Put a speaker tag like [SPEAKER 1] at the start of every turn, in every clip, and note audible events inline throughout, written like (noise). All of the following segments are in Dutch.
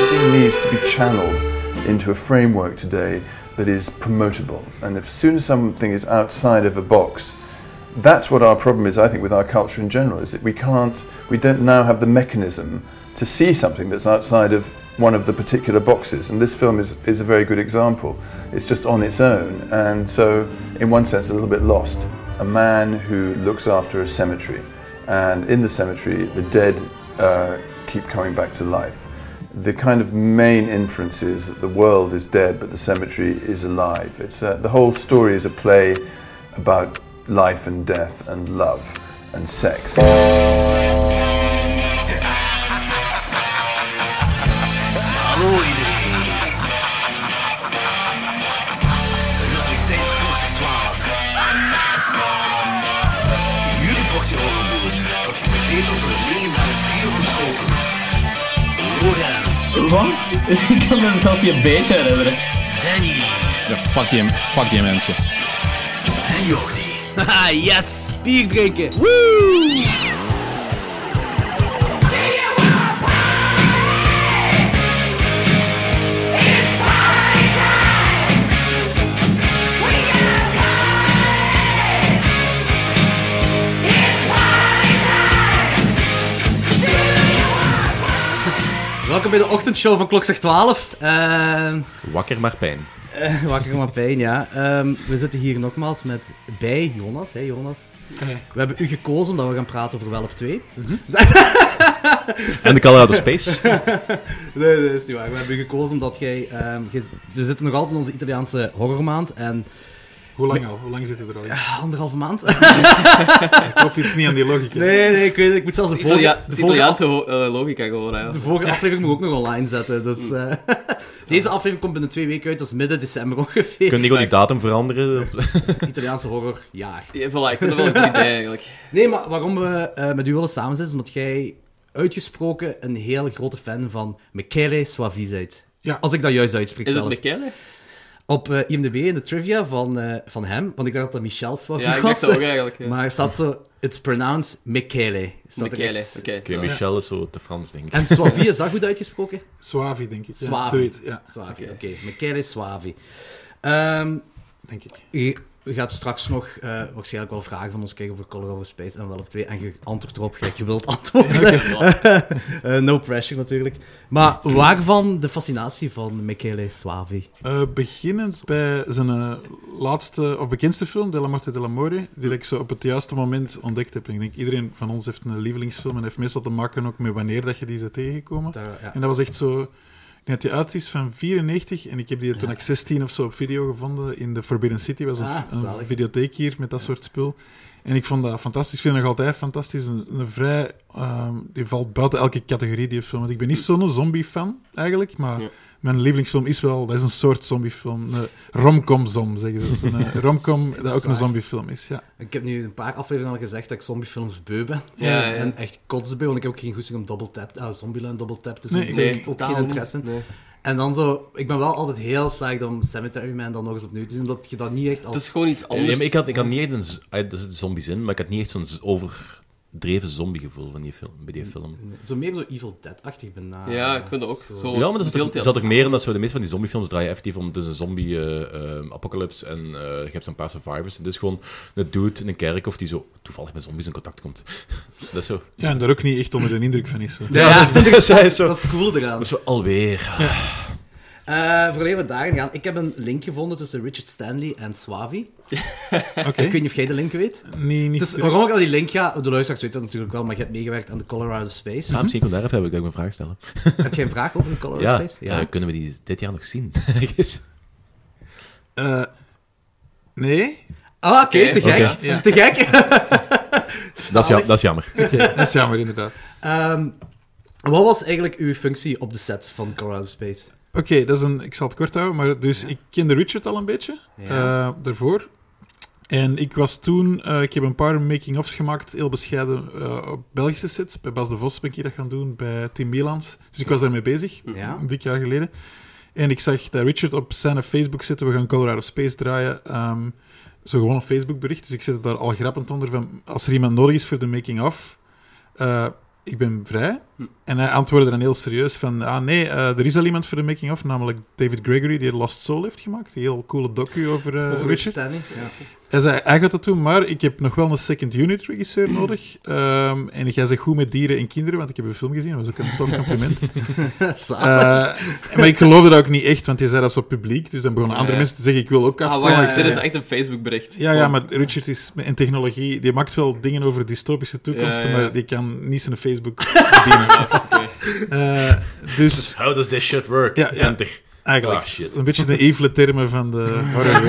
[SPEAKER 1] to be channeled into a framework today that is promotable. And as soon as something is outside of a box, that's what our problem is, I think, with our culture in general, is that we can't, we don't now have the mechanism to see something that's outside of one of the particular boxes. And this film is, is a very good example. It's just on its own, and so, in one sense, a little bit lost. A man who looks after a cemetery, and in the cemetery, the dead uh, keep coming back to life. The kind of main inference is that the world is dead, but the cemetery is alive. It's uh, the whole story is a play about life and death and love and sex.
[SPEAKER 2] Hallo iedereen. Het is weer tijd voor boxjes 12. Jullie boxje overboers, dat is gegeven tot het legendarische stier van Schotens. Lorenz,
[SPEAKER 3] Want (laughs) ik kan me zelfs niet een beetje herinneren.
[SPEAKER 2] Danny
[SPEAKER 4] Ja, fuck die, fuck die mensen.
[SPEAKER 2] en Jordi.
[SPEAKER 5] Haha, (laughs) yes! Bier drinken! Woo! Welkom bij de ochtendshow van klok 12. Ehm
[SPEAKER 6] Wakker maar pijn.
[SPEAKER 5] eh, wakker maar pijn, ja. Ehm, we zitten hier nogmaals met bij Jonas. Hè, Jonas. We hebben u gekozen omdat we gaan praten over Welp 2.
[SPEAKER 6] En de Colorado Space.
[SPEAKER 5] Nee, dat is niet waar. We hebben gekozen omdat jij... ehm, jij- we zitten nog altijd in onze Italiaanse horrormaand en
[SPEAKER 7] Hoe lang al? Hoe lang zit hij er al in?
[SPEAKER 5] ah, anderhalve maand.
[SPEAKER 7] Klopt iets niet aan die
[SPEAKER 5] (laughs)
[SPEAKER 7] logica.
[SPEAKER 5] Nee, nee, ik weet het. Ik moet zelfs de
[SPEAKER 8] De
[SPEAKER 5] vorige,
[SPEAKER 8] Italia-
[SPEAKER 5] de
[SPEAKER 8] de
[SPEAKER 5] vorige, af-
[SPEAKER 8] Italiaanse ho- eh, logica gewoon, hè.
[SPEAKER 5] de vorige aflevering moet ik ook nog online zetten. Dus, eh, (laughs) deze aflevering komt binnen twee weken uit, dat is midden december ongeveer.
[SPEAKER 6] Kun je gewoon die datum veranderen?
[SPEAKER 5] Italiaanse horrorjaar.
[SPEAKER 8] Ja, voilà, ik vind dat wel een goed idee, eigenlijk.
[SPEAKER 5] Nee, maar waarom we eh, met u willen samenzitten is omdat jij uitgesproken een heel grote fan van Michele Suavi bent.
[SPEAKER 7] Ja.
[SPEAKER 5] Als ik dat juist uitspreek
[SPEAKER 8] Is het
[SPEAKER 5] zelfs.
[SPEAKER 8] McKellen?
[SPEAKER 5] Op eh, IMDb in de trivia van, eh, van hem, want ik dacht dat dat Michel Suavi
[SPEAKER 8] Ja, ik
[SPEAKER 5] was.
[SPEAKER 8] dacht dat ook eigenlijk. Ja.
[SPEAKER 5] (laughs) Maar er staat zo, it's pronounced Michele. Staat er
[SPEAKER 8] McKellen,
[SPEAKER 5] echt.
[SPEAKER 8] oké.
[SPEAKER 6] Oké, Michel is zo te Frans, denk ik.
[SPEAKER 5] En Suavi, is dat goed uitgesproken?
[SPEAKER 7] Suavi, denk ik. Ja,
[SPEAKER 5] Suavi.
[SPEAKER 7] Zoiets, ja,
[SPEAKER 5] Suavi,
[SPEAKER 8] Oké.
[SPEAKER 5] oké. Michele Suavi. Ehm,
[SPEAKER 7] denk ik.
[SPEAKER 5] je je gaat straks nog eh, waarschijnlijk wel vragen van ons krijgen over Colorado Space en wel of twee. En je antwoordt erop gelijk je wilt antwoorden. Eh, no pressure natuurlijk. Maar waarvan de fascinatie van Michele Suavi?
[SPEAKER 7] Eh, beginnend bij zijn eh, laatste of bekendste film, De la Morte de la More, die ik zo op het juiste moment ontdekt heb. En ik denk, iedereen van ons heeft een lievelingsfilm en heeft meestal te maken ook met wanneer dat je die bent tegengekomen.
[SPEAKER 5] Daar, ja.
[SPEAKER 7] En dat was echt zo... Ik denk dat die uit is van 94 en ik heb die toen ik 16 of zo op video gevonden in de Forbidden City. was een,
[SPEAKER 5] Ah,
[SPEAKER 7] een
[SPEAKER 5] zalig.
[SPEAKER 7] videotheek hier met dat soort spul. En ik vond dat fantastisch. Ik vind het nog altijd fantastisch. Een, een vrij... ehm, die valt buiten elke categorie, die film. Want ik ben niet zo'n zombie-fan, eigenlijk. Maar
[SPEAKER 8] Ja.
[SPEAKER 7] mijn lievelingsfilm is wel... Dat is een soort zombiefilm. Een eh, romcom-zom, zeggen ze. Zo'n eh, romcom dat ook een
[SPEAKER 5] Zwaar.
[SPEAKER 7] zombiefilm is, ja.
[SPEAKER 5] Ik heb nu een paar afleveringen al gezegd dat ik zombiefilms beu ben.
[SPEAKER 8] Ja, ja.
[SPEAKER 5] En echt kotsbeu, want ik heb ook geen goesting om double tap. Ah, Zombieland double tap, dus
[SPEAKER 7] Nee,
[SPEAKER 5] ik
[SPEAKER 8] nee,
[SPEAKER 5] heb ook
[SPEAKER 8] totaal
[SPEAKER 5] geen
[SPEAKER 8] niet.
[SPEAKER 5] interesse. in.
[SPEAKER 8] Nee.
[SPEAKER 5] En dan zo, ik ben wel altijd heel saai om Cemetery Man dan nog eens opnieuw te zien, omdat je dat niet echt als...
[SPEAKER 8] Het is gewoon iets anders.
[SPEAKER 6] Ja, maar ik had, ik had niet echt een... z- ah, Er zitten zombies in, maar ik had niet echt zo'n z- overdreven zombiegevoel van die film, bij die film.
[SPEAKER 5] Zo meer zo Evil Dead-achtig benaderd.
[SPEAKER 8] Ja, ik vind dat ook zo.
[SPEAKER 5] Oh,
[SPEAKER 6] Ja, maar er zat,
[SPEAKER 8] Deeltje.
[SPEAKER 6] er zat er meer in dat zo de meeste van die zombiefilms draaien effectief om. Het is een zombie-apocalypse en eh, je hebt zo'n paar survivors. En het is gewoon een dude in een kerkhof die zo toevallig met zombies in contact komt. (laughs) dat is zo.
[SPEAKER 7] Ja, en daar ook niet echt onder de indruk van is. Zo.
[SPEAKER 5] Ja, ja,
[SPEAKER 6] (laughs) dat is hij
[SPEAKER 5] (laughs)
[SPEAKER 6] zo.
[SPEAKER 5] dat is het coole eraan. (laughs)
[SPEAKER 6] Dat is zo alweer.
[SPEAKER 5] Eh Voordat we daarin gaan, ik heb een link gevonden tussen Richard Stanley en Swavi.
[SPEAKER 7] Oké.
[SPEAKER 5] Ik weet niet of jij de link weet.
[SPEAKER 7] Nee, niet...
[SPEAKER 5] Dus waarom ik aan die link ga, de luisteraars weten dat natuurlijk wel, maar je hebt meegewerkt aan de Colorado Space.
[SPEAKER 6] Ah, misschien kon daar even hebben, dat ik mijn vraag stellen.
[SPEAKER 5] Heb jij een vraag over de Colorado
[SPEAKER 6] Ja,
[SPEAKER 5] Space?
[SPEAKER 6] eh, kunnen we die dit jaar nog zien? (laughs) Ergens?
[SPEAKER 7] Eh, nee?
[SPEAKER 5] Ah, oké, te gek.
[SPEAKER 6] Oké.
[SPEAKER 7] Ja.
[SPEAKER 5] Te gek. (laughs)
[SPEAKER 6] dat, is ja, dat is jammer.
[SPEAKER 7] Oké, dat is jammer, inderdaad.
[SPEAKER 5] Ehm, wat was eigenlijk uw functie op de set van Colorado Space?
[SPEAKER 7] Oké, dat is een. Ik zal het kort houden, maar dus ik kende Richard al een beetje
[SPEAKER 5] Ja.
[SPEAKER 7] eh, daarvoor. En ik was toen, eh, ik heb een paar making-ofs gemaakt, heel bescheiden, eh, op Belgische sets. Bij Bas de Vos ben ik hier dat gaan doen, bij Tim Mielans. Dus ik was daarmee bezig,
[SPEAKER 5] Ja.
[SPEAKER 7] een dik jaar geleden. En ik zag dat Richard op zijn Facebook zitten, we gaan Colorado Space draaien. ehm, zo gewoon een Facebook bericht, dus ik zet het daar al grappend onder van, als er iemand nodig is voor de making-of, eh, ik ben vrij. En hij antwoordde dan heel serieus van, ah nee, eh, er is al iemand voor de making-of, namelijk David Gregory, die Lost Soul heeft gemaakt. Die heel coole docu over, eh,
[SPEAKER 5] Over
[SPEAKER 7] Richard.
[SPEAKER 5] Richard Stanley. Ja.
[SPEAKER 7] Hij zei, hij gaat dat doen, maar ik heb nog wel een second unit regisseur nodig. Ehm, en jij zegt goed met dieren en kinderen, want ik heb een film gezien, dat was ook een tof compliment.
[SPEAKER 5] (laughs) Zalig.
[SPEAKER 7] Eh, maar ik geloofde dat ook niet echt, want hij zei dat zo publiek. Dus dan begonnen andere
[SPEAKER 8] Ja.
[SPEAKER 7] mensen te zeggen, ik wil ook
[SPEAKER 8] Ah,
[SPEAKER 7] afkomen.
[SPEAKER 8] wacht,
[SPEAKER 7] Ik
[SPEAKER 8] dit
[SPEAKER 7] zei,
[SPEAKER 8] is echt een Facebook-bericht.
[SPEAKER 7] ja, ja, maar Richard is in technologie, die maakt wel dingen over dystopische toekomsten,
[SPEAKER 8] Ja, ja.
[SPEAKER 7] maar die kan niet zijn Facebook (laughs) bedienen. Eh, dus
[SPEAKER 6] How does this shit work?
[SPEAKER 7] Ja, ja.
[SPEAKER 6] Enter.
[SPEAKER 7] eigenlijk,
[SPEAKER 6] Ah, shit.
[SPEAKER 7] een beetje de evele termen van de horror.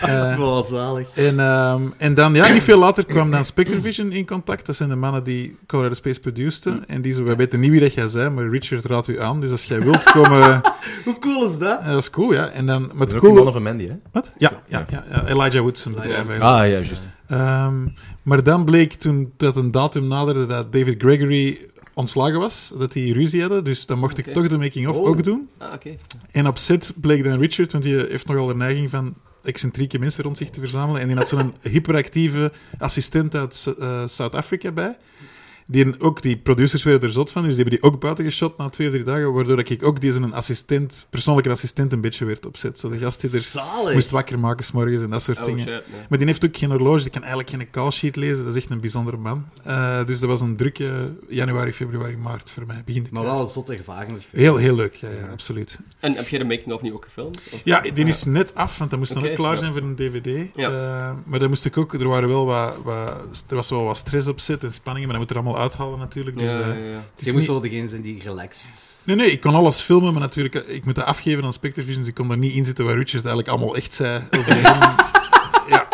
[SPEAKER 7] Eh,
[SPEAKER 5] Wel zalig.
[SPEAKER 7] En, ehm, en dan, ja, niet veel later kwam dan Spectrovision in contact. Dat zijn de mannen die Colorado Space produceden. En die zeiden, wij weten niet wie dat jij bent, maar Richard raadt u aan. Dus als jij wilt komen...
[SPEAKER 5] Hoe cool is dat?
[SPEAKER 7] eh, dat is cool, ja. En dan, maar het
[SPEAKER 9] Dat is ook een
[SPEAKER 7] cool...
[SPEAKER 9] mannen van Mandy, hè?
[SPEAKER 7] Wat? Ja, ja, ja, ja, Elijah Wood, zijn
[SPEAKER 5] Elijah
[SPEAKER 7] bedrijf
[SPEAKER 5] Wood.
[SPEAKER 7] eigenlijk.
[SPEAKER 9] Ah, ja, juist.
[SPEAKER 7] Ehm, maar dan bleek toen dat een datum naderde dat David Gregory ontslagen was, dat die ruzie hadden. Dus dan mocht ik
[SPEAKER 8] Oké.
[SPEAKER 7] toch de making-of
[SPEAKER 5] Oh.
[SPEAKER 7] ook doen.
[SPEAKER 8] Ah, oké.
[SPEAKER 7] En op set bleek dan Richard, want die heeft nogal de neiging van excentrieke mensen rond zich te verzamelen. En die
[SPEAKER 8] (laughs)
[SPEAKER 7] had zo'n hyperactieve assistent uit Su- eh, Zuid-Afrika bij. Die ook, die producers werden er zot van, dus die hebben die ook buiten geschot na twee of drie dagen, waardoor ik ook deze een assistent, persoonlijke assistent een beetje werd op set. Zo de gast die er
[SPEAKER 5] Zalig.
[SPEAKER 7] moest wakker maken s'morgens en dat soort
[SPEAKER 8] Oh,
[SPEAKER 7] dingen.
[SPEAKER 8] shit, nee.
[SPEAKER 7] Maar die heeft ook geen horloge, die kan eigenlijk geen callsheet lezen, dat is echt een bijzondere man. Eh, dus dat was een drukke januari, februari, maart voor mij, begin dit
[SPEAKER 5] Maar
[SPEAKER 7] jaar.
[SPEAKER 5] wel een zotte ervaring. natuurlijk.
[SPEAKER 7] Heel, heel leuk, ja, ja, absoluut.
[SPEAKER 8] En heb jij de making-of niet ook gefilmd? Of-
[SPEAKER 7] Ja, die is net af, want dat moest dan
[SPEAKER 8] Oké,
[SPEAKER 7] ook klaar
[SPEAKER 8] ja.
[SPEAKER 7] zijn voor een DVD.
[SPEAKER 8] Ja.
[SPEAKER 7] Eh, maar dan moest ik ook, er, waren wel wat, wat, er was wel wat stress op zit en spanningen, maar dat moet er allemaal uithalen natuurlijk. Dus,
[SPEAKER 8] Ja,
[SPEAKER 7] eh,
[SPEAKER 8] ja, ja.
[SPEAKER 7] het is
[SPEAKER 5] Je moet
[SPEAKER 7] niet-
[SPEAKER 5] zo degene zijn die relaxed.
[SPEAKER 7] Nee, nee, ik kon alles filmen, maar natuurlijk, eh, ik moet dat afgeven aan Spectrovision, dus ik kon daar niet in zitten waar Richard eigenlijk allemaal echt zei. over de
[SPEAKER 8] (laughs)
[SPEAKER 7] film. ja.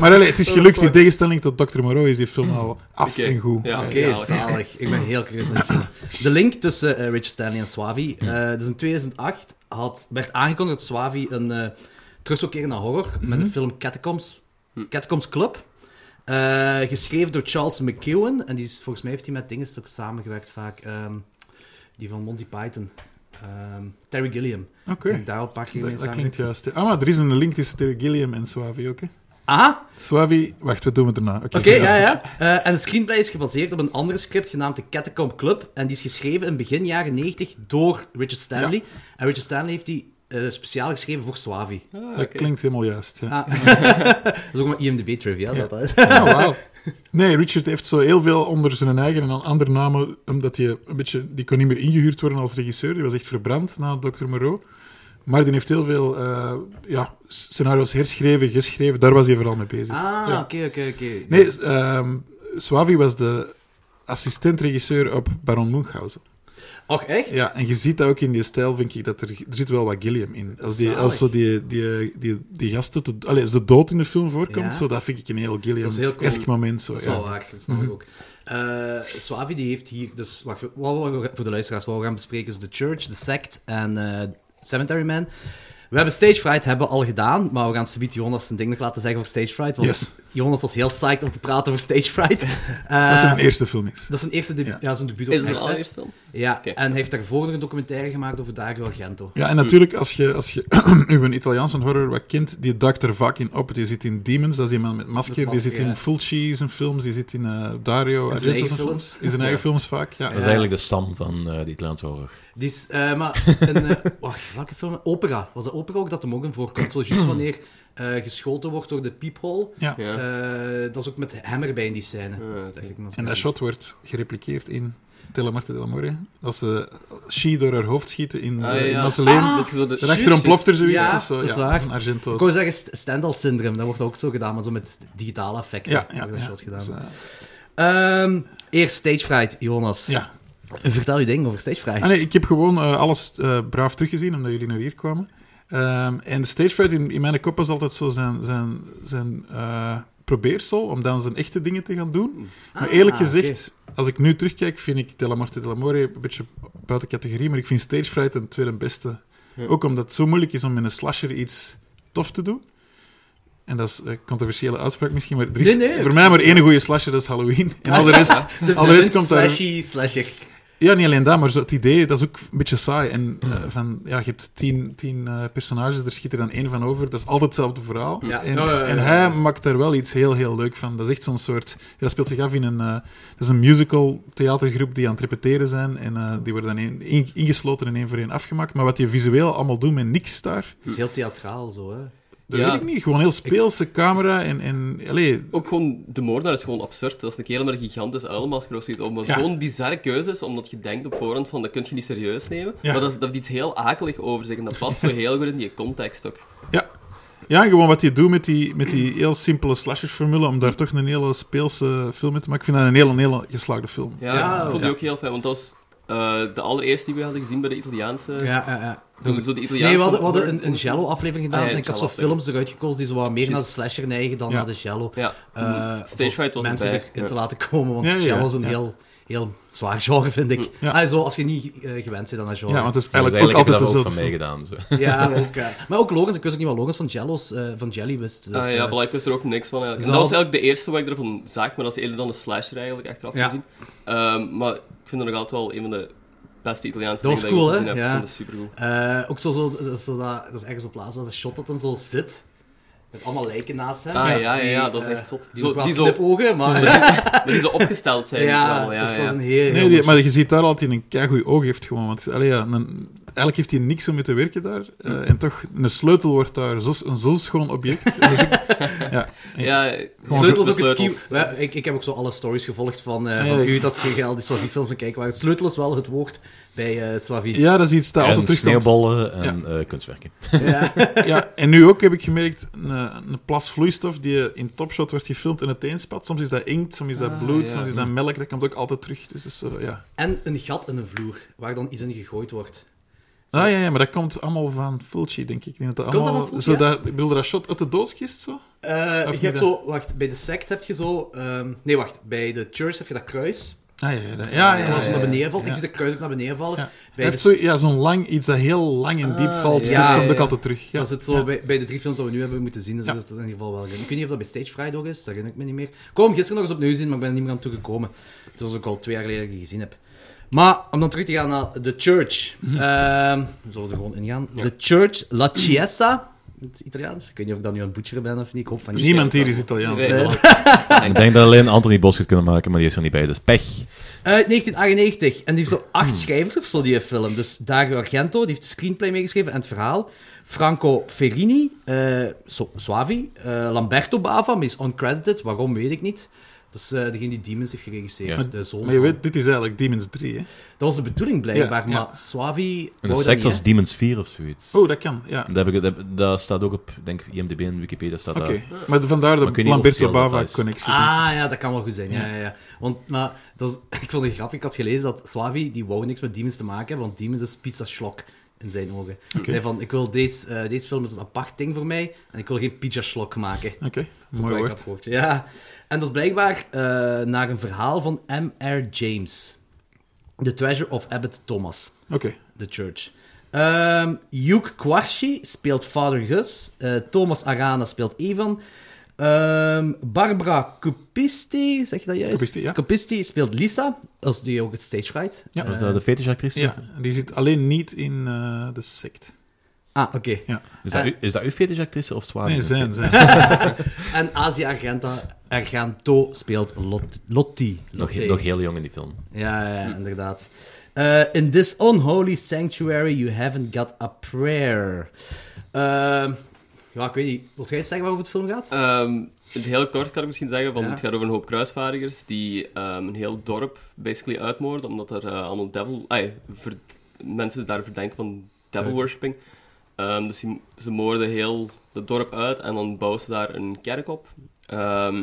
[SPEAKER 7] Maar allee, het is gelukt, in tegenstelling tot Dr. Moreau is die film al af
[SPEAKER 8] Oké.
[SPEAKER 7] en goed.
[SPEAKER 8] Ja,
[SPEAKER 7] Eh,
[SPEAKER 5] Oké,
[SPEAKER 8] zalig.
[SPEAKER 5] zalig. Ik ben heel curieus naar die film. De link tussen eh, Richard Stanley en Swavi. eh, dus in 2008 had, werd aangekondigd dat Swavi een eh terugkeer naar horror met
[SPEAKER 7] Mhm.
[SPEAKER 5] de film Catacombs,
[SPEAKER 7] Hm.
[SPEAKER 5] Catacombs Club. Eh, geschreven door Charles McEwen. En die is, volgens mij heeft hij met dingen ook samengewerkt vaak. ehm, die van Monty Python. Ehm, Terry Gilliam.
[SPEAKER 7] Oké,
[SPEAKER 5] Ik denk daar al een paar keer mee
[SPEAKER 7] dat, dat
[SPEAKER 5] samen.
[SPEAKER 7] klinkt juist. hè. Ah, maar er is een link tussen Terry Gilliam en Swavi ook, hè?
[SPEAKER 5] Aha,
[SPEAKER 7] Swavi, wacht, wat doen we daarna? Oké,
[SPEAKER 5] Oké, ja, ja. Eh, en de screenplay is gebaseerd op een ander script genaamd The Catacomb Club. En die is geschreven in begin jaren 90 door Richard Stanley. En Richard Stanley heeft die eh, speciaal geschreven voor Swavi.
[SPEAKER 8] Ah,
[SPEAKER 7] Dat
[SPEAKER 8] oké.
[SPEAKER 7] klinkt helemaal juist, ja.
[SPEAKER 5] Ah. dat is ook maar IMDb-trivia,
[SPEAKER 7] Ja.
[SPEAKER 5] dat dat is.
[SPEAKER 7] Oh,
[SPEAKER 5] (laughs)
[SPEAKER 7] wauw. Nee, Richard heeft zo heel veel onder zijn eigen en aan andere namen, omdat hij een beetje, die kon niet meer ingehuurd worden als regisseur. Die was echt verbrand na Dr. Moreau. Maar die heeft heel veel eh, ja, scenario's herschreven, geschreven. Daar was hij vooral mee bezig.
[SPEAKER 5] Ah,
[SPEAKER 7] Ja.
[SPEAKER 5] oké, oké, oké.
[SPEAKER 7] Nee, s- ehm, Swavi was de assistent-regisseur op Baron Munchausen.
[SPEAKER 5] Och, echt?
[SPEAKER 7] Ja, en je ziet dat ook in die stijl, vind ik, dat er, er zit wel wat Gilliam in. Als, die,
[SPEAKER 5] Zalig.
[SPEAKER 7] als zo die, die, die, die gasten, te, allee, als de dood in de film voorkomt,
[SPEAKER 5] Ja.
[SPEAKER 7] zo, dat vind ik een heel
[SPEAKER 5] Dat is heel cool.
[SPEAKER 7] Gilliam-esk moment. Zo,
[SPEAKER 5] Dat is
[SPEAKER 7] ja. Mhm.
[SPEAKER 5] wel waar, dat snap ik ook. Eh, Swavi die heeft hier, dus wacht, wat we voor de luisteraars, wat we gaan bespreken is The Church, The Sect en eh Cemetery Man. We hebben Stage Fright hebben we al gedaan, maar we gaan Sabit Jonas zijn ding nog laten zeggen over Stage Fright. Want
[SPEAKER 7] Yes.
[SPEAKER 5] Jonas was heel psyched om te praten over Stage Fright. Eh,
[SPEAKER 7] (laughs) Dat is een eerste film is.
[SPEAKER 5] dat is een eerste debu-
[SPEAKER 7] Ja.
[SPEAKER 5] ja. zijn debuut op
[SPEAKER 8] Is het
[SPEAKER 5] echt,
[SPEAKER 8] een
[SPEAKER 5] hè?
[SPEAKER 8] allereerste film?
[SPEAKER 5] Ja,
[SPEAKER 8] Oké.
[SPEAKER 5] en hij heeft daarvoor nog een documentaire gemaakt over Dario Argento.
[SPEAKER 7] Ja, en natuurlijk, als je, als je (clears throat) uw Italiaanse horror wat kent, die duikt er vaak in op. Die zit in Demons, dat is iemand met masker.
[SPEAKER 5] Met masker,
[SPEAKER 7] die zit in
[SPEAKER 5] ja.
[SPEAKER 7] Fulci zijn films, die zit in eh, Dario
[SPEAKER 5] In zijn
[SPEAKER 7] Argento's
[SPEAKER 5] eigen
[SPEAKER 7] films.
[SPEAKER 5] films.
[SPEAKER 7] In zijn eigen films vaak, ja.
[SPEAKER 6] Dat is eigenlijk de Sam van eh de Italiaanse horror.
[SPEAKER 5] Die is, eh,
[SPEAKER 7] (laughs)
[SPEAKER 5] maar een, eh, wacht, welke film? Opera. Was dat opera ook dat hem ook in voorkomt? Zo
[SPEAKER 7] (clears throat)
[SPEAKER 5] juist wanneer eh, geschoten wordt door de peephole.
[SPEAKER 7] Ja.
[SPEAKER 8] Ja.
[SPEAKER 5] Eh, dat is ook met hem erbij in die scène.
[SPEAKER 8] dat
[SPEAKER 5] Dat is eigenlijk nog
[SPEAKER 7] En dat
[SPEAKER 5] zo-
[SPEAKER 7] shot wordt gerepliceerd in Telemarte Delamore. Als ze She door haar hoofd schieten in,
[SPEAKER 8] Ah,
[SPEAKER 7] eh, in
[SPEAKER 8] ja.
[SPEAKER 7] Mausoleum.
[SPEAKER 5] Ah,
[SPEAKER 8] Dat is zo de...
[SPEAKER 7] Daarachter ontploft er zoiets.
[SPEAKER 5] Ja,
[SPEAKER 7] dat is, zo,
[SPEAKER 5] dat is
[SPEAKER 7] ja,
[SPEAKER 5] waar.
[SPEAKER 7] een Argento.
[SPEAKER 5] Ik wou zeggen st- Stendhal syndroom, dat wordt ook zo gedaan, maar zo met digitale effecten.
[SPEAKER 7] ja, ja,
[SPEAKER 5] wordt
[SPEAKER 7] ja.
[SPEAKER 5] dat gedaan.
[SPEAKER 7] Dus, eh,
[SPEAKER 5] Ehm, eerst Stage Fright, Jonas.
[SPEAKER 7] ja.
[SPEAKER 5] Vertel je ding over Stage Fright.
[SPEAKER 7] Ah, nee, ik heb gewoon eh, alles eh, braaf teruggezien, omdat jullie naar hier kwamen. Ehm, en de stage fright in, in mijn kop was altijd zo zijn, zijn, zijn eh, probeersel om dan zijn echte dingen te gaan doen. Maar
[SPEAKER 5] Ah,
[SPEAKER 7] eerlijk gezegd, als ik nu terugkijk, vind ik De La Morte de l'Amore een beetje buiten categorie, maar ik vind stage fright een tweede beste. Ook omdat het zo moeilijk is om met een slasher iets tof te doen. En dat is een controversiële uitspraak misschien, maar er is
[SPEAKER 5] Nee, nee.
[SPEAKER 7] voor mij maar één goede slasher, dat is Halloween. En al de rest,
[SPEAKER 5] (laughs) de
[SPEAKER 7] al de rest
[SPEAKER 5] Vince
[SPEAKER 7] komt daar...
[SPEAKER 5] slashy slasher.
[SPEAKER 7] Ja, niet alleen dat, maar zo, het idee, dat is ook een beetje saai. En eh, van, ja, je hebt tien, tien eh, personages, er schiet er dan één van over. Dat is altijd hetzelfde verhaal.
[SPEAKER 5] Ja.
[SPEAKER 7] En,
[SPEAKER 5] Oh, ja, ja, ja.
[SPEAKER 7] en hij maakt daar wel iets heel, heel leuk van. Dat is echt zo'n soort... Ja, dat speelt zich af in een... eh, dat is een musical theatergroep die aan het repeteren zijn. En eh, die worden dan één- één- ingesloten en één voor één afgemaakt. Maar wat je visueel allemaal doet met niks daar,
[SPEAKER 5] Het is heel theatraal zo, hè.
[SPEAKER 7] dat
[SPEAKER 8] Ja.
[SPEAKER 7] weet ik niet. Gewoon heel speelse camera en... en allee,
[SPEAKER 8] Ook gewoon, de moordenaar is gewoon absurd. Dat is een kerel met een gigantische uilmasker of zoiets op. Maar nou
[SPEAKER 7] Ja.
[SPEAKER 8] zo'n bizarre keuze is, omdat je denkt op voorhand van, dat kun je niet serieus nemen.
[SPEAKER 7] Ja.
[SPEAKER 8] Maar dat, dat heeft iets heel akelig over zich. En dat past zo heel goed in die context ook.
[SPEAKER 7] Ja. Ja, gewoon wat je doet met die, met die heel simpele slashersformule, om daar toch een hele speelse film mee te maken. Ik vind dat een hele, een hele geslaagde film.
[SPEAKER 8] Ja,
[SPEAKER 5] Ja,
[SPEAKER 8] ik vond
[SPEAKER 7] ja.
[SPEAKER 8] die ook heel fijn, want dat was eh, de allereerste die we hadden gezien bij de Italiaanse...
[SPEAKER 5] Ja, ja, ja.
[SPEAKER 8] Toen
[SPEAKER 7] Dus
[SPEAKER 8] zo de Italiaanse...
[SPEAKER 5] Nee, we hadden, we hadden een, een Jello-aflevering gedaan
[SPEAKER 8] Ah, ja,
[SPEAKER 5] en ik had zo
[SPEAKER 8] Jello-aflevering.
[SPEAKER 5] films eruit gekozen die zo wat meer naar de slasher neigen dan
[SPEAKER 7] Ja.
[SPEAKER 5] naar de Jello.
[SPEAKER 8] Ja. Mm.
[SPEAKER 5] Eh,
[SPEAKER 8] Stage
[SPEAKER 5] voor
[SPEAKER 8] fright was
[SPEAKER 5] mensen
[SPEAKER 8] erbij.
[SPEAKER 5] erin te
[SPEAKER 8] Ja.
[SPEAKER 5] laten komen, want
[SPEAKER 7] Ja, ja,
[SPEAKER 5] Jello is
[SPEAKER 7] ja.
[SPEAKER 5] een heel, heel zwaar genre, vind
[SPEAKER 8] Mm.
[SPEAKER 5] ik.
[SPEAKER 7] Ja.
[SPEAKER 5] Ah, zo, als je niet eh, gewend bent aan dat genre.
[SPEAKER 7] Ja, want het is
[SPEAKER 6] Dat is
[SPEAKER 7] eigenlijk
[SPEAKER 6] eigenlijk
[SPEAKER 7] ook altijd
[SPEAKER 6] heb je dat ook van
[SPEAKER 7] dezelfde
[SPEAKER 6] mij
[SPEAKER 7] film.
[SPEAKER 6] gedaan.
[SPEAKER 7] (laughs)
[SPEAKER 6] Zo.
[SPEAKER 5] Ja, ook. eh, maar ook Logans, ik wist ook niet wat Logans van, Jello's, eh, van Jelly wist. Dus,
[SPEAKER 8] ah, ja,
[SPEAKER 5] eh,
[SPEAKER 8] voilà, ik wist er ook niks van eigenlijk.
[SPEAKER 5] dus
[SPEAKER 8] En dat was
[SPEAKER 5] al-
[SPEAKER 8] eigenlijk de eerste wat ik ervan zag, maar dat is eerder dan de slasher eigenlijk, achteraf
[SPEAKER 5] Ja.
[SPEAKER 8] gezien. Ehm, maar ik vind dat nog altijd wel een van de beste Italiaanse
[SPEAKER 5] Dat was
[SPEAKER 8] dingen die
[SPEAKER 5] cool,
[SPEAKER 8] ik
[SPEAKER 5] hè?
[SPEAKER 8] gezien heb.
[SPEAKER 5] Ja.
[SPEAKER 8] Ik vond dat supercool.
[SPEAKER 5] eh, ook zo, zo, dat, is zo dat, dat is ergens op plaats, dat shot dat hem zo zit. Met allemaal lijken naast hem.
[SPEAKER 8] Ah, ja, ja,
[SPEAKER 5] die,
[SPEAKER 8] ja, dat is
[SPEAKER 5] eh,
[SPEAKER 8] echt zot.
[SPEAKER 5] Die,
[SPEAKER 8] Zo-
[SPEAKER 5] zo,
[SPEAKER 8] die zo-
[SPEAKER 5] knipogen, maar...
[SPEAKER 8] Maar die ze opgesteld zijn.
[SPEAKER 5] (laughs) ja,
[SPEAKER 8] vooral, ja,
[SPEAKER 5] dus
[SPEAKER 8] ja.
[SPEAKER 5] dat is een heel...
[SPEAKER 7] Nee,
[SPEAKER 5] heel
[SPEAKER 7] die- maar je ziet daar altijd een keigoed oog heeft gewoon. Want allee, ja, een- eigenlijk heeft hij niks om mee te werken daar. eh, en toch, een sleutel wordt daar zo, een zo schoon
[SPEAKER 6] (laughs)
[SPEAKER 7] object. Dat is ook- ja,
[SPEAKER 8] Ja,
[SPEAKER 5] Sleutels ook
[SPEAKER 8] sleutels,
[SPEAKER 5] het
[SPEAKER 8] sleutels.
[SPEAKER 5] key- Wij- ik, ik heb ook zo alle stories gevolgd van, eh,
[SPEAKER 7] Ja,
[SPEAKER 5] van
[SPEAKER 7] ik-
[SPEAKER 5] u dat tegen al die Swavi-films aan kijken waren. Sleutel is wel het woord bij eh Swavi.
[SPEAKER 7] ja, dat is iets dat
[SPEAKER 6] En
[SPEAKER 7] altijd terugkomt.
[SPEAKER 6] sneeuwballen en eh, kunstwerken.
[SPEAKER 5] Ja.
[SPEAKER 7] Ja, en nu ook heb ik gemerkt, een, eh, een plas vloeistof die in topshot wordt gefilmd en uiteenspat. Soms is dat inkt, soms is dat
[SPEAKER 5] Ah,
[SPEAKER 7] bloed, soms is dat melk. Dat komt ook altijd terug. Dus dat is zo, ja.
[SPEAKER 5] En een gat in een vloer, waar dan iets in gegooid wordt.
[SPEAKER 7] Ah, ja, ja, maar dat komt allemaal van Fulci, denk ik. ik denk dat dat
[SPEAKER 5] Komt dat
[SPEAKER 7] allemaal,
[SPEAKER 5] van Fulci,
[SPEAKER 7] zo
[SPEAKER 5] ja?
[SPEAKER 7] dat, ik bedoel, dat shot uit de doodskist, zo?
[SPEAKER 5] Eh,
[SPEAKER 7] niet
[SPEAKER 5] je hebt
[SPEAKER 7] dat?
[SPEAKER 5] zo, wacht, bij de sect heb je zo... ehm, nee, wacht, bij de church heb je dat kruis.
[SPEAKER 7] Ah, ja, ja, dat- ja, ja,
[SPEAKER 5] en
[SPEAKER 7] ja,
[SPEAKER 5] als het
[SPEAKER 7] ja,
[SPEAKER 5] naar beneden valt,
[SPEAKER 7] ja.
[SPEAKER 5] ik zie de kruis ook naar beneden vallen.
[SPEAKER 7] Ja. Hij
[SPEAKER 5] Bij
[SPEAKER 7] heeft
[SPEAKER 5] de,
[SPEAKER 7] zo, ja, zo'n lang, iets dat heel lang en diep valt,
[SPEAKER 5] Ah, ja,
[SPEAKER 7] dat
[SPEAKER 5] ja,
[SPEAKER 7] komt ook
[SPEAKER 5] ja.
[SPEAKER 7] altijd terug. Ja.
[SPEAKER 5] Dat zit zo
[SPEAKER 7] Ja.
[SPEAKER 5] bij, bij de drie films die we nu hebben moeten zien, dus
[SPEAKER 7] Ja.
[SPEAKER 5] dat is dat in ieder geval wel. Ik weet niet of dat bij Stage Fright ook is, dat herinner ik me niet meer. Ik kon hem gisteren nog eens opnieuw zien, maar ik ben er niet meer aan toegekomen. Het was ook al twee jaar geleden dat ik die gezien heb. Maar om dan terug te gaan naar The Church.
[SPEAKER 7] Mhm.
[SPEAKER 5] Ehm, we zullen er gewoon ingaan. The Church, La Chiesa, in het Italiaans. Ik weet niet of ik dat nu aan het butcheren ben of niet, ik hoop van niet.
[SPEAKER 7] Niemand hier is Italiaans.
[SPEAKER 8] Nee.
[SPEAKER 7] dus-
[SPEAKER 6] Ik denk dat alleen Anthony Bos het kunnen maken, maar die is er niet bij. Dus pech.
[SPEAKER 5] Uit 1998. En die heeft zo
[SPEAKER 6] Hmm.
[SPEAKER 5] acht schrijvers of zo, die film. Dus Dario Argento, die heeft de screenplay meegeschreven en het verhaal. Franco Ferrini, eh, So- Suavi, eh, Lamberto Bava, maar die is uncredited. Waarom, weet ik niet. Dat is eh, degene die Demons heeft geregisseerd.
[SPEAKER 6] Ja.
[SPEAKER 5] De zoon.
[SPEAKER 7] Maar je
[SPEAKER 5] van-
[SPEAKER 7] weet, dit is eigenlijk Demons 3, hè?
[SPEAKER 5] Dat was de bedoeling, blijkbaar.
[SPEAKER 7] Ja, ja.
[SPEAKER 5] Maar Suavi
[SPEAKER 6] En de
[SPEAKER 5] wou dat
[SPEAKER 6] sect
[SPEAKER 5] niet,
[SPEAKER 6] was
[SPEAKER 5] hè.
[SPEAKER 6] Demons 4 of zoiets.
[SPEAKER 7] Oh, dat kan, ja.
[SPEAKER 6] Dat, heb ik, dat, dat staat ook op, denk ik, IMDb en Wikipedia staat
[SPEAKER 7] Oké,
[SPEAKER 6] daar.
[SPEAKER 7] maar vandaar
[SPEAKER 6] Maar ik
[SPEAKER 7] de
[SPEAKER 6] weet niet
[SPEAKER 7] Lamberto
[SPEAKER 6] of het heel dat is.
[SPEAKER 7] Bava-connectie.
[SPEAKER 5] Ah, ja, dat kan wel goed zijn. Ja, ja, ja. Want, maar, dat is- (laughs) ik vond het grappig. Ik had gelezen dat Swavi, die wou niks met Demons te maken hebben, want Demons is pizza schlok in zijn ogen. Hij zei van, ik wil deze, eh, deze film is een apart ding voor mij, en ik wil geen pizza schlok maken.
[SPEAKER 7] Oké, mooi
[SPEAKER 5] Mooi
[SPEAKER 7] woord.
[SPEAKER 5] woord, Ja. En dat is blijkbaar eh, naar een verhaal van M.R. James. The Treasure of Abbot Thomas.
[SPEAKER 7] Oké.
[SPEAKER 5] The Church. Ehm Hugh Quarshi speelt Father Gus. Eh, Thomas Arana speelt Evan. Ehm, Barbara Cupisti, zeg je dat juist?
[SPEAKER 7] Cupisti, ja.
[SPEAKER 5] Cupisti speelt Lisa, als die ook het stage fright.
[SPEAKER 7] Ja.
[SPEAKER 6] Was dat de fetishactrice?
[SPEAKER 7] Ja, die zit alleen niet in eh, de sect.
[SPEAKER 5] Ah, oké.
[SPEAKER 7] Ja.
[SPEAKER 6] Is dat, u- is dat uw fetishactrice of zwaar?
[SPEAKER 7] Nee,
[SPEAKER 5] (laughs)
[SPEAKER 7] zijn, zijn.
[SPEAKER 5] En Asia Argenta, Argento speelt Lot- Lotti.
[SPEAKER 6] Nog,
[SPEAKER 5] Lotte.
[SPEAKER 6] nog heel jong in die film.
[SPEAKER 5] Ja, ja, ja, inderdaad. Eh, in this unholy sanctuary you haven't got a prayer. Ehm, ja, ik weet niet. Wilt jij iets zeggen waarover het film gaat?
[SPEAKER 8] Ehm, het heel kort kan ik misschien zeggen, van,
[SPEAKER 5] Ja.
[SPEAKER 8] het gaat over een hoop kruisvaardigers die ehm, een heel dorp basically uitmoorden, omdat er eh, allemaal devil... ai, ver- mensen daar verdenken van devil worshipping. Ehm, dus die- ze moorden heel het dorp uit en dan bouwen ze daar een kerk op. Ehm,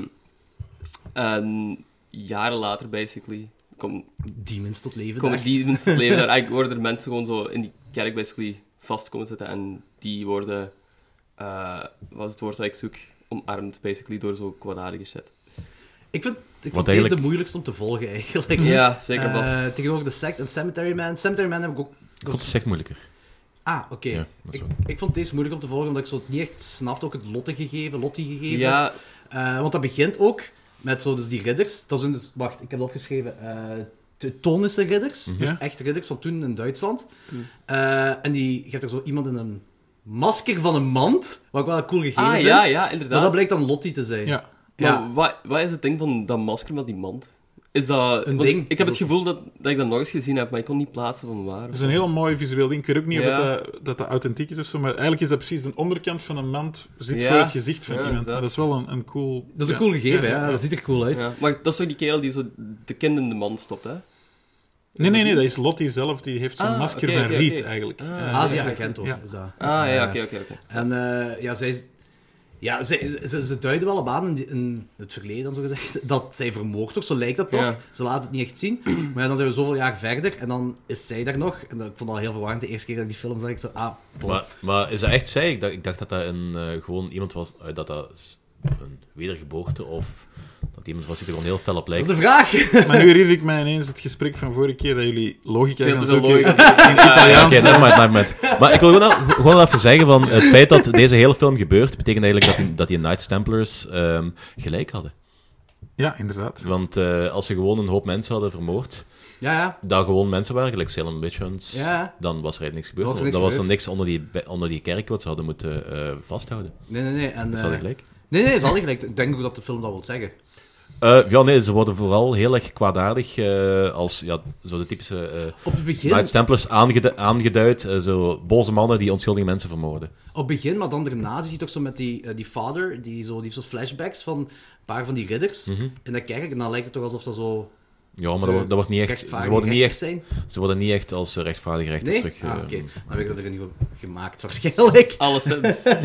[SPEAKER 8] en jaren later, basically, komt
[SPEAKER 5] Demons tot leven.
[SPEAKER 8] Kom
[SPEAKER 5] daar.
[SPEAKER 8] ik die mensen leven daar. Eigenlijk worden er mensen gewoon zo in die kerk basically vast komen zitten en die worden, eh wat is het woord dat ik zoek, omarmd basically door zo'n kwaadaardige shit.
[SPEAKER 5] Ik vind, ik vind
[SPEAKER 6] Wat
[SPEAKER 5] deze
[SPEAKER 6] eigenlijk-
[SPEAKER 5] de moeilijkst om te volgen, eigenlijk. (laughs)
[SPEAKER 8] Ja, zeker vast.
[SPEAKER 5] Eh, tegenover de sect en Cemetery Man. Cemetery Man heb ik ook...
[SPEAKER 6] Ik vond het zeg moeilijker.
[SPEAKER 5] Ah, oké.
[SPEAKER 6] Ja, dat
[SPEAKER 5] ik,
[SPEAKER 6] is wel.
[SPEAKER 5] ik vond deze moeilijk om te volgen, omdat ik zo het niet echt snapte. Ook het Lotte gegeven, Lottie gegeven.
[SPEAKER 8] ja,
[SPEAKER 5] Eh, want dat begint ook met zo dus die ridders. Dat zijn dus, wacht, ik heb het opgeschreven. eh, de tonische ridders, dus
[SPEAKER 7] Ja.
[SPEAKER 5] echt ridders van toen in Duitsland.
[SPEAKER 8] Mm.
[SPEAKER 5] Eh, en die, je hebt er zo iemand in een masker van een mand, wat ik wel een cool gegeven
[SPEAKER 8] Ah,
[SPEAKER 5] vind.
[SPEAKER 8] ja, ja,
[SPEAKER 5] Maar
[SPEAKER 8] inderdaad.
[SPEAKER 5] dat blijkt dan Lottie te zijn.
[SPEAKER 7] Ja.
[SPEAKER 5] Ja.
[SPEAKER 8] Maar wat, wat is het ding van dat masker met die mand? Is dat...
[SPEAKER 5] Een
[SPEAKER 8] want
[SPEAKER 5] ding.
[SPEAKER 8] Ik heb het gevoel dat, dat ik dat nog eens gezien heb, maar ik kon niet plaatsen van waar.
[SPEAKER 7] Het is een heel mooi visueel ding. Ik weet ook niet
[SPEAKER 8] Ja.
[SPEAKER 7] of het, eh, dat dat authentiek is of zo, maar eigenlijk is dat precies de onderkant van een mand zit
[SPEAKER 8] Ja.
[SPEAKER 7] voor het gezicht van
[SPEAKER 8] Ja,
[SPEAKER 7] iemand. Maar
[SPEAKER 8] inderdaad.
[SPEAKER 7] dat is wel een, een cool...
[SPEAKER 5] Dat is een
[SPEAKER 7] ja.
[SPEAKER 5] cool gegeven,
[SPEAKER 7] Ja,
[SPEAKER 5] ja,
[SPEAKER 7] ja, ja.
[SPEAKER 5] dat ziet er cool uit.
[SPEAKER 8] Ja, maar dat is toch die kerel die zo de kind in de mand stopt, hè?
[SPEAKER 7] Nee, nee, nee, dat is Lottie zelf. Die heeft zo'n
[SPEAKER 8] Ah,
[SPEAKER 7] masker
[SPEAKER 8] oké,
[SPEAKER 7] van
[SPEAKER 8] oké,
[SPEAKER 7] riet,
[SPEAKER 8] oké.
[SPEAKER 7] eigenlijk.
[SPEAKER 8] Ah.
[SPEAKER 7] Eh,
[SPEAKER 5] Azië-agent ook,
[SPEAKER 7] Ja.
[SPEAKER 5] is dat.
[SPEAKER 8] Ah, ja,
[SPEAKER 5] Eh,
[SPEAKER 8] oké, oké, oké.
[SPEAKER 5] En eh, ja, zij, is- ja zij, ze, ze duiden wel op aan in, die- in het verleden, dan zo gezegd, (laughs) dat zij vermoord wordt. Zo lijkt dat toch.
[SPEAKER 8] Ja.
[SPEAKER 5] Ze laat het niet echt zien. Maar ja, dan zijn we zoveel jaar verder en dan is zij daar nog. En dat, ik vond dat heel verwarrend. De eerste keer dat ik die film zag, ik zo, ah, bon.
[SPEAKER 6] Maar, maar is dat echt zij? Ik dacht, ik dacht dat dat een, eh, gewoon iemand was... eh, dat dat s- een wedergeboorte of... Dat iemand was die er gewoon heel fel op
[SPEAKER 5] Dat is
[SPEAKER 6] lijkt.
[SPEAKER 5] de vraag. (laughs)
[SPEAKER 7] Maar nu herinner ik mij ineens het gesprek van vorige keer dat jullie logica
[SPEAKER 8] Veel
[SPEAKER 7] gaan
[SPEAKER 8] te veel
[SPEAKER 7] zoeken
[SPEAKER 8] logica.
[SPEAKER 7] in Italiaans.
[SPEAKER 6] Oké, nevermind,
[SPEAKER 5] (laughs)
[SPEAKER 6] nevermind. Maar ik wil gewoon, al- gewoon even zeggen van... Het feit dat deze hele film gebeurt, betekent eigenlijk dat die, dat die Knights Templars ehm, gelijk hadden.
[SPEAKER 7] Ja, inderdaad.
[SPEAKER 6] Want eh, als ze gewoon een hoop mensen hadden vermoord,
[SPEAKER 5] Ja, ja.
[SPEAKER 6] dat gewoon mensen waren, gelijk Salem Witch Hunts,
[SPEAKER 5] Ja.
[SPEAKER 6] dan was er eigenlijk niks gebeurd.
[SPEAKER 5] Was er
[SPEAKER 6] Dan
[SPEAKER 5] niks
[SPEAKER 6] was er
[SPEAKER 5] gebeurd.
[SPEAKER 6] niks onder die, be- onder die kerk wat ze hadden moeten eh, vasthouden.
[SPEAKER 5] Nee, nee, nee. En,
[SPEAKER 6] Dat is wel
[SPEAKER 5] eh,
[SPEAKER 6] gelijk.
[SPEAKER 5] Nee, nee, ze hadden gelijk. Ik denk ook dat de film dat wil zeggen.
[SPEAKER 6] Eh, ja, nee, ze worden vooral heel erg kwaadaardig eh, als ja, zo de typische eh
[SPEAKER 5] Op het begin,
[SPEAKER 6] Knights Templars aangedu- aangeduid. eh, zo boze mannen die onschuldige mensen vermoorden.
[SPEAKER 5] op het begin, maar dan daarna zie je toch zo met die, eh, die vader, die, zo, die heeft zo flashbacks van een paar van die ridders in de kerk. En dan lijkt het toch alsof dat zo
[SPEAKER 6] Ja, maar dat, wordt- dat wordt niet echt, ze,
[SPEAKER 5] rechtvaardige
[SPEAKER 6] worden niet
[SPEAKER 5] rechters
[SPEAKER 6] echt,
[SPEAKER 5] zijn.
[SPEAKER 6] ze worden niet echt als eh, rechtvaardige rechters
[SPEAKER 5] Nee?
[SPEAKER 6] terug...
[SPEAKER 5] Ah, oké.
[SPEAKER 6] eh,
[SPEAKER 5] Dan heb ik dat er niet op gemaakt, (laughs) waarschijnlijk.
[SPEAKER 8] Alleszins.
[SPEAKER 5] (laughs)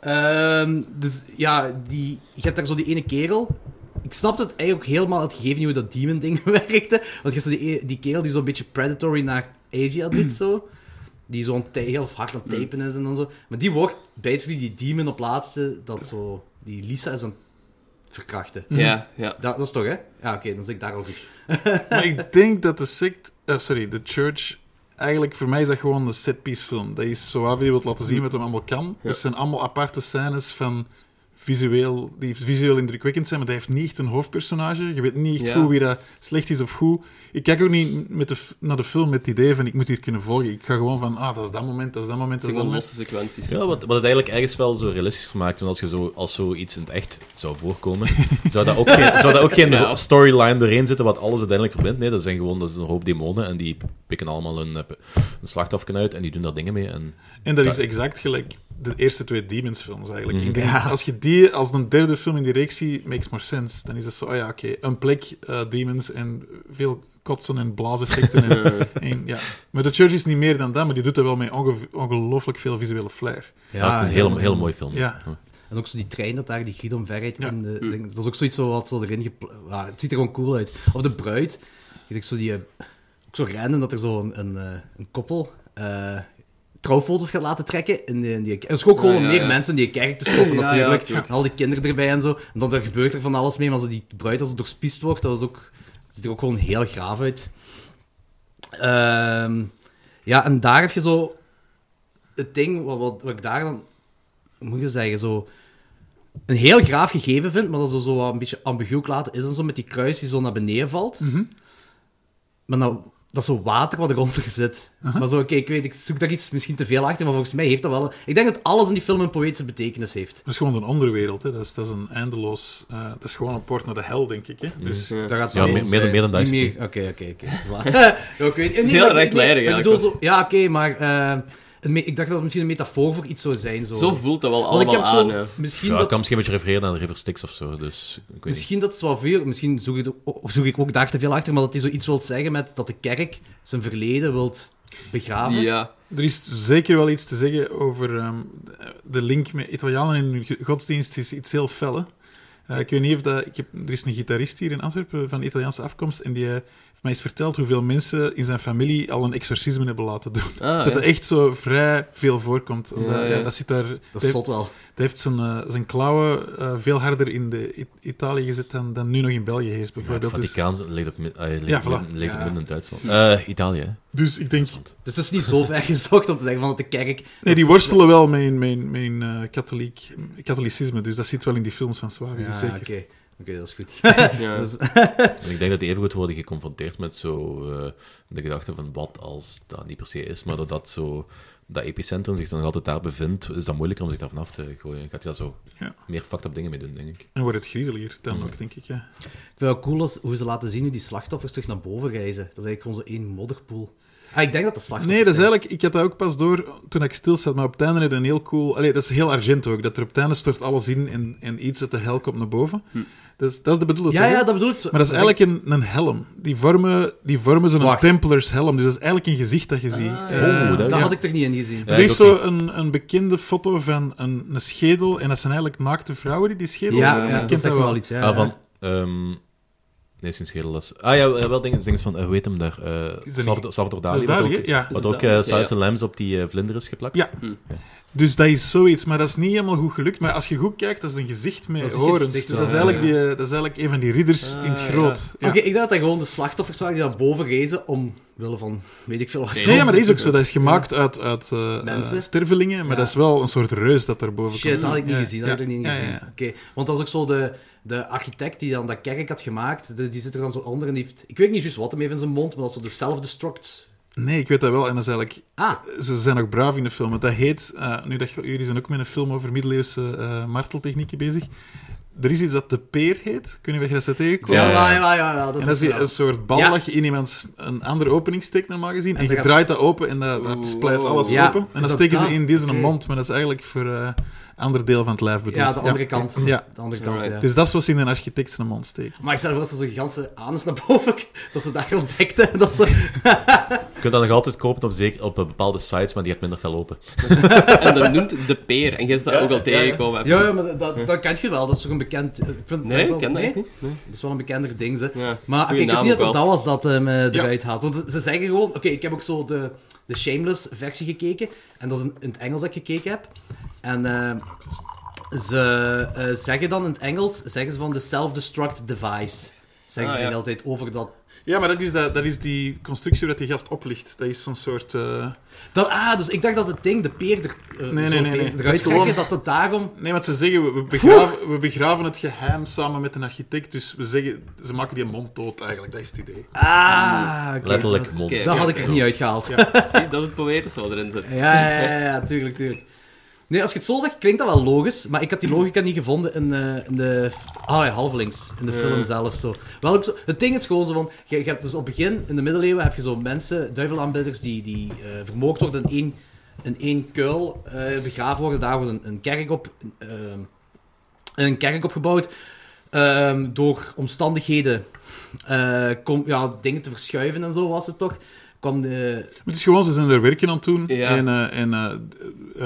[SPEAKER 5] Ehm, dus ja, die, je hebt daar zo die ene kerel. Ik snapte het eigenlijk ook helemaal, het gegeven niet hoe dat demon ding (laughs) werkte. Want je hebt zo die, e- die kerel die zo'n beetje predatory naar Asia
[SPEAKER 6] (clears throat)
[SPEAKER 5] doet, zo. Die zo'n t- heel hard aan het
[SPEAKER 6] Mm.
[SPEAKER 5] tapen is en dan zo. Maar die wordt basically die demon op laatste, dat zo, die Lisa is aan het verkrachten.
[SPEAKER 8] ja, ja.
[SPEAKER 5] Dat, dat is toch, hè? Ja, oké, dan zit ik daar al goed.
[SPEAKER 7] Maar ik denk dat de sect... eh, sorry, de church... Eigenlijk, voor mij is dat gewoon een setpiece film. Dat is zo af, je wilt laten zien wat hem allemaal kan. Dus Het zijn allemaal aparte scènes van visueel, die visueel indrukwekkend zijn, maar hij heeft niet echt een hoofdpersonage. Je weet niet echt
[SPEAKER 8] Ja.
[SPEAKER 7] goed wie dat slecht is of goed. Ik kijk ook niet met de, f- naar de film met het idee van, ik moet hier kunnen volgen. Ik ga gewoon van, ah, dat is dat moment, dat is dat moment,
[SPEAKER 8] Het
[SPEAKER 7] dat
[SPEAKER 8] zijn
[SPEAKER 7] is dat
[SPEAKER 8] gewoon
[SPEAKER 7] moment.
[SPEAKER 8] losse sequenties.
[SPEAKER 6] Ja, wat, wat het eigenlijk ergens wel zo realistisch maakt. Want als, je zo, als zoiets in het echt zou
[SPEAKER 5] (laughs)
[SPEAKER 6] voorkomen, zou dat ook geen, zou dat ook geen
[SPEAKER 8] Ja.
[SPEAKER 6] storyline doorheen zitten wat alles uiteindelijk verbindt. Nee, dat zijn gewoon dat is een hoop demonen en die pikken allemaal een, eh, een slachtoffer uit en die doen daar dingen mee. En,
[SPEAKER 7] En dat is
[SPEAKER 6] Ja.
[SPEAKER 7] exact gelijk de eerste twee Demons-films eigenlijk. Ik denk, Als je die als een derde film in die reeks ziet, makes more sense. Dan is het zo, ah ja, oké, een plek, eh, Demons en veel kotsen en blaaseffecten. en, en, ja. Maar The Church is niet meer dan dat, maar die doet dat wel met onge- ongelooflijk veel visuele flair.
[SPEAKER 6] ja, ik
[SPEAKER 5] Ah,
[SPEAKER 6] vind het een heel, heel mooi film.
[SPEAKER 7] Ja.
[SPEAKER 5] En ook zo die trein dat daar, die Guido verrijdt.
[SPEAKER 7] Ja.
[SPEAKER 5] in de
[SPEAKER 8] Hm.
[SPEAKER 5] ding. Dat is ook zoiets zo wat zo erin gepla- ja, Het ziet er gewoon cool uit. Of de bruid. Ik denk zo die... eh, Ook zo random dat er zo een, een, eh, een koppel eh, trouwfoto's gaat laten trekken. In die, in die, er is ook gewoon
[SPEAKER 8] Oh, Ja,
[SPEAKER 5] om
[SPEAKER 8] ja,
[SPEAKER 5] meer
[SPEAKER 8] ja.
[SPEAKER 5] mensen in die kerk dus te stoppen
[SPEAKER 8] Ja, ja,
[SPEAKER 5] natuurlijk.
[SPEAKER 8] tuurlijk.
[SPEAKER 5] en al die kinderen erbij en zo. En dan er gebeurt er van alles mee. Maar zo die bruid als het doorspiest wordt, dat, was ook, dat ziet er ook gewoon heel graaf uit. Ehm, ja, en daar heb je zo... Het ding wat, wat, wat ik daar dan... hoe Moet je zeggen, zo een heel graaf gegeven vind, maar dat ze zo wat een beetje ambigu laten, is dan zo met die kruis die zo naar beneden valt.
[SPEAKER 8] Mhm.
[SPEAKER 5] Maar nou, dat is zo water wat eronder zit. Maar zo, oké, ik weet, ik zoek daar iets misschien te veel achter, maar volgens mij heeft dat wel... een- Ik denk dat alles in die film een poëtische betekenis heeft.
[SPEAKER 7] Dat is gewoon een onderwereld, hè. Dat, is, dat is een eindeloos... eh, dat is gewoon een poort naar de hel, denk ik. Hè. Dus,
[SPEAKER 8] Mhm.
[SPEAKER 5] Daar gaat
[SPEAKER 6] Ja,
[SPEAKER 5] zo
[SPEAKER 6] meer-
[SPEAKER 5] ons,
[SPEAKER 6] meer dan-
[SPEAKER 5] eh,
[SPEAKER 6] meer dan dat
[SPEAKER 5] niet
[SPEAKER 6] is
[SPEAKER 5] meer-
[SPEAKER 6] het
[SPEAKER 5] Oké, oké, oké. (laughs) is waar. Ja, ik weet- nee,
[SPEAKER 8] heel
[SPEAKER 5] maar- nee,
[SPEAKER 8] rechtlijnig,
[SPEAKER 5] maar Ik
[SPEAKER 8] eigenlijk
[SPEAKER 5] bedoel
[SPEAKER 8] wel.
[SPEAKER 5] zo... Ja, oké, maar... eh, een me- ik dacht dat het misschien een metafoor voor iets zou zijn. Zo,
[SPEAKER 8] Zo voelt dat wel
[SPEAKER 5] Want ik
[SPEAKER 8] allemaal
[SPEAKER 5] heb
[SPEAKER 8] aan,
[SPEAKER 5] zo...
[SPEAKER 8] ja.
[SPEAKER 5] Misschien
[SPEAKER 6] Ja, ik
[SPEAKER 5] dat...
[SPEAKER 6] kan misschien een beetje refereren aan de River Styx of zo. Dus, ik weet niet.
[SPEAKER 5] Misschien dat is wel veel, misschien zoek ik, het ook- zoek ik ook daar te veel achter, maar dat hij zoiets wilt zeggen met dat de kerk zijn verleden wilt begraven.
[SPEAKER 8] Ja.
[SPEAKER 7] Er is zeker wel iets te zeggen over ehm, de link met Italianen en hun ge- godsdienst is iets heel fel. hè. Eh, ik weet niet of dat... Ik heb, er is een gitarist hier in Antwerpen van Italiaanse afkomst en die eh, heeft mij eens verteld hoeveel mensen in zijn familie al een exorcisme hebben laten doen.
[SPEAKER 5] (laughs)
[SPEAKER 8] Ah,
[SPEAKER 7] dat
[SPEAKER 8] ja.
[SPEAKER 7] dat echt zo vrij veel voorkomt. Omdat,
[SPEAKER 8] ja.
[SPEAKER 7] ja, dat zit daar...
[SPEAKER 5] Dat
[SPEAKER 7] dat-
[SPEAKER 5] is zot wel.
[SPEAKER 7] dat heeft zijn, eh, zijn klauwen eh, veel harder in de I- Italië gezet dan, dan nu nog in België
[SPEAKER 6] Het
[SPEAKER 7] heerst, bijvoorbeeld. dus,
[SPEAKER 6] Vaticaan ligt op, mid- eh, ligt
[SPEAKER 7] Ja,
[SPEAKER 6] op
[SPEAKER 7] voilà.
[SPEAKER 6] midden- ligt op
[SPEAKER 5] Ja.
[SPEAKER 6] midden in Duitsland. Eh, Italië, hè.
[SPEAKER 7] dus ik denk...
[SPEAKER 5] Dus het is niet zo (laughs) ver gezocht om te zeggen van dat de kerk...
[SPEAKER 7] Nee, die worstelen wel met hun- met hun- met hun, eh, katholiek, katholicisme, dus dat zit wel in die films van Suavi,
[SPEAKER 5] Ja,
[SPEAKER 7] zeker.
[SPEAKER 5] oké. (laughs) dat is goed.
[SPEAKER 8] Ja.
[SPEAKER 5] Dus-
[SPEAKER 6] En ik denk dat die even goed worden geconfronteerd met zo eh, de gedachte van wat als dat niet per se is, maar dat dat zo dat epicentrum zich dan nog altijd daar bevindt, is dat moeilijker om zich daar vanaf te gooien. Gaat hij daar zo
[SPEAKER 7] Ja.
[SPEAKER 6] meer fucked up dingen mee doen, denk ik.
[SPEAKER 7] En wordt het griezeliger dan ook, denk ik. Ja.
[SPEAKER 5] Ik vind het wel cool als, hoe ze laten zien hoe die slachtoffers terug naar boven reizen. Dat is eigenlijk gewoon zo één modderpoel. Ah, ik denk dat de slachtoffers
[SPEAKER 7] Nee, dat is
[SPEAKER 5] zijn.
[SPEAKER 7] eigenlijk... Ik had dat ook pas door toen ik stil zat, maar op het einde had een heel cool... Allee, dat is heel argent ook, dat er op het einde stort alles in en, en iets uit de hel komt naar boven. Dus dat is de bedoeling.
[SPEAKER 5] Hm. Ja,
[SPEAKER 7] toch, hè?
[SPEAKER 5] ja, dat bedoel ik zo.
[SPEAKER 7] Maar dat is eigenlijk een, een helm. Die vormen, die vormen zo'n
[SPEAKER 5] Wacht. Ah. Oh,
[SPEAKER 7] Templars helm. Dus dat is eigenlijk een gezicht dat je ziet. Eh,
[SPEAKER 6] dat-
[SPEAKER 5] Dat
[SPEAKER 6] ja.
[SPEAKER 5] had ik er niet in gezien.
[SPEAKER 6] Ja,
[SPEAKER 7] er is
[SPEAKER 6] ik ook
[SPEAKER 7] zo een, een bekende foto van een, een schedel. En dat zijn eigenlijk naakte vrouwen die die schedel
[SPEAKER 5] Ja,
[SPEAKER 8] eh,
[SPEAKER 5] ja, dat
[SPEAKER 7] kent
[SPEAKER 5] zegt
[SPEAKER 7] dat
[SPEAKER 5] me
[SPEAKER 7] wel.
[SPEAKER 5] wel iets. Ja,
[SPEAKER 6] ah,
[SPEAKER 5] ja.
[SPEAKER 6] van... ehm, nee, sinds schedel is... Ah ja, wel dingen, dingen van, eh, hoe heet hem daar? eh
[SPEAKER 7] niet-
[SPEAKER 6] Salvador, Salvador Dali.
[SPEAKER 7] Dat is
[SPEAKER 6] wat
[SPEAKER 7] Dali,
[SPEAKER 6] ook-
[SPEAKER 7] hè? Ja.
[SPEAKER 6] Wat
[SPEAKER 8] dat
[SPEAKER 6] ook
[SPEAKER 8] Dali?
[SPEAKER 6] eh
[SPEAKER 8] Ja,
[SPEAKER 6] Silence
[SPEAKER 8] ja.
[SPEAKER 6] and Lambs op die eh, vlinder is geplakt.
[SPEAKER 7] Ja.
[SPEAKER 5] Hm.
[SPEAKER 7] Dus dat is zoiets, maar dat is niet helemaal goed gelukt. Maar als je goed kijkt, dat is een gezicht met
[SPEAKER 5] Dat is een
[SPEAKER 7] horens. Dus
[SPEAKER 5] gezicht,
[SPEAKER 7] dat is,
[SPEAKER 5] ja,
[SPEAKER 7] eigenlijk
[SPEAKER 5] ja.
[SPEAKER 7] die, dat is eigenlijk een van die ridders in het
[SPEAKER 8] Ah,
[SPEAKER 7] groot.
[SPEAKER 5] Oké, ik
[SPEAKER 7] Ja.
[SPEAKER 5] dacht dat dat gewoon de slachtoffers waren die daar boven reizen om... Willen van, weet ik veel wat.
[SPEAKER 7] Nee, maar dat is ook zo. Dat is gemaakt uit, uit eh, eh,
[SPEAKER 5] Mensen.
[SPEAKER 7] stervelingen, maar
[SPEAKER 5] Ja.
[SPEAKER 7] dat is wel een soort reus dat daarboven
[SPEAKER 5] Shit,
[SPEAKER 7] komt.
[SPEAKER 5] dat had ik niet
[SPEAKER 7] Ja,
[SPEAKER 5] gezien. Dat
[SPEAKER 7] ja,
[SPEAKER 5] had ik er niet in
[SPEAKER 7] ja,
[SPEAKER 5] gezien.
[SPEAKER 7] ja,
[SPEAKER 5] Oké,
[SPEAKER 7] ja.
[SPEAKER 5] want dat is ook zo de, de architect die dan dat kerk had gemaakt. de- die zit er dan zo onder en die heeft... Ik weet niet juist wat hem heeft in zijn mond, maar dat is zo de self-destruct.
[SPEAKER 7] Nee, ik weet dat wel. En dat is eigenlijk
[SPEAKER 5] Ah,
[SPEAKER 7] Ze zijn nog braaf in de film. want Dat heet, eh, nu dat, jullie zijn ook met een film over middeleeuwse eh, marteltechnieken bezig. Er is iets dat de peer heet. Ik weet niet of je dat zet tegenkomen.
[SPEAKER 5] ja,
[SPEAKER 6] Ja,
[SPEAKER 5] ja,
[SPEAKER 6] ja.
[SPEAKER 5] ja, ja, dat is
[SPEAKER 7] En dat
[SPEAKER 5] het
[SPEAKER 7] is die-
[SPEAKER 5] wel.
[SPEAKER 7] een soort bal dat je in iemands een andere opening steekt, normaal gezien. En,
[SPEAKER 5] dan
[SPEAKER 7] je
[SPEAKER 5] gaat-
[SPEAKER 7] draait dat open en dat, dat
[SPEAKER 8] Oeh,
[SPEAKER 7] splijt
[SPEAKER 8] wow.
[SPEAKER 7] alles
[SPEAKER 5] Ja,
[SPEAKER 7] open.
[SPEAKER 5] is
[SPEAKER 7] En dan
[SPEAKER 5] dat
[SPEAKER 7] steken ze
[SPEAKER 5] dat?
[SPEAKER 7] in deze een
[SPEAKER 5] Oké.
[SPEAKER 7] mond, maar dat is eigenlijk voor eh ander deel van het lijf bedoeld.
[SPEAKER 5] Ja, de andere kant.
[SPEAKER 7] Ja.
[SPEAKER 5] De andere kant, ja.
[SPEAKER 8] Alright.
[SPEAKER 7] Dus dat is wat ze in een architect zijn mond steken.
[SPEAKER 5] Maar ik stel voor dat ze zo'n ganse anus naar boven... Dat ze daar ontdekten. en (laughs) Dat ze...
[SPEAKER 6] Je kunt dat nog altijd kopen op, zeker, op eh, bepaalde sites, maar die hebt minder veel open.
[SPEAKER 8] En dat noemt de peer. En jij is dat ook al tegengekomen.
[SPEAKER 5] Ja, ja, maar dat, dat ken je wel. Dat is toch een bekend... Ik vind het
[SPEAKER 8] Nee,
[SPEAKER 5] wel-
[SPEAKER 8] ik ken dat
[SPEAKER 5] nee?
[SPEAKER 8] echt niet. Nee.
[SPEAKER 5] Dat is wel een bekender ding, ze.
[SPEAKER 8] Ja. Goeie
[SPEAKER 5] Maar kijk, ik
[SPEAKER 8] naam
[SPEAKER 5] zie dat
[SPEAKER 8] ook
[SPEAKER 5] het
[SPEAKER 8] wel.
[SPEAKER 5] dat was dat hem eh,
[SPEAKER 7] Ja.
[SPEAKER 5] eruit haalt. Want ze- ze zeggen gewoon... Oké, ik heb ook zo de, de Shameless-versie gekeken. En dat is in, in het Engels dat ik gekeken heb. En eh, ze eh, zeggen dan in het Engels... Zeggen ze van de self-destruct device. Zeggen
[SPEAKER 8] Ah,
[SPEAKER 5] ze
[SPEAKER 8] ja.
[SPEAKER 5] de hele tijd over dat...
[SPEAKER 7] Ja, maar dat is, dat, dat is die constructie waar die gast oplicht. Dat is zo'n soort... eh,
[SPEAKER 5] dat ah, dus ik dacht dat het ding, de peer er, eh,
[SPEAKER 7] nee,
[SPEAKER 5] zo
[SPEAKER 7] nee, nee.
[SPEAKER 5] opeens
[SPEAKER 7] Dat
[SPEAKER 5] eruit
[SPEAKER 7] is gewoon-
[SPEAKER 5] trekken, dat het daarom...
[SPEAKER 7] Nee, want ze zeggen, we- we begraven, we begraven het geheim samen met een architect. Dus we zeggen, ze maken die mond dood eigenlijk. Dat is het idee.
[SPEAKER 5] Ah, oké.
[SPEAKER 6] Letterlijk
[SPEAKER 5] Dat,
[SPEAKER 6] mond.
[SPEAKER 8] Oké.
[SPEAKER 5] dat had ik er niet uitgehaald.
[SPEAKER 8] Zie, dat is het poëtische wat erin zit.
[SPEAKER 5] Ja, ja, ja, ja, tuurlijk, tuurlijk. Nee, als je het zo zegt, klinkt dat wel logisch, maar ik had die logica niet gevonden in, eh, in de... Ah ja, halflinks, in de film zelf zo. Wel ook zo. Het ding is gewoon zo van, je, je hebt dus op het begin, in de middeleeuwen, heb je zo mensen, duivelaanbidders, die, die eh vermoord worden in één, in één kuil, eh, begraven worden, daar wordt een, een kerk op... ehm, een kerk opgebouwd. Ehm, door omstandigheden eh, kom, ja, dingen te verschuiven en zo was het toch. Kwam de,
[SPEAKER 7] Maar het is gewoon, ze zijn er werken aan het doen.
[SPEAKER 8] Ja.
[SPEAKER 7] En, eh, en eh,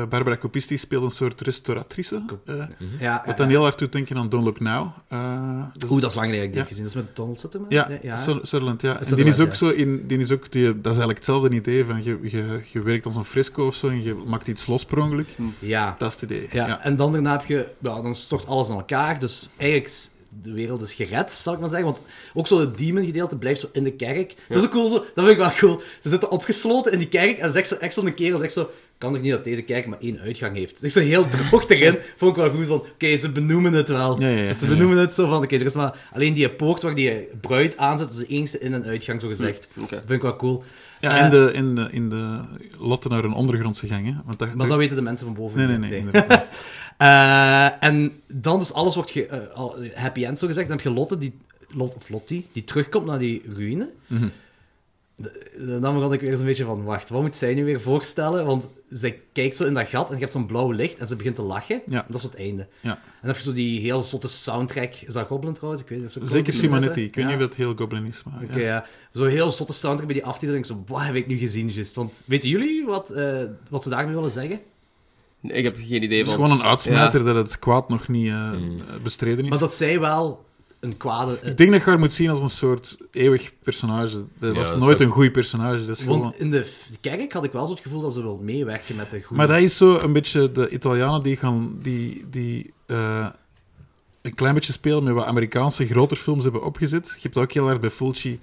[SPEAKER 7] eh, Barbara Copisti speelt een soort restauratrice. eh,
[SPEAKER 5] ja,
[SPEAKER 7] Wat
[SPEAKER 5] ja,
[SPEAKER 7] dan heel hard doet denken aan Don't Look Now. Eh, dat is-
[SPEAKER 5] Oeh, dat is lang geleden dat ik die
[SPEAKER 7] Ja.
[SPEAKER 5] heb gezien. Dat is met Donald Sutherland?
[SPEAKER 7] Ja,
[SPEAKER 5] Nee, ja.
[SPEAKER 7] Sur- Sutherland, ja. En die
[SPEAKER 5] Sutherland,
[SPEAKER 7] is ook
[SPEAKER 5] ja.
[SPEAKER 7] zo in, die is ook, die, dat is eigenlijk hetzelfde idee van je, je, je werkt als een frisco of zo en je maakt iets los per ongeluk.
[SPEAKER 5] ja.
[SPEAKER 7] Dat is het idee.
[SPEAKER 5] Hmm. Ja,
[SPEAKER 7] ja.
[SPEAKER 5] en dan daarna heb je... Ja, dan stort alles aan elkaar. Dus eigenlijk, is de wereld is gered, zal ik maar zeggen. Want ook zo het demon-gedeelte blijft zo in de kerk. Dat is ook cool. Zo, dat vind ik wel cool. Ze zitten opgesloten in die kerk en zegt zo, echt zo'n kerel zegt zo... Kan er niet dat deze kerk maar één uitgang heeft? Zegt zo heel droog
[SPEAKER 7] (laughs)
[SPEAKER 5] erin. Vond ik wel goed van... Oké, ze benoemen het wel.
[SPEAKER 7] Ja, ja, ja.
[SPEAKER 5] Dus ze benoemen het zo van... Oké, er is maar... Alleen die poort waar die bruid aan zit, is de enige in- en uitgang, zo gezegd.
[SPEAKER 8] oké.
[SPEAKER 5] Dat vind ik wel cool.
[SPEAKER 7] Ja,
[SPEAKER 5] Eh,
[SPEAKER 7] in de, in de, in de lotten naar een ondergrondse gang, hè. Want dat,
[SPEAKER 5] Maar dat weten de mensen van boven
[SPEAKER 7] Nee, nee,
[SPEAKER 5] niet,
[SPEAKER 7] nee.
[SPEAKER 5] (laughs)
[SPEAKER 7] inderdaad.
[SPEAKER 5] Eh, en dan dus alles wordt ge, eh, al- happy end, zo gezegd. Dan heb je Lotte, die, Lot, of Lottie, die terugkomt naar die ruïne.
[SPEAKER 7] Mhm.
[SPEAKER 5] De- de- Dan begon ik weer eens een beetje van, wacht, wat moet zij nu weer voorstellen? Want zij kijkt zo in dat gat en je hebt zo'n blauw licht en ze begint te lachen.
[SPEAKER 7] Ja.
[SPEAKER 5] En dat is het einde.
[SPEAKER 7] Ja.
[SPEAKER 5] En dan heb je zo die heel zotte soundtrack. Is dat Goblin trouwens? Ik weet niet of ze
[SPEAKER 7] Zeker Simonetti. Ik weet
[SPEAKER 5] Ja.
[SPEAKER 7] niet of dat heel Goblin is, maar...
[SPEAKER 5] Oké, ja. Zo'n heel zotte soundtrack bij die aftiteling. Ik Zo, wat heb ik nu gezien, just? Want weten jullie wat, eh, wat ze daarmee willen zeggen?
[SPEAKER 8] Nee, Ik heb geen idee
[SPEAKER 7] Het is
[SPEAKER 8] van.
[SPEAKER 7] gewoon een uitsmijter dat het kwaad nog niet eh,
[SPEAKER 5] Hmm.
[SPEAKER 7] bestreden is.
[SPEAKER 5] Maar dat zij wel een kwade... eh,
[SPEAKER 7] Ik denk dat je haar moet zien als een soort eeuwig personage. Dat was
[SPEAKER 6] dat is
[SPEAKER 7] nooit
[SPEAKER 6] wel-
[SPEAKER 7] een goed personage. Dat is gewoon...
[SPEAKER 5] Want in de f- kerk had ik wel zo het gevoel dat ze wil meewerken met de goede...
[SPEAKER 7] Maar dat is zo een beetje de Italianen die gaan... Die, die, eh, een klein beetje spelen met wat Amerikaanse grotere films hebben opgezet. Je hebt dat ook heel erg bij Fulci.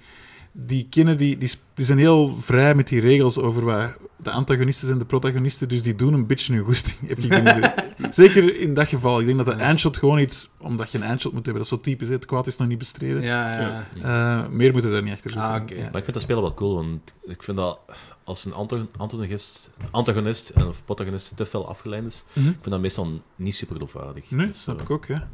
[SPEAKER 7] Die kennen die, die, sp- die zijn heel vrij met die regels over wat, de antagonisten en de protagonisten, dus die doen een beetje hun goesting. (laughs) Heb ik de indruk. Zeker in dat geval. Ik denk dat de eindshot gewoon iets... Omdat je een eindshot moet hebben, dat is zo typisch. hè. Het kwaad is nog niet bestreden.
[SPEAKER 5] Ja, ja.
[SPEAKER 7] Eh, meer moeten we daar niet achter zoeken.
[SPEAKER 5] Ah, oké.
[SPEAKER 7] Ja.
[SPEAKER 6] Maar ik vind dat spelen wel cool, want ik vind dat als een antagon- antagonist, antagonist en of protagonist te fel afgeleid is,
[SPEAKER 7] Mhm.
[SPEAKER 6] ik vind dat meestal niet super geloofwaardig.
[SPEAKER 7] Nee,
[SPEAKER 6] Dus,
[SPEAKER 7] snap
[SPEAKER 6] eh,
[SPEAKER 7] ik ook, ja.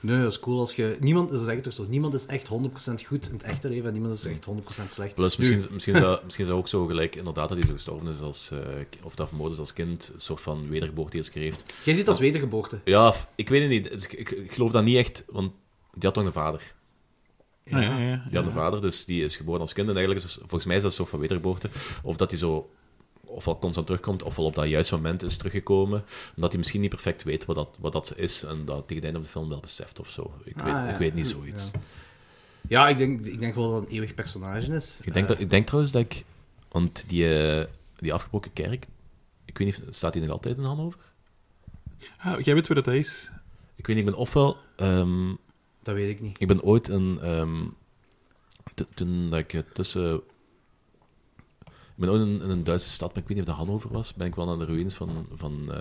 [SPEAKER 5] Nee, dat is cool als je... Niemand, ze zeggen toch zo, niemand is echt 100% goed in het echte leven en niemand is echt 100% slecht.
[SPEAKER 6] Plus, misschien, misschien, zou,
[SPEAKER 7] (laughs)
[SPEAKER 6] misschien zou ook zo gelijk inderdaad dat hij zo gestorven is als, eh, k- of dat vermoord is als kind, een soort van wedergeboorte die hij schreef.
[SPEAKER 5] Jij ziet dat als wedergeboorte.
[SPEAKER 6] Ja, f- ik weet het niet. Dus ik, ik, ik geloof dat niet echt, want die had toch een vader.
[SPEAKER 7] Ja, ja, ja, ja.
[SPEAKER 6] Die had een vader, dus die is geboren als kind. En eigenlijk is het- volgens mij is dat een soort van wedergeboorte. Of dat hij zo ofwel constant terugkomt, ofwel op dat juiste moment is teruggekomen. En dat hij misschien niet perfect weet wat dat, wat dat is en dat tegen het einde van de film wel beseft of zo. Ik,
[SPEAKER 5] Ah,
[SPEAKER 6] weet,
[SPEAKER 5] ja.
[SPEAKER 6] ik weet niet zoiets.
[SPEAKER 5] Ja. Ja, ik denk, ik denk wel dat het een eeuwig personage is. Eh,
[SPEAKER 6] Ik denk, dat, ik denk trouwens dat ik... Want die, eh, die afgebroken kerk, ik weet niet, staat die nog altijd in Hannover?
[SPEAKER 7] Ah, jij weet wie dat is.
[SPEAKER 6] Ik weet niet, ik ben ofwel... ehm,
[SPEAKER 5] Dat weet ik niet.
[SPEAKER 6] ik ben ooit een... ehm, t- toen dat ik eh, tussen... Ik ben ooit in, in een Duitse stad, maar ik weet niet of dat Hannover was, ben ik wel naar de ruïnes van, van, eh,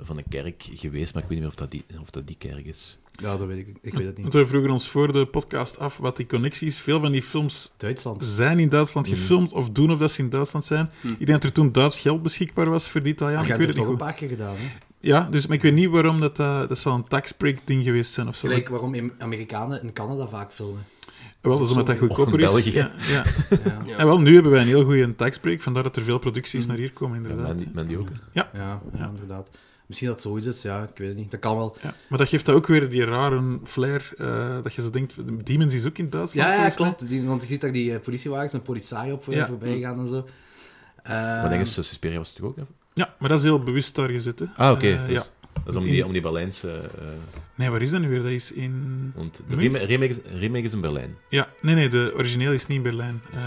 [SPEAKER 6] van een kerk geweest, maar ik weet niet meer of dat die, of dat die kerk is.
[SPEAKER 5] Ja, dat weet ik. Ik weet het niet.
[SPEAKER 7] (laughs) Want we vroegen ons voor de podcast af wat die connectie is. Veel van die films
[SPEAKER 5] Duitsland.
[SPEAKER 7] zijn in Duitsland gefilmd of doen of dat ze in Duitsland zijn. Ik denk dat er toen Duits geld beschikbaar was voor die Italianen.
[SPEAKER 5] ik
[SPEAKER 7] Ik
[SPEAKER 5] heb
[SPEAKER 7] weet
[SPEAKER 5] het
[SPEAKER 7] het niet
[SPEAKER 5] toch een
[SPEAKER 7] goed.
[SPEAKER 5] paar keer gedaan. Hè?
[SPEAKER 7] Ja, dus, maar ik weet niet waarom dat, eh, dat zou een tax break ding geweest zijn of zo. Eh,
[SPEAKER 5] Gelijk waarom Am- Amerikanen in Canada vaak filmen.
[SPEAKER 7] Wel, dat is omdat dat
[SPEAKER 5] Of in
[SPEAKER 7] goedkoper is.
[SPEAKER 6] België.
[SPEAKER 7] Ja, ja.
[SPEAKER 5] Ja.
[SPEAKER 7] En wel, nu hebben wij een heel goede tax break, vandaar dat er veel producties naar hier komen,
[SPEAKER 6] Ja,
[SPEAKER 7] inderdaad.
[SPEAKER 6] men, men die ook.
[SPEAKER 5] Ja, ja, inderdaad. Misschien dat het zoiets is, ja, ik weet het niet. Dat kan wel.
[SPEAKER 7] Ja, maar dat geeft dat ook weer die rare flair, eh, dat je zo denkt, Demons is ook in Duitsland.
[SPEAKER 5] Ja, ja
[SPEAKER 7] volgens mij.
[SPEAKER 5] klopt. Die, want je ziet daar die eh, politiewagens met politie op eh,
[SPEAKER 7] Ja.
[SPEAKER 5] voorbij gaan en zo. Ehm,
[SPEAKER 6] Maar denk eens, eh, Suspiria was het toch ook? hè?
[SPEAKER 7] Ja, maar dat is heel bewust daar gezet, hè.
[SPEAKER 6] Ah, oké.
[SPEAKER 7] Eh,
[SPEAKER 6] dus
[SPEAKER 7] ja.
[SPEAKER 6] Dat is om die, om die Berlijnse... eh,
[SPEAKER 7] Nee, waar is dat nu weer? Dat is in...
[SPEAKER 6] want de
[SPEAKER 7] München?
[SPEAKER 6] remake, remake is, remake is in Berlijn.
[SPEAKER 7] Ja, nee, nee, de origineel is niet in Berlijn. Eh,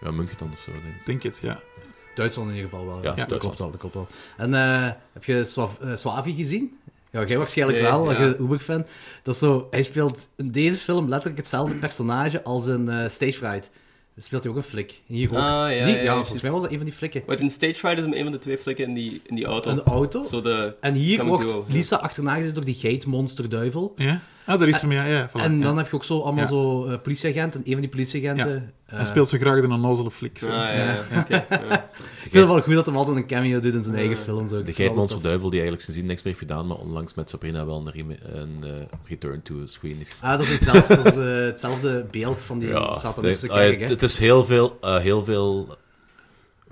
[SPEAKER 6] Ja, München dan of zo, denk ik.
[SPEAKER 7] denk het, ja.
[SPEAKER 5] Duitsland in ieder geval wel.
[SPEAKER 6] Ja,
[SPEAKER 5] Ja, dat
[SPEAKER 6] Duitsland.
[SPEAKER 5] klopt wel. Dat klopt wel. En eh, heb je Swa- eh, Slavi gezien? Ja, jij waarschijnlijk
[SPEAKER 8] Nee,
[SPEAKER 5] wel, want
[SPEAKER 8] ja.
[SPEAKER 5] je Uber-fan. Dat is zo, hij speelt in deze film letterlijk hetzelfde personage als in eh, Stage Fright. Dan speelt hij ook een flik. En Hier ook.
[SPEAKER 8] Ah, ja, ja,
[SPEAKER 5] Die-
[SPEAKER 8] ja,
[SPEAKER 5] volgens
[SPEAKER 8] juist.
[SPEAKER 5] mij was dat een van die flikken.
[SPEAKER 8] Want in Stage Fright is hem een van de twee flikken in die, in die auto.
[SPEAKER 5] Een auto.
[SPEAKER 8] Zo de...
[SPEAKER 5] En hier
[SPEAKER 8] Kan ik
[SPEAKER 5] wordt
[SPEAKER 8] duo, ja.
[SPEAKER 5] Lisa achterna gezet door die geitmonsterduivel.
[SPEAKER 7] Ja? Ah, daar is hem, ja. ja voilà,
[SPEAKER 8] Oh,
[SPEAKER 5] en
[SPEAKER 7] ja.
[SPEAKER 5] dan heb je ook zo allemaal
[SPEAKER 7] Ja.
[SPEAKER 5] zo eh, politieagenten. Een van die politieagenten. eh,
[SPEAKER 7] Hij speelt zo graag de onnozele flik.
[SPEAKER 8] Ah,
[SPEAKER 7] Zo.
[SPEAKER 8] ja, ja. oké,
[SPEAKER 5] (laughs)
[SPEAKER 8] ja.
[SPEAKER 5] ik vind het wel goed dat hij altijd een cameo doet in zijn eigen films. Ook.
[SPEAKER 6] De geitmonster duivel die eigenlijk sindsdien niks meer heeft gedaan, maar onlangs met Sabrina wel een, rem- een eh, return to screen heeft
[SPEAKER 5] Ah, dat is hetzelfde, dat is, eh, hetzelfde beeld van die
[SPEAKER 6] Ja,
[SPEAKER 5] satanistische
[SPEAKER 6] nee, ah,
[SPEAKER 5] kerk.
[SPEAKER 6] het,
[SPEAKER 5] hè.
[SPEAKER 6] het is heel veel, eh, heel veel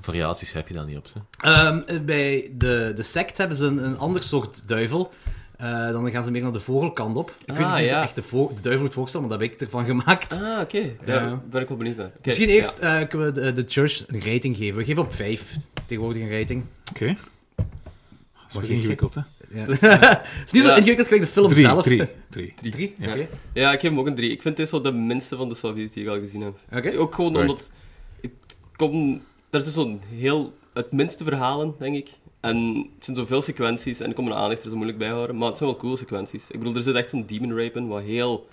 [SPEAKER 6] variaties heb je daar niet op. Ze.
[SPEAKER 5] Ehm, bij de, de sect hebben ze een, een ander soort duivel. Eh, dan gaan ze meer naar de vogelkant op. Ik weet
[SPEAKER 8] Ah,
[SPEAKER 5] niet of
[SPEAKER 8] ja.
[SPEAKER 5] ik echt de, vo- de duivel moet voorstellen, maar dat heb ik ervan gemaakt.
[SPEAKER 8] Ah, oké.
[SPEAKER 5] Ja.
[SPEAKER 8] Daar ben ik wel benieuwd naar. Oké,
[SPEAKER 5] Misschien
[SPEAKER 8] ja.
[SPEAKER 5] eerst eh, kunnen we de, de church een rating geven. We geven op 5 tegenwoordig een rating.
[SPEAKER 7] Oké. Dat is
[SPEAKER 5] Wat
[SPEAKER 7] weer
[SPEAKER 5] geef
[SPEAKER 7] ingewikkeld, hè.
[SPEAKER 5] Ja. (laughs) het is niet zo
[SPEAKER 8] eh, ja.
[SPEAKER 5] ingewikkeld gelijk de film zelf. (laughs)
[SPEAKER 7] drie, drie.
[SPEAKER 5] Drie?
[SPEAKER 7] Ja.
[SPEAKER 5] Oké.
[SPEAKER 8] Ja, ik geef hem ook een 3. Ik vind dit zo de minste van de Soviets die ik al gezien heb.
[SPEAKER 5] Oké.
[SPEAKER 8] Ook gewoon
[SPEAKER 6] Right.
[SPEAKER 8] omdat... Ik kom... Er is zo'n heel... Het minste verhalen, denk ik. En het zijn zoveel sequenties en ik kon mijn aandacht er zo moeilijk bij houden. Maar het zijn wel coole sequenties. Ik bedoel, er zit echt zo'n demon rape in, wat heel,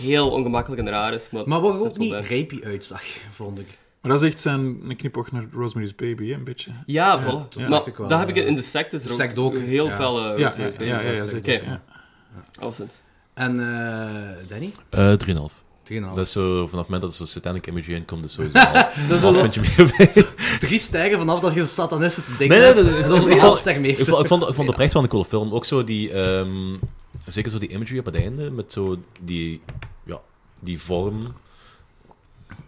[SPEAKER 8] heel ongemakkelijk en raar is. Maar,
[SPEAKER 5] Maar waar
[SPEAKER 8] het
[SPEAKER 5] ook
[SPEAKER 8] is wel
[SPEAKER 5] niet
[SPEAKER 8] bij.
[SPEAKER 5] rapey uitzag, vond ik.
[SPEAKER 7] Maar dat is echt zijn een knipoog naar Rosemary's Baby, hè, een beetje.
[SPEAKER 5] Oh,
[SPEAKER 8] Ja, voilà.
[SPEAKER 5] dat dacht ik
[SPEAKER 8] maar
[SPEAKER 5] wel,
[SPEAKER 8] dat heb ik
[SPEAKER 5] ja.
[SPEAKER 8] in de sect is er
[SPEAKER 5] Sect
[SPEAKER 8] ook,
[SPEAKER 5] ook,
[SPEAKER 8] heel
[SPEAKER 5] ja.
[SPEAKER 8] veel... eh,
[SPEAKER 7] Ja, ja,
[SPEAKER 8] referenties.
[SPEAKER 7] ja, ja, ja, zeker.
[SPEAKER 8] Oké,
[SPEAKER 7] ja.
[SPEAKER 8] alleszins.
[SPEAKER 5] En eh, Danny?
[SPEAKER 6] Eh 3,5.
[SPEAKER 5] 3,5.
[SPEAKER 6] Dat is zo, vanaf het moment dat er zo'n satanic imagery in komt, is sowieso (laughs) al een
[SPEAKER 5] Dat is
[SPEAKER 6] half
[SPEAKER 5] al-
[SPEAKER 6] puntje meer bij.
[SPEAKER 5] drie sterren vanaf dat je de satanistische dingen
[SPEAKER 6] Nee, nee,
[SPEAKER 5] hebt.
[SPEAKER 6] dat-
[SPEAKER 5] En
[SPEAKER 6] ik
[SPEAKER 5] dat is
[SPEAKER 6] vond-
[SPEAKER 5] een
[SPEAKER 6] ik
[SPEAKER 5] half
[SPEAKER 6] vond-
[SPEAKER 5] ster
[SPEAKER 6] Ik
[SPEAKER 5] meer.
[SPEAKER 6] vond, ik vond, ik vond het echt wel een coole film. Ook zo die, ehm, zeker zo die imagery op het einde, met zo die, ja, die vorm.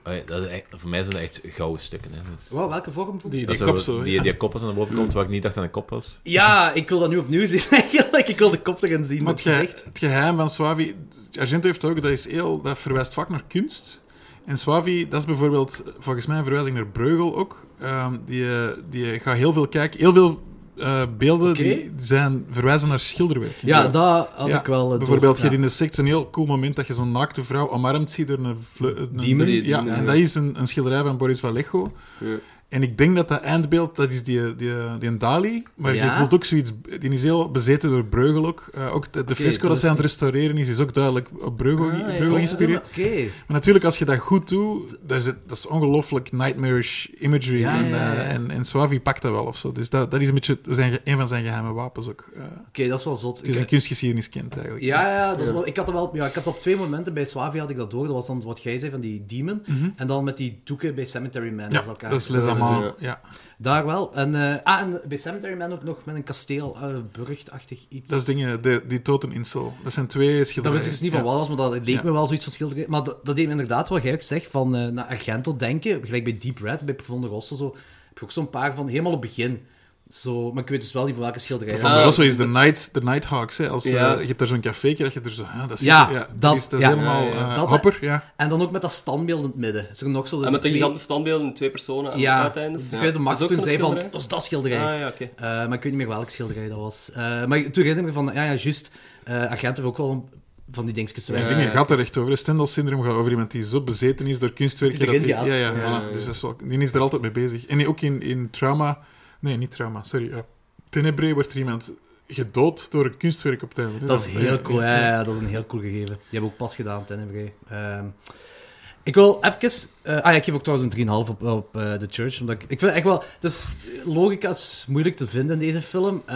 [SPEAKER 6] Eh, dat is echt, voor mij zijn dat echt gouden stukken. Hè. Dat is-
[SPEAKER 5] Wow, welke vorm?
[SPEAKER 7] Die,
[SPEAKER 6] dat
[SPEAKER 7] die
[SPEAKER 6] is zo-
[SPEAKER 7] kop zo.
[SPEAKER 6] die,
[SPEAKER 7] ja.
[SPEAKER 6] die kop als aan de bovenkant, waar ik niet dacht aan een kop was.
[SPEAKER 5] Ja, ik wil dat nu opnieuw zien (laughs) eigenlijk. Ik wil de kop erin zien.
[SPEAKER 7] Maar
[SPEAKER 5] Wat
[SPEAKER 7] het,
[SPEAKER 5] je
[SPEAKER 7] ge-
[SPEAKER 5] zegt.
[SPEAKER 7] het geheim van Swavi... Argento heeft ook, dat, is heel, dat verwijst vaak naar kunst. En Swavi, dat is bijvoorbeeld volgens mij een verwijzing naar Breugel ook. Ehm, die, eh, die gaat heel veel kijken. Heel veel eh, beelden
[SPEAKER 5] Oké.
[SPEAKER 7] die zijn, verwijzen naar schilderwerk.
[SPEAKER 5] Ja, dat had
[SPEAKER 7] Ja,
[SPEAKER 5] ik wel. eh, door-
[SPEAKER 7] Bijvoorbeeld, je
[SPEAKER 5] ja.
[SPEAKER 7] hebt in de sect zo'n heel cool moment dat je zo'n naakte vrouw omarmt ziet door een... vle- een
[SPEAKER 5] Demon?
[SPEAKER 7] ja, en dat is een, een schilderij van Boris Vallejo.
[SPEAKER 8] Ja.
[SPEAKER 7] En ik denk dat dat eindbeeld, dat is die, die, die Dali. Maar je
[SPEAKER 5] Ja?
[SPEAKER 7] voelt ook zoiets... Die is heel bezeten door Breugel ook. Eh, ook de, de fresco dat
[SPEAKER 5] dus-
[SPEAKER 7] zij aan het restaureren is, is ook duidelijk op Breugel,
[SPEAKER 5] Ah, ja,
[SPEAKER 7] Breugel geïnspireerd.
[SPEAKER 5] godverdomme, Oké.
[SPEAKER 7] Maar natuurlijk, als je dat goed doet, daar zit, dat is ongelooflijk nightmarish imagery.
[SPEAKER 5] Ja,
[SPEAKER 7] en,
[SPEAKER 5] ja, ja, ja.
[SPEAKER 7] eh, en, en Suavi pakt dat wel of zo. Dus dat, dat is een beetje zijn, een van zijn geheime wapens ook. Eh,
[SPEAKER 5] Oké, dat is wel zot.
[SPEAKER 7] het is
[SPEAKER 5] Ik-
[SPEAKER 7] een kunstgeschiedeniskind eigenlijk.
[SPEAKER 5] Ja, ja, dat is wel, ik had er wel... Ja, ik had op twee momenten bij Swavi had ik dat door. Dat was dan wat jij zei van die demon. En dan met die doeken bij Cemetery Man.
[SPEAKER 7] Mhm. Ja,
[SPEAKER 5] ze elkaar-
[SPEAKER 7] dat is Les Amants. Ja.
[SPEAKER 5] Daar wel. En, eh, ah, en bij Cemetery Man ook nog met een kasteel, eh, burchtachtig iets.
[SPEAKER 7] Dat is dingen, de, die Totem Insel. Dat zijn twee schilderijen.
[SPEAKER 5] Dat wist ik dus niet van
[SPEAKER 7] Ja.
[SPEAKER 5] wat was, maar dat leek
[SPEAKER 7] Ja.
[SPEAKER 5] me wel zoiets van schilderij. Maar dat, dat deed me inderdaad wat jij ook zegt, van eh, naar Argento denken. Gelijk bij Deep Red, bij Profonde Rosso, zo, heb je ook zo'n paar van, helemaal op het begin. Zo, maar ik weet dus wel niet van welke schilderij.
[SPEAKER 7] Van
[SPEAKER 8] Ah,
[SPEAKER 7] Barroso is de, night, de Nighthawks. Hè. Als, eh,
[SPEAKER 8] Ja.
[SPEAKER 7] je hebt daar zo'n cafeetje dat je er zo... ah, dat is,
[SPEAKER 5] Ja, dat-
[SPEAKER 7] is, dat is
[SPEAKER 5] ja.
[SPEAKER 7] helemaal
[SPEAKER 8] Ja, ja, ja.
[SPEAKER 7] eh,
[SPEAKER 5] Dat-
[SPEAKER 7] hopper. Ja.
[SPEAKER 5] En dan ook met dat standbeeld in het midden. Is er nog zo...
[SPEAKER 8] En met de
[SPEAKER 5] twee-
[SPEAKER 8] gigantische standbeelden in twee personen aan
[SPEAKER 5] Ja, Dus
[SPEAKER 8] de uiteindes.
[SPEAKER 5] ik
[SPEAKER 8] Ja.
[SPEAKER 5] weet dat Max
[SPEAKER 8] Dat is
[SPEAKER 5] toen
[SPEAKER 8] ook
[SPEAKER 5] zei
[SPEAKER 8] van
[SPEAKER 5] van,
[SPEAKER 8] een
[SPEAKER 5] dat is dat schilderij.
[SPEAKER 8] Ah ja, oké.
[SPEAKER 5] Eh, maar ik weet niet meer welk schilderij dat was. Eh, maar toen herinner ik me van, ja, ja, juist, eh Argento heeft ook wel een- van die dingetjes te
[SPEAKER 7] En
[SPEAKER 5] werken.
[SPEAKER 7] dingen
[SPEAKER 8] ja.
[SPEAKER 7] gaat er echt over. Het Stendhal-syndroom gaat over iemand die zo bezeten is door kunstwerken...
[SPEAKER 5] Die erin
[SPEAKER 7] die-
[SPEAKER 5] gaat.
[SPEAKER 7] Ja, ja,
[SPEAKER 5] Ja,
[SPEAKER 7] voilà.
[SPEAKER 8] ja, ja.
[SPEAKER 7] Dus dat is wel, die is er altijd mee bezig. En ook in, in Trauma... Nee, niet Trauma, sorry. Ja. Tenebrae wordt er iemand gedood door een kunstwerk op het einde. hè. Eh,
[SPEAKER 5] Dat is heel cool, ja, ja, dat is een heel cool gegeven. Die hebben we ook pas gedaan, Tenebrae. Ehm ik wil even... eh, ah ja, ik geef ook trouwens een 3,5 op, op eh, The Church. Omdat ik, ik vind echt wel... Het is, logica is moeilijk te vinden in deze film. eh,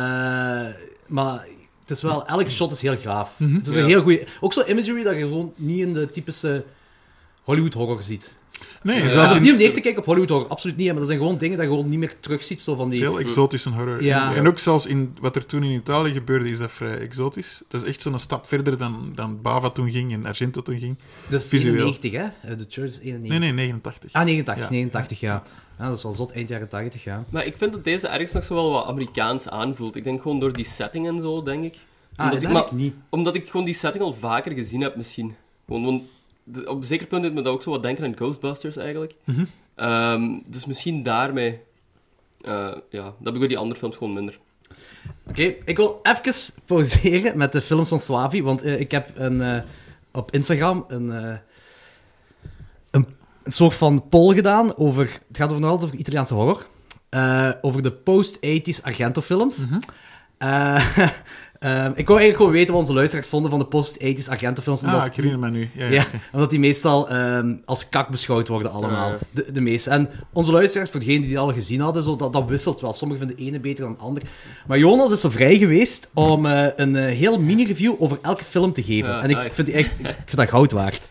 [SPEAKER 5] maar het is wel... Elk shot is heel gaaf. Het is een
[SPEAKER 8] Ja.
[SPEAKER 5] heel goede... Ook zo imagery dat je gewoon niet in de typische Hollywood horror ziet.
[SPEAKER 7] Nee,
[SPEAKER 8] Ja.
[SPEAKER 5] Dat
[SPEAKER 7] zelfs
[SPEAKER 5] is
[SPEAKER 7] in
[SPEAKER 5] niet om neer te kijken op Hollywood horror, absoluut niet. hè, Maar dat zijn gewoon dingen dat je gewoon niet meer terugziet. Zo van die...
[SPEAKER 7] Heel exotisch en horror.
[SPEAKER 5] Ja.
[SPEAKER 7] En, en ook zelfs in wat er toen in Italië gebeurde, is dat vrij exotisch. Dat is echt zo'n stap verder dan, dan Bava toen ging en Argento toen ging.
[SPEAKER 5] Dat is
[SPEAKER 7] visueel.
[SPEAKER 5] 91, hè? Eh, The Church is 91.
[SPEAKER 7] Nee, nee, 89.
[SPEAKER 5] Ah, 89,
[SPEAKER 7] Ja.
[SPEAKER 5] 89, ja. Ah, dat is wel zot, eind jaren 80, ja. Ah,
[SPEAKER 8] Maar ik vind dat deze ergens nog zo wel wat Amerikaans aanvoelt. Ik denk gewoon door die setting en zo, denk ik.
[SPEAKER 5] Ah, dat
[SPEAKER 8] ik,
[SPEAKER 5] heb
[SPEAKER 8] maar-
[SPEAKER 5] ik niet.
[SPEAKER 8] Omdat ik gewoon die setting al vaker gezien heb, misschien. Gewoon, want de- op een zeker punt deed me dat ook zo wat denken aan Ghostbusters, eigenlijk. Ehm, dus misschien daarmee... eh, ja, dat heb ik bij die andere films gewoon minder.
[SPEAKER 5] Oké, ik wil even pauzeren met de films van Swavi, want eh, ik heb een, eh, op Instagram een, eh, een, een soort van poll gedaan over... Het gaat over, nog altijd over Italiaanse horror. eh, over de post-80s Argento-films.
[SPEAKER 8] Mhm.
[SPEAKER 5] Eh, (laughs) ehm, ik wou eigenlijk gewoon weten wat onze luisteraars vonden van de post-80s Argento-films. omdat-
[SPEAKER 7] Ah, ik herinner me nu. Ja, ja.
[SPEAKER 5] Ja, omdat die meestal ehm, als kak beschouwd worden allemaal.
[SPEAKER 8] Ja,
[SPEAKER 5] De, de meeste. En onze luisteraars, voor degenen die die al gezien hadden, zo, dat, dat wisselt wel. Sommigen vinden de ene beter dan de ander. Maar Jonas is zo vrij geweest om eh, een eh, heel mini-review over elke film te geven.
[SPEAKER 8] Ja,
[SPEAKER 5] en ik,
[SPEAKER 8] nice.
[SPEAKER 5] vind, die echt, ik vind dat goud waard.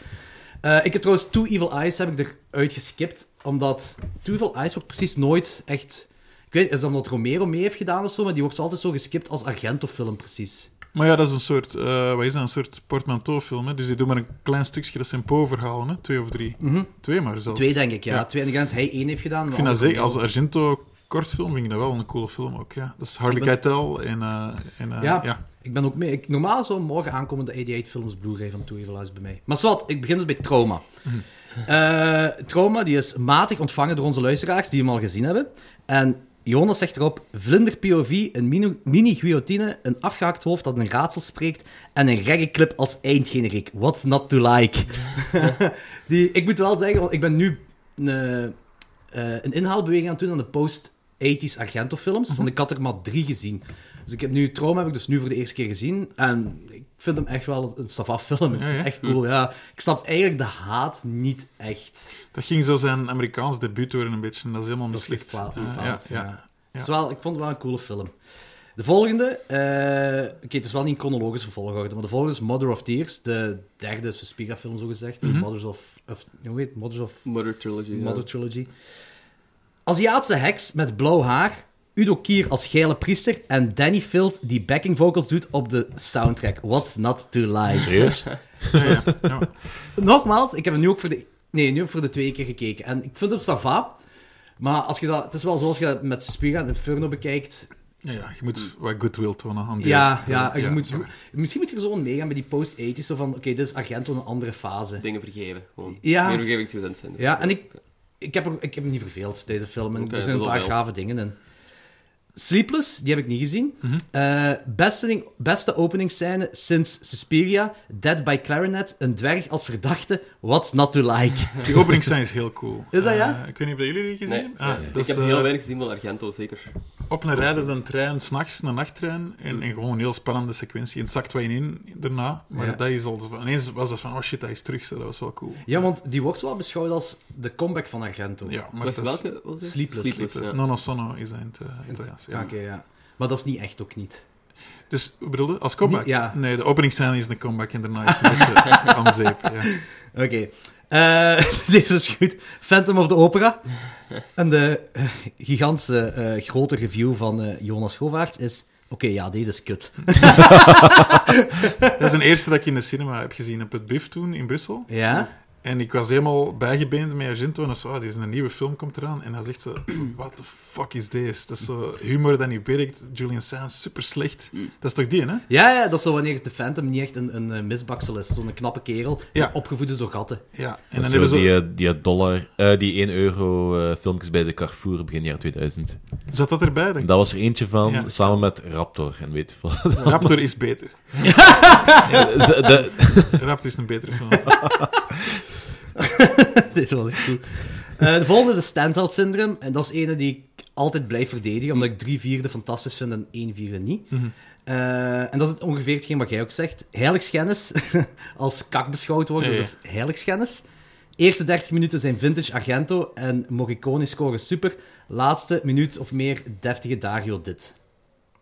[SPEAKER 5] Eh, ik heb trouwens Two Evil Eyes heb ik eruit geskipt, omdat Two Evil Eyes wordt precies nooit echt... Ik weet, is dat omdat Romero mee heeft gedaan of zo, maar die wordt zo altijd zo geskipt als Argento-film, precies.
[SPEAKER 7] Maar ja, dat is een soort, eh, wat is dat, een soort portmanteau-film. Hè? Dus die doen maar een klein stukje, dat zijn Po-verhalen, hè? twee of drie. Twee maar zelfs.
[SPEAKER 5] Mhm. Twee, denk ik, ja.
[SPEAKER 7] Ja.
[SPEAKER 5] Twee, en ik denk dat hij één heeft gedaan.
[SPEAKER 7] Ik vind dat zeker, als Argento-kortfilm vind ik dat wel een coole film ook. Ja. Dat is Harvey
[SPEAKER 5] Ik ben-
[SPEAKER 7] Keitel en... eh, en eh,
[SPEAKER 5] Ja.
[SPEAKER 7] ja.
[SPEAKER 5] Ik ben ook mee. Ik, normaal zou morgen aankomen de 88 films Blu-ray van Two Evil Eyes bij mij. Maar zwart, ik begin dus bij Trauma. Eh, Trauma die is matig ontvangen door onze luisteraars die hem al gezien hebben. En Jonas zegt erop: Vlinder POV, een mini- mini-guillotine, een afgehakt hoofd dat een raadsel spreekt en een reggae-clip als eindgeneriek. What's not to like? (laughs) die, ik moet wel zeggen, want ik ben nu een, eh, een inhaalbeweging aan het doen aan de post-80s Argento-films.
[SPEAKER 7] Mhm.
[SPEAKER 5] Want ik had er maar drie gezien. Dus ik heb nu Trauma heb ik dus nu voor de eerste keer gezien. En ik vind hem echt wel een sava film. Ik
[SPEAKER 7] Ja,
[SPEAKER 5] vind het
[SPEAKER 7] ja.
[SPEAKER 5] Echt cool, ja. Ik snap eigenlijk de haat niet echt.
[SPEAKER 7] Dat ging zo zijn Amerikaans debuut worden een beetje. en Dat is helemaal
[SPEAKER 5] Dat is
[SPEAKER 7] mislukt.
[SPEAKER 5] echt wel
[SPEAKER 7] Eh,
[SPEAKER 5] gefaald,
[SPEAKER 7] ja, ja.
[SPEAKER 5] ja. Het is wel, ik vond het wel een coole film. De volgende, eh, oké, het is wel niet in chronologische volgorde, maar de volgende is Mother of Tears, de derde Suspiria-film zogezegd, de Mothers of, of, hoe heet het? Mothers of
[SPEAKER 8] Murder Trilogy. eh, ja.
[SPEAKER 5] Mother Trilogy. Aziatische heks met blauw haar, Udo Kier als gele priester en Danny Field die backing vocals doet op de soundtrack. What's not to like?
[SPEAKER 6] Serieus?
[SPEAKER 7] Ja, ja, ja.
[SPEAKER 5] Nogmaals, ik heb hem nu ook voor de, nee, nu ook voor de tweede keer gekeken. En ik vind hem sava, maar als je dat, het is wel zoals je dat met Suspiria en Inferno bekijkt.
[SPEAKER 7] Ja, ja, je moet wat goodwill tonen aan die...
[SPEAKER 5] Ja, ja, je moet,
[SPEAKER 7] ja.
[SPEAKER 5] misschien moet je er zo meegaan bij die post-80s, zo van, oké, dit is Argento een andere fase.
[SPEAKER 8] Dingen vergeven. Gewoon.
[SPEAKER 5] Ja.
[SPEAKER 8] Meer vergeving gezind zijn.
[SPEAKER 5] Ja, en ik, ik, heb, er, ik heb me niet verveeld, deze film. En
[SPEAKER 8] Oké,
[SPEAKER 5] er zijn een
[SPEAKER 8] dat
[SPEAKER 5] paar
[SPEAKER 8] wel.
[SPEAKER 5] gave dingen in. Sleepless, die heb ik niet gezien.
[SPEAKER 7] Mhm.
[SPEAKER 5] Eh, beste, ding- beste openingsscène sinds Suspiria. Dead by Clarinet, een dwerg als verdachte. What's not to like?
[SPEAKER 7] Die openingsscène is heel cool.
[SPEAKER 5] Is dat ja?
[SPEAKER 7] Eh, ik weet niet of jullie die gezien
[SPEAKER 8] Nee.
[SPEAKER 7] hebben. Ah,
[SPEAKER 6] Nee.
[SPEAKER 7] dat
[SPEAKER 8] ik
[SPEAKER 7] is,
[SPEAKER 8] heb heel
[SPEAKER 7] eh,
[SPEAKER 8] weinig gezien van Argento, zeker.
[SPEAKER 7] Op een rijdende trein, s'nachts, een nachttrein. En, en gewoon een heel spannende sequentie. En het zakt wat in daarna. Maar
[SPEAKER 5] Ja.
[SPEAKER 7] dat is al... zo van- Ineens was dat van, oh shit, hij is terug. Zo, dat was wel cool.
[SPEAKER 5] Ja, want die wordt wel beschouwd als de comeback van Argento.
[SPEAKER 7] Ja, maar
[SPEAKER 8] Wacht,
[SPEAKER 7] het is-
[SPEAKER 8] welke was dit?
[SPEAKER 5] Sleepless.
[SPEAKER 7] Het is
[SPEAKER 8] ja.
[SPEAKER 7] Nono Sono is dat in het eh, Italiaans. Ja.
[SPEAKER 5] Oké, ja. Maar dat is niet echt ook niet.
[SPEAKER 7] Dus, ik bedoelde, als comeback?
[SPEAKER 5] Niet- ja.
[SPEAKER 7] Nee, de openingsscène is een comeback en daarna is het een
[SPEAKER 5] (laughs)
[SPEAKER 7] beetje om zeep. Ja.
[SPEAKER 5] Oké. Eh, (laughs) deze is goed. Phantom of the Opera. En de eh, gigantische eh, grote review van eh, Jonas Govaerts is... Oké, ja, deze is kut.
[SPEAKER 7] Dat is een eerste dat ik in de cinema heb gezien op het BIF toen in Brussel.
[SPEAKER 5] Ja?
[SPEAKER 7] En ik was helemaal bijgebeend met Argento. En dan zo, ah, dit is een nieuwe film, komt eraan. En dan zegt ze, what the fuck is this? Dat is zo humor dat niet werkt. Julian Sands, super slecht. Dat is toch die, hè?
[SPEAKER 5] Ja, ja, dat is zo wanneer de Phantom niet echt een, een eh, misbaksel is. Zo'n knappe kerel,
[SPEAKER 7] Ja.
[SPEAKER 5] opgevoed is door gatten.
[SPEAKER 7] Ja. En
[SPEAKER 6] En
[SPEAKER 7] dan
[SPEAKER 6] dan
[SPEAKER 7] hebben ze...
[SPEAKER 6] die, eh, die dollar, eh, die 1 euro eh, filmpjes bij de Carrefour begin jaar 2000.
[SPEAKER 7] Zat dat erbij? denk ik?
[SPEAKER 6] Daar was er eentje van,
[SPEAKER 7] Ja.
[SPEAKER 6] samen met Raptor en weet je wat.
[SPEAKER 7] Raptor is beter.
[SPEAKER 6] (laughs) Ze-
[SPEAKER 7] (laughs)
[SPEAKER 6] de-
[SPEAKER 7] Raptor is een betere film.
[SPEAKER 5] (laughs) Deze was echt goed. Eh, de volgende is het standheld syndroom. En dat is ene die ik altijd blijf verdedigen, omdat ik drie vierde fantastisch vind en één vierde niet.
[SPEAKER 7] Mhm.
[SPEAKER 5] Eh, en dat is het ongeveer hetgeen wat jij ook zegt. Heiligschennis, (laughs) als kak beschouwd worden,
[SPEAKER 7] Ja, ja.
[SPEAKER 5] dus dat is heiligschennis. Eerste 30 minuten zijn vintage Argento en Morricone scoren super. Laatste minuut of meer deftige Dario dit.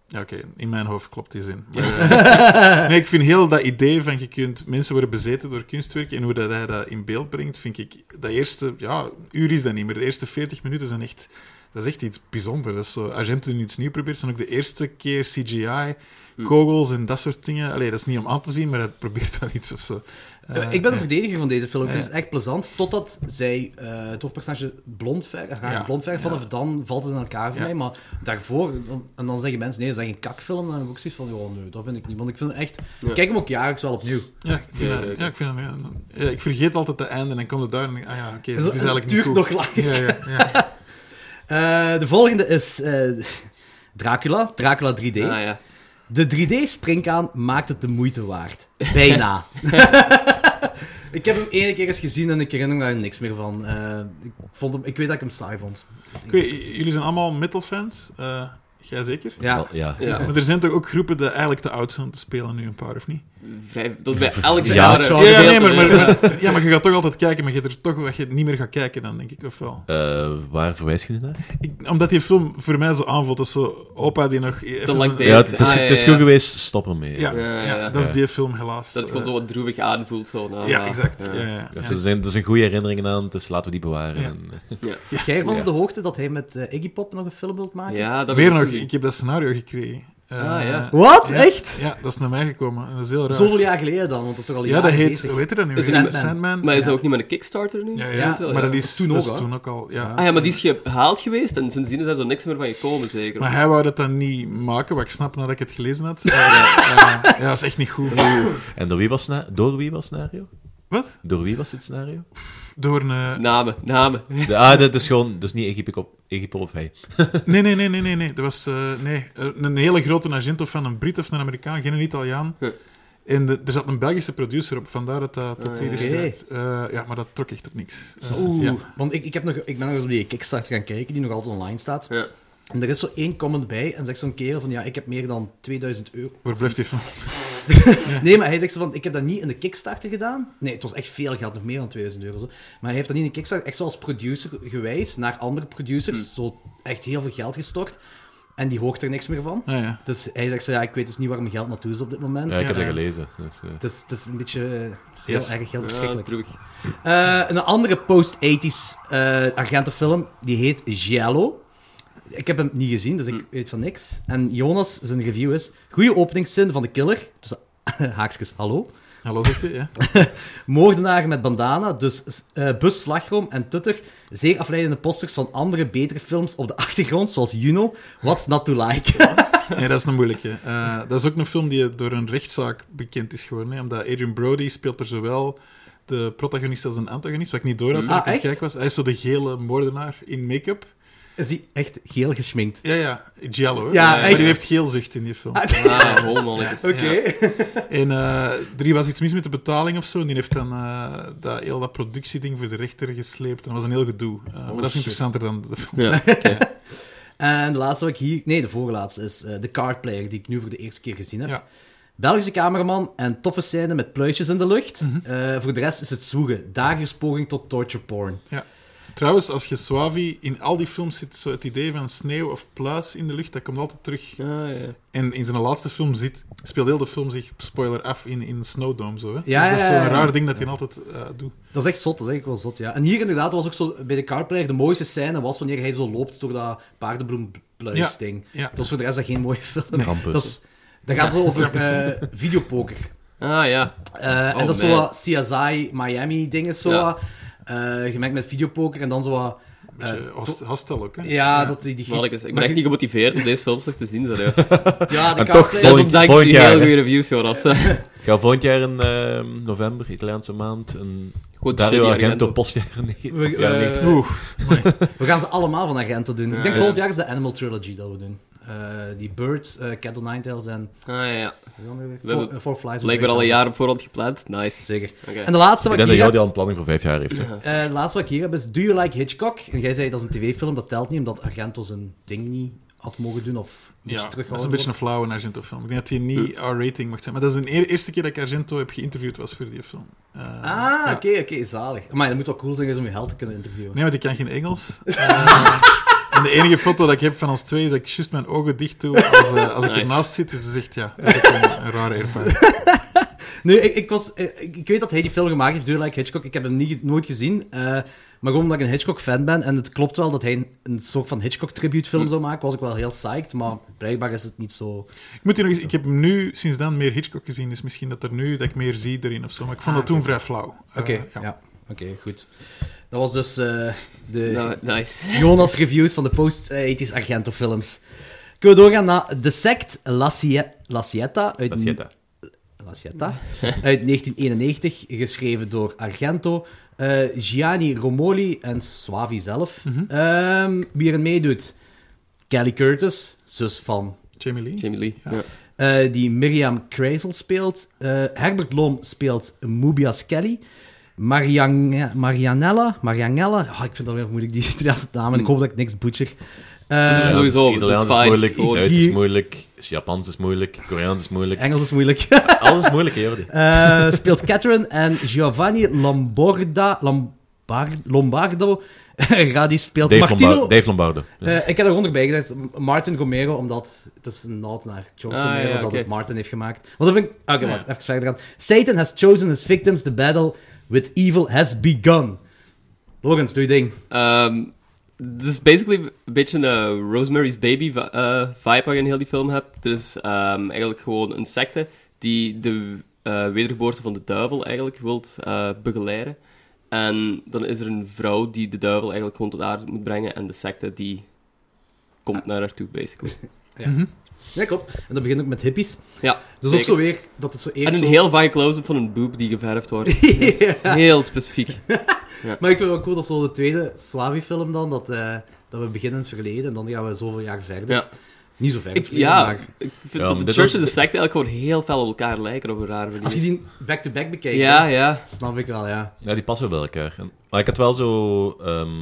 [SPEAKER 7] Ja, oké, in mijn hoofd klopt die
[SPEAKER 5] (laughs)
[SPEAKER 7] zin. Maar, eh, nee, ik vind heel dat idee van je kunt mensen worden bezeten door kunstwerk en hoe dat hij dat in beeld brengt, vind ik dat eerste ja, uur is dat niet meer. De eerste 40 minuten zijn echt, dat is echt iets bijzonders. Dat is zo, Argento die iets nieuw probeert, zijn ook de eerste keer CGI,
[SPEAKER 5] Hm.
[SPEAKER 7] kogels en dat soort dingen. Allee, dat is niet om aan te zien, maar het probeert wel iets of zo. Eh,
[SPEAKER 5] Eh, ik ben een
[SPEAKER 7] eh,
[SPEAKER 5] verdediger van deze film. Ik vind het echt plezant. Totdat zij eh, het hoofdpersonage blond vergt. Haar
[SPEAKER 7] Ja,
[SPEAKER 5] blond vergt.
[SPEAKER 7] ja.
[SPEAKER 5] Vanaf dan valt het in elkaar voor
[SPEAKER 7] Ja.
[SPEAKER 5] mij. Maar daarvoor... En dan zeggen mensen... Nee, dat is echt een kakfilm. En dan heb ik ook zoiets van... Oh, nee, dat vind ik niet. Want ik vind het echt...
[SPEAKER 8] Ja.
[SPEAKER 5] Kijk hem ook jaarlijks wel opnieuw.
[SPEAKER 7] Ja, ik vind
[SPEAKER 8] Ja,
[SPEAKER 7] dat-
[SPEAKER 8] ja,
[SPEAKER 7] ja, ik vind dat- ja, ik vergeet altijd het einde en dan komt het daar en denk ik, ah ja, oké, dit is
[SPEAKER 5] het
[SPEAKER 7] eigenlijk niet
[SPEAKER 5] duurt
[SPEAKER 7] goed.
[SPEAKER 5] nog langer.
[SPEAKER 7] Ja, ja, ja.
[SPEAKER 5] Eh, de volgende is... eh, Dracula. Dracula 3D.
[SPEAKER 8] Ah, ja.
[SPEAKER 5] De 3D-springkaan maakt het de moeite
[SPEAKER 7] (laughs)
[SPEAKER 5] waard. Bijna. (laughs) ik heb hem één keer eens gezien en ik herinner me daar niks meer van. Eh, ik, vond hem, ik weet dat ik hem saai vond.
[SPEAKER 7] Ik weet, j- jullie zijn allemaal metalfans. Eh jij zeker?
[SPEAKER 5] Ja.
[SPEAKER 6] ja.
[SPEAKER 8] Ja.
[SPEAKER 7] (laughs) Maar er zijn toch ook groepen die eigenlijk te oud zijn om te spelen nu een paar, of niet?
[SPEAKER 8] (laughs) Vrij, dat is bij elk
[SPEAKER 6] Ja,
[SPEAKER 8] genre.
[SPEAKER 5] Charles.
[SPEAKER 7] Ja, ja,
[SPEAKER 8] Heel
[SPEAKER 7] nee, maar, maar,
[SPEAKER 8] terug.
[SPEAKER 7] maar- ja, maar je gaat toch altijd kijken, maar je hebt er toch wat je niet meer gaat kijken dan, denk ik, of wel?
[SPEAKER 6] Eh, waar verwijs je nu naar?
[SPEAKER 7] Ik, omdat die film voor mij zo aanvoelt, dat is zo opa die nog... even
[SPEAKER 8] lang
[SPEAKER 7] zo'n-
[SPEAKER 8] bij-
[SPEAKER 6] Ja, het, het is,
[SPEAKER 8] Ah, ja,
[SPEAKER 6] het is
[SPEAKER 8] ja.
[SPEAKER 6] goed geweest, stop ermee.
[SPEAKER 7] Ja,
[SPEAKER 8] Ja, ja,
[SPEAKER 7] ja,
[SPEAKER 8] ja.
[SPEAKER 7] dat is die film, helaas.
[SPEAKER 8] Dat het gewoon
[SPEAKER 7] Eh,
[SPEAKER 8] zo wat droevig aanvoelt. Zo, na-
[SPEAKER 7] Ja,
[SPEAKER 8] na-
[SPEAKER 7] exact. Ja,
[SPEAKER 8] ja.
[SPEAKER 7] ja, ja.
[SPEAKER 6] Dus er, zijn, er zijn goede herinneringen aan, dus laten we die bewaren.
[SPEAKER 7] Ja.
[SPEAKER 6] En, eh,
[SPEAKER 8] Ja.
[SPEAKER 5] Zit jij van
[SPEAKER 6] Ja.
[SPEAKER 5] op de hoogte dat hij met eh, Iggy Pop nog een film wilt maken?
[SPEAKER 8] Ja, dat
[SPEAKER 7] Weer
[SPEAKER 8] weet
[SPEAKER 7] nog,
[SPEAKER 8] ik
[SPEAKER 7] ik
[SPEAKER 8] niet.
[SPEAKER 7] heb dat scenario gekregen. Eh,
[SPEAKER 8] Ah, ja.
[SPEAKER 5] Wat?
[SPEAKER 7] Ja.
[SPEAKER 5] Echt?
[SPEAKER 7] Ja, dat is naar mij gekomen. en Dat is heel raar.
[SPEAKER 5] Zoveel jaar geleden dan, want dat is toch al
[SPEAKER 7] Ja,
[SPEAKER 5] jaren
[SPEAKER 7] dat heet...
[SPEAKER 5] bezig.
[SPEAKER 7] Hoe heet je dat nu?
[SPEAKER 5] Is
[SPEAKER 7] weer?
[SPEAKER 5] Sandman.
[SPEAKER 8] Maar is
[SPEAKER 7] ja.
[SPEAKER 8] dat ook niet met een Kickstarter nu?
[SPEAKER 7] Ja, ja,
[SPEAKER 5] Ja,
[SPEAKER 7] maar dat is
[SPEAKER 5] toen
[SPEAKER 7] toen
[SPEAKER 5] ook,
[SPEAKER 7] ook,
[SPEAKER 5] hè?
[SPEAKER 7] toen ook al. Ja.
[SPEAKER 8] Ah ja, maar die is gehaald geweest en sindsdien is daar zo niks meer van gekomen, zeker.
[SPEAKER 7] Maar hij wou dat dan niet maken, wat ik snap nadat ik het gelezen had. Eh, eh, ja, dat is echt niet goed.
[SPEAKER 6] en door, wie was na- door wie was het scenario?
[SPEAKER 7] Wat?
[SPEAKER 6] Door wie was dit scenario?
[SPEAKER 7] Door een... eh,
[SPEAKER 8] Namen, namen.
[SPEAKER 6] De, ah, dat is gewoon, dus niet Egypte op, Egypte of hij.
[SPEAKER 7] Nee, nee, nee, nee, nee. nee. Dat was eh, nee. een een hele grote Argento van een Brit of een Amerikaan, geen een Italiaan.
[SPEAKER 8] Huh.
[SPEAKER 7] En de- er zat een Belgische producer op, vandaar dat dat tot hier is
[SPEAKER 5] Oké.
[SPEAKER 7] geraakt. Eh, Ja, maar dat trok echt op niks. Eh,
[SPEAKER 5] Oeh,
[SPEAKER 7] ja.
[SPEAKER 5] want ik, ik, heb nog, ik ben nog eens op die Kickstarter gaan kijken, die nog altijd online staat.
[SPEAKER 8] Ja.
[SPEAKER 5] En er is zo één comment bij en zegt zo'n kerel van, ja, ik heb meer dan 2000 euro.
[SPEAKER 7] Waar blijft die van?
[SPEAKER 5] Nee, maar hij zegt zo van, ik heb dat niet in de Kickstarter gedaan. Nee, het was echt veel geld, nog meer dan 2000 euro. Zo. Maar hij heeft dat niet in de Kickstarter, echt zo als producer gewijs, naar andere producers, zo echt heel veel geld gestort. En die hoort er niks meer van.
[SPEAKER 7] Ah, ja.
[SPEAKER 5] Dus hij zegt zo, ja, ik weet dus niet waar mijn geld naartoe is op dit moment.
[SPEAKER 6] Ja, ik heb
[SPEAKER 7] Ja.
[SPEAKER 6] dat gelezen. Dus, eh,
[SPEAKER 5] Het is, het is een beetje eh, het is heel
[SPEAKER 7] Yes.
[SPEAKER 5] erg, heel
[SPEAKER 8] Ja,
[SPEAKER 5] verschrikkelijk.
[SPEAKER 8] Ah, droevig.
[SPEAKER 5] Eh, een andere post-80s eh Argento-film, die heet Giallo. Ik heb hem niet gezien, dus ik
[SPEAKER 7] Mm.
[SPEAKER 5] weet van niks. En Jonas, zijn review is... Goeie openingszin van de killer. Dus (laughs) haakjes, hallo.
[SPEAKER 7] Hallo, zegt hij, ja.
[SPEAKER 5] Moordenaar met bandana, dus eh bus, slagroom en tutter. Zeer afleidende posters van andere, betere films op de achtergrond, zoals Juno. What's not to like? (laughs)
[SPEAKER 7] Nee, dat is een moeilijke. Eh, dat is ook een film die door een rechtszaak bekend is geworden. Hè, omdat Adrian Brody speelt er zowel de protagonist als een antagonist, wat ik niet door had toen
[SPEAKER 5] Ah,
[SPEAKER 7] ik aan
[SPEAKER 5] echt?
[SPEAKER 7] het kijken was. Hij is zo de gele moordenaar in make-up.
[SPEAKER 5] is hij echt geel gesminkt. (laughs)
[SPEAKER 7] Ja, ja, Giallo. hè. Eh,
[SPEAKER 5] Ja,
[SPEAKER 7] Maar
[SPEAKER 5] echt.
[SPEAKER 7] die heeft geelzicht in die
[SPEAKER 5] (laughs)
[SPEAKER 7] film.
[SPEAKER 8] Ah, oh, mannetjes.
[SPEAKER 7] Ja. En eh, er was iets mis met de betaling of zo. En die heeft dan eh, dat, heel dat productieding voor de rechter gesleept. En dat was een heel gedoe. Eh,
[SPEAKER 5] Oh,
[SPEAKER 7] maar dat is interessanter dan de film. (laughs)
[SPEAKER 6] Ja.
[SPEAKER 5] En de laatste wat ik hier... Nee, de voorlaatste is eh, de Card Player, die ik nu voor de eerste keer gezien heb.
[SPEAKER 7] Ja.
[SPEAKER 5] Belgische cameraman en toffe scène met pluisjes in de lucht. Eh, voor de rest is het zwoegen. Dagelijks poging tot torture porn.
[SPEAKER 7] Trouwens, als je Swavi in al die films zit, zo het idee van sneeuw of pluis in de lucht, dat komt altijd terug.
[SPEAKER 8] Ah, ja.
[SPEAKER 7] En in zijn laatste film zit, speelt heel de film zich spoiler af in, in Snowdome. Zo, hè?
[SPEAKER 5] Ja,
[SPEAKER 7] dus dat is
[SPEAKER 5] ja,
[SPEAKER 7] zo'n
[SPEAKER 5] ja, ja.
[SPEAKER 7] raar ding dat hij altijd eh, doet.
[SPEAKER 5] Dat is echt zot, dat is echt wel zot, ja. En hier inderdaad was ook zo, bij de carplayer, de mooiste scène was wanneer hij zo loopt door dat
[SPEAKER 7] Ja,
[SPEAKER 5] paardenbloempluis-ding.
[SPEAKER 7] ja.
[SPEAKER 5] Dat is voor de rest dat geen mooie film.
[SPEAKER 6] Krampus.
[SPEAKER 5] Dat, is, dat gaat wel over eh, videopoker.
[SPEAKER 8] Ah, ja.
[SPEAKER 5] Eh, en dat is zo
[SPEAKER 8] man.
[SPEAKER 5] wat CSI Miami-ding is zo
[SPEAKER 8] Ja.
[SPEAKER 5] wat, eh, gemengd met videopoker en dan zo wat...
[SPEAKER 7] Een beetje host- hostel ook. Hè?
[SPEAKER 5] Eh, Ja, dat die... die
[SPEAKER 8] Mannetjes. Ik
[SPEAKER 5] maar
[SPEAKER 8] ben echt
[SPEAKER 5] die-
[SPEAKER 8] niet gemotiveerd om deze films nog te zien. Zo, ja.
[SPEAKER 5] Ja, de
[SPEAKER 4] En toch
[SPEAKER 5] carplayer-
[SPEAKER 8] Dat is
[SPEAKER 4] Volgend-
[SPEAKER 8] omdat ik
[SPEAKER 4] volgend
[SPEAKER 8] zie
[SPEAKER 4] jaar,
[SPEAKER 8] heel
[SPEAKER 4] hè.
[SPEAKER 8] goede reviews hoor. Als, eh, (laughs)
[SPEAKER 6] Ik ga volgend jaar in eh, november, Italiaanse maand, een
[SPEAKER 8] Goed,
[SPEAKER 6] Dario
[SPEAKER 8] shitty
[SPEAKER 6] Argento
[SPEAKER 8] Argento.
[SPEAKER 6] post jaren negen-
[SPEAKER 5] We-
[SPEAKER 6] of jaren
[SPEAKER 5] eh,
[SPEAKER 6] 90.
[SPEAKER 5] (laughs)
[SPEAKER 7] Oeh,
[SPEAKER 5] We gaan ze allemaal van Argento doen. Ik denk
[SPEAKER 8] Ja.
[SPEAKER 5] volgend jaar is de Animal Trilogy dat we doen. Eh, die Birds, eh, Cat on Ninetales en...
[SPEAKER 8] Ah, ja, ja.
[SPEAKER 5] Four, eh, Four Flies.
[SPEAKER 8] Blijkbaar al een jaar op voorhand gepland. Nice.
[SPEAKER 5] Zeker.
[SPEAKER 8] Oké.
[SPEAKER 5] En de laatste
[SPEAKER 6] Ik
[SPEAKER 5] wat ik
[SPEAKER 6] denk dat
[SPEAKER 5] hier
[SPEAKER 6] jou
[SPEAKER 5] heb...
[SPEAKER 6] die al een planning voor vijf jaar heeft. hè.
[SPEAKER 5] eh, de laatste wat ik hier heb is Do You Like Hitchcock? En jij zei dat is een tv-film, dat telt niet, omdat Argento zijn ding niet had mogen doen of moest
[SPEAKER 7] Ja, dat is een
[SPEAKER 5] terughouden.
[SPEAKER 7] beetje een flauwe Argento-film. Ik denk dat hij niet
[SPEAKER 5] Eh.
[SPEAKER 7] R-rating mocht zijn. Maar dat is de e- eerste keer dat ik Argento heb geïnterviewd was voor die film. Eh,
[SPEAKER 5] Ah,
[SPEAKER 7] ja.
[SPEAKER 5] oké, oké, zalig. Maar dat moet wel cool zijn om je held te kunnen interviewen.
[SPEAKER 7] Nee, want ik kan geen
[SPEAKER 5] (laughs)
[SPEAKER 7] Engels. Eh, en de enige foto dat ik heb van ons twee is dat ik juist mijn ogen dicht doe als, eh, als ik
[SPEAKER 8] Nice.
[SPEAKER 7] ernaast zit. Dus ze zegt ja, dat is een, een rare ervaring.
[SPEAKER 5] Nee, ik, ik, was, eh, ik, ik weet dat hij die film gemaakt heeft, Do You Like Hitchcock. Ik heb hem niet, nooit gezien. eh, maar gewoon omdat ik een Hitchcock-fan ben. En het klopt wel dat hij een, een soort van Hitchcock-tribute-film zou maken. Was ik wel heel psyched, maar blijkbaar is het niet zo...
[SPEAKER 7] Ik, moet hier nog eens, ik heb nu sinds dan meer Hitchcock gezien, dus misschien dat er nu dat ik meer zie erin of zo. Maar ik vond
[SPEAKER 5] Ah,
[SPEAKER 7] dat toen vrij flauw. Eh,
[SPEAKER 5] Oké,
[SPEAKER 7] ja.
[SPEAKER 5] ja. Oké, goed. Dat was dus eh, de
[SPEAKER 8] Nou, nice.
[SPEAKER 5] Jonas Reviews van de post-80s Argento films. Kunnen we doorgaan naar The Sect La, Cie- La Cieta uit,
[SPEAKER 6] Dat is Jetta.
[SPEAKER 5] La Cieta, uit 1991, geschreven door Argento, eh, Gianni Romoli en Suavi zelf. Ehm, wie er meedoet? Kelly Curtis, zus van
[SPEAKER 7] Jamie Lee.
[SPEAKER 8] Jamie Lee. Ja.
[SPEAKER 5] eh, die Miriam Kreisel speelt. Eh, Herbert Lom speelt Mubias Kelly. Marianne- Marianella, Marianella, Ah, ik vind dat weer moeilijk, die Italiaanse namen. Ik hoop dat ik niks butcher. Eh,
[SPEAKER 8] Dat is sowieso, dat is
[SPEAKER 6] dus Italiaans is
[SPEAKER 8] fijn.
[SPEAKER 6] moeilijk,
[SPEAKER 8] Gewoon.
[SPEAKER 6] Duits is
[SPEAKER 5] Hier-
[SPEAKER 6] moeilijk, Japans is moeilijk, Koreaans is moeilijk.
[SPEAKER 5] Engels is moeilijk.
[SPEAKER 6] Alles is moeilijk, hè, Jordi.
[SPEAKER 5] Eh, speelt Catherine en Giovanni Lomborda, Lombar- Lombardo. (laughs) Ga die speelt
[SPEAKER 6] Dave,
[SPEAKER 5] Martino.
[SPEAKER 6] Lombardo, Dave Lombardo.
[SPEAKER 5] Eh, ik heb er gewoon nog bij gezegd, Martin Gomero, omdat het is een nod naar George
[SPEAKER 8] Ah,
[SPEAKER 5] Romero
[SPEAKER 8] ja,
[SPEAKER 5] dat
[SPEAKER 8] oké.
[SPEAKER 5] het Martin heeft gemaakt. Want dat vind ik... Ah, Oké, wacht, even verder gaan. Satan has chosen his victims, the battle with evil has begun. Logans, doe je ding.
[SPEAKER 8] Ehm, Het is basically een beetje een Rosemary's Baby vi- eh, vibe waar je in heel die film hebt. Er is ehm, eigenlijk gewoon een secte die de eh, wedergeboorte van de duivel eigenlijk wilt eh, begeleiden. En dan is er een vrouw die de duivel eigenlijk gewoon tot aarde moet brengen en de secte die
[SPEAKER 5] Ah.
[SPEAKER 8] komt naar haar toe,
[SPEAKER 5] (laughs)
[SPEAKER 8] basically.
[SPEAKER 5] Ja, klopt. En dat begint ook met hippies.
[SPEAKER 8] Ja,
[SPEAKER 5] Dus
[SPEAKER 8] zeker.
[SPEAKER 5] ook zo weer dat het zo eerst
[SPEAKER 8] En een
[SPEAKER 5] zo-
[SPEAKER 8] heel vaag close-up van een boob die geverfd
[SPEAKER 5] (laughs)
[SPEAKER 8] wordt. Dat is
[SPEAKER 5] Ja.
[SPEAKER 8] Heel
[SPEAKER 5] (laughs)
[SPEAKER 8] specifiek.
[SPEAKER 5] Maar ik vind het wel cool dat zo de tweede Slavi-film dan, dat, eh, dat we beginnen in het verleden en dan gaan we zoveel jaar verder.
[SPEAKER 8] Ja.
[SPEAKER 5] Niet zo ver in
[SPEAKER 8] Ik,
[SPEAKER 5] het verleden,
[SPEAKER 8] ja,
[SPEAKER 5] maar...
[SPEAKER 8] ik
[SPEAKER 6] Ja,
[SPEAKER 8] vind
[SPEAKER 6] maar
[SPEAKER 8] dat de
[SPEAKER 6] dit
[SPEAKER 8] church
[SPEAKER 6] was-
[SPEAKER 8] en de secte eigenlijk gewoon heel fel op elkaar lijken op een rare manier.
[SPEAKER 5] Als je die back-to-back bekijkt,
[SPEAKER 8] Ja,
[SPEAKER 5] hè,
[SPEAKER 8] ja.
[SPEAKER 5] snap ik wel, ja.
[SPEAKER 6] Ja, die passen wel bij elkaar. En- maar ik had wel zo ehm,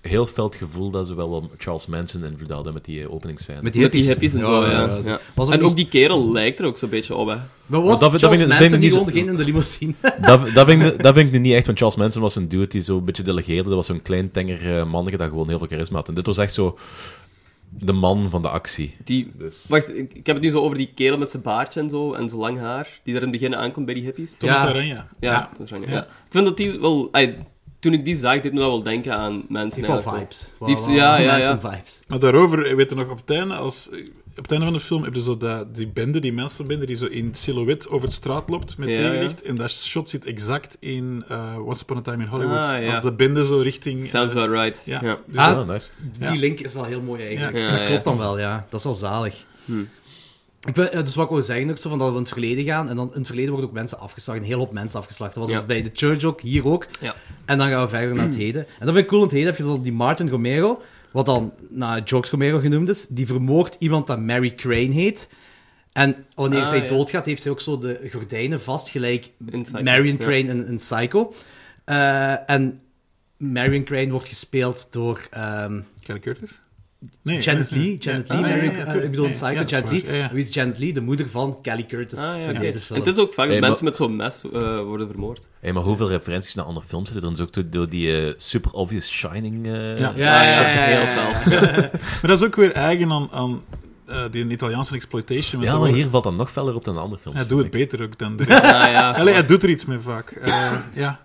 [SPEAKER 6] heel fel het gevoel dat ze wel wat Charles Manson invloed hadden met die eh, openingsscène.
[SPEAKER 5] Met
[SPEAKER 8] Met die hippies en zo, ja.
[SPEAKER 5] ja.
[SPEAKER 8] Ja.
[SPEAKER 5] Was ook
[SPEAKER 8] en
[SPEAKER 5] niet-
[SPEAKER 8] ook die kerel lijkt er ook zo'n beetje op, hè.
[SPEAKER 5] Maar was
[SPEAKER 6] Want dat-
[SPEAKER 5] Charles
[SPEAKER 6] dat vind
[SPEAKER 5] Manson
[SPEAKER 6] ik- vind ik
[SPEAKER 5] niet
[SPEAKER 6] niet zo-
[SPEAKER 5] gewoon degene in de limousine?
[SPEAKER 6] Dat, dat, vind ik, dat vind ik nu niet echt, want Charles Manson was een dude die zo'n beetje delegeerde. Dat was zo'n klein, tenger eh, mannetje dat gewoon heel veel charisma had. En dit was echt zo de man van de actie.
[SPEAKER 8] Die...
[SPEAKER 6] Dus...
[SPEAKER 8] Wacht, ik, ik heb het nu zo over die kerel met zijn baardje en zo, en zijn lang haar, die daar in het begin aankomt bij die hippies.
[SPEAKER 7] Thomas
[SPEAKER 5] Ja.
[SPEAKER 7] Aranya.
[SPEAKER 8] Ja, dat is Ranja, ja. Ik vind dat die wel... ey, toen ik die zag, deed me dat wel denken aan mensen.
[SPEAKER 5] Die heeft wel
[SPEAKER 8] eigenlijk.
[SPEAKER 5] vibes.
[SPEAKER 8] Die heeft- ja, ja, ja.
[SPEAKER 5] Manson vibes.
[SPEAKER 7] Maar daarover, weet je nog, op het einde, als, op het einde van de film heb je zo dat, die bende, die mensenbende, die zo in silhouet over de straat loopt met
[SPEAKER 8] Ja,
[SPEAKER 7] tegenlicht. En dat shot zit exact in eh, Once Upon a Time in Hollywood.
[SPEAKER 8] Ah, ja.
[SPEAKER 7] Als de bende zo richting... eh,
[SPEAKER 8] Sounds about right.
[SPEAKER 7] ja.
[SPEAKER 8] Ja. Ja.
[SPEAKER 7] Dus
[SPEAKER 5] Ah.
[SPEAKER 7] dat-
[SPEAKER 6] Ja, nice.
[SPEAKER 5] Die
[SPEAKER 7] Ja.
[SPEAKER 5] link is wel heel mooi eigenlijk.
[SPEAKER 8] Ja,
[SPEAKER 5] dat
[SPEAKER 8] ja.
[SPEAKER 5] klopt dan wel, ja. Dat is wel zalig.
[SPEAKER 8] Hmm.
[SPEAKER 5] Ik wil, eh, dus wat ik wil zeggen ook zo, van dat we in het verleden gaan. En dan in het verleden worden ook mensen afgeslacht. Een heel hoop mensen afgeslacht. Dat was
[SPEAKER 8] Ja.
[SPEAKER 5] dus bij de church ook, hier ook.
[SPEAKER 8] Ja. (clears throat)
[SPEAKER 5] En dan gaan we verder naar het heden. En dat vind ik cool, in het heden heb je dan die Martin Romero. wat dan naar George Romero genoemd is, die vermoordt iemand dat Mary Crane heet. En wanneer
[SPEAKER 8] Ah,
[SPEAKER 5] zij
[SPEAKER 8] ja.
[SPEAKER 5] doodgaat, heeft zij ook zo de gordijnen vast, gelijk
[SPEAKER 8] In Psycho,
[SPEAKER 5] Marion
[SPEAKER 8] ja.
[SPEAKER 5] Crane in, in Psycho. Eh, en Marion Crane wordt gespeeld door ehm,
[SPEAKER 7] Kelly Curtis? Nee.
[SPEAKER 5] Janet
[SPEAKER 7] eh,
[SPEAKER 5] Lee. Janet
[SPEAKER 7] ja,
[SPEAKER 5] Lee,
[SPEAKER 7] ah, ja, ja,
[SPEAKER 5] Marion-
[SPEAKER 7] ja,
[SPEAKER 5] eh,
[SPEAKER 7] tuurlijk.
[SPEAKER 5] ik bedoel, in
[SPEAKER 7] Nee,
[SPEAKER 5] Psycho,
[SPEAKER 7] ja, dat is
[SPEAKER 5] Janet
[SPEAKER 7] waar.
[SPEAKER 5] Lee.
[SPEAKER 7] Ja, ja.
[SPEAKER 5] Wie is Janet Lee? De moeder van Kelly Curtis
[SPEAKER 8] Ah, ja,
[SPEAKER 5] in
[SPEAKER 8] oké.
[SPEAKER 5] deze
[SPEAKER 8] En
[SPEAKER 5] film.
[SPEAKER 8] het is ook vaak dat
[SPEAKER 6] Hey,
[SPEAKER 8] mensen
[SPEAKER 6] maar-
[SPEAKER 8] met zo'n mes eh, worden vermoord.
[SPEAKER 6] Hey, maar hoeveel referenties naar andere films zitten er dus ook door, door die eh, super obvious Shining? eh,
[SPEAKER 7] Ah, Ja.
[SPEAKER 5] Ja, ja, ja,
[SPEAKER 8] heel
[SPEAKER 5] ja, ja. (laughs)
[SPEAKER 8] fel.
[SPEAKER 7] Maar dat is ook weer eigen aan, aan eh, die Italiaanse exploitation. want
[SPEAKER 6] Ja, maar
[SPEAKER 7] dat wordt-
[SPEAKER 6] hier valt dat nog feller op dan de andere films.
[SPEAKER 7] Hij
[SPEAKER 6] vind
[SPEAKER 7] doet het
[SPEAKER 6] ik.
[SPEAKER 7] beter
[SPEAKER 6] (laughs)
[SPEAKER 7] ook dan de rest.
[SPEAKER 8] Ja, ja.
[SPEAKER 7] Allee, hij doet er iets mee vaak. Eh, ja.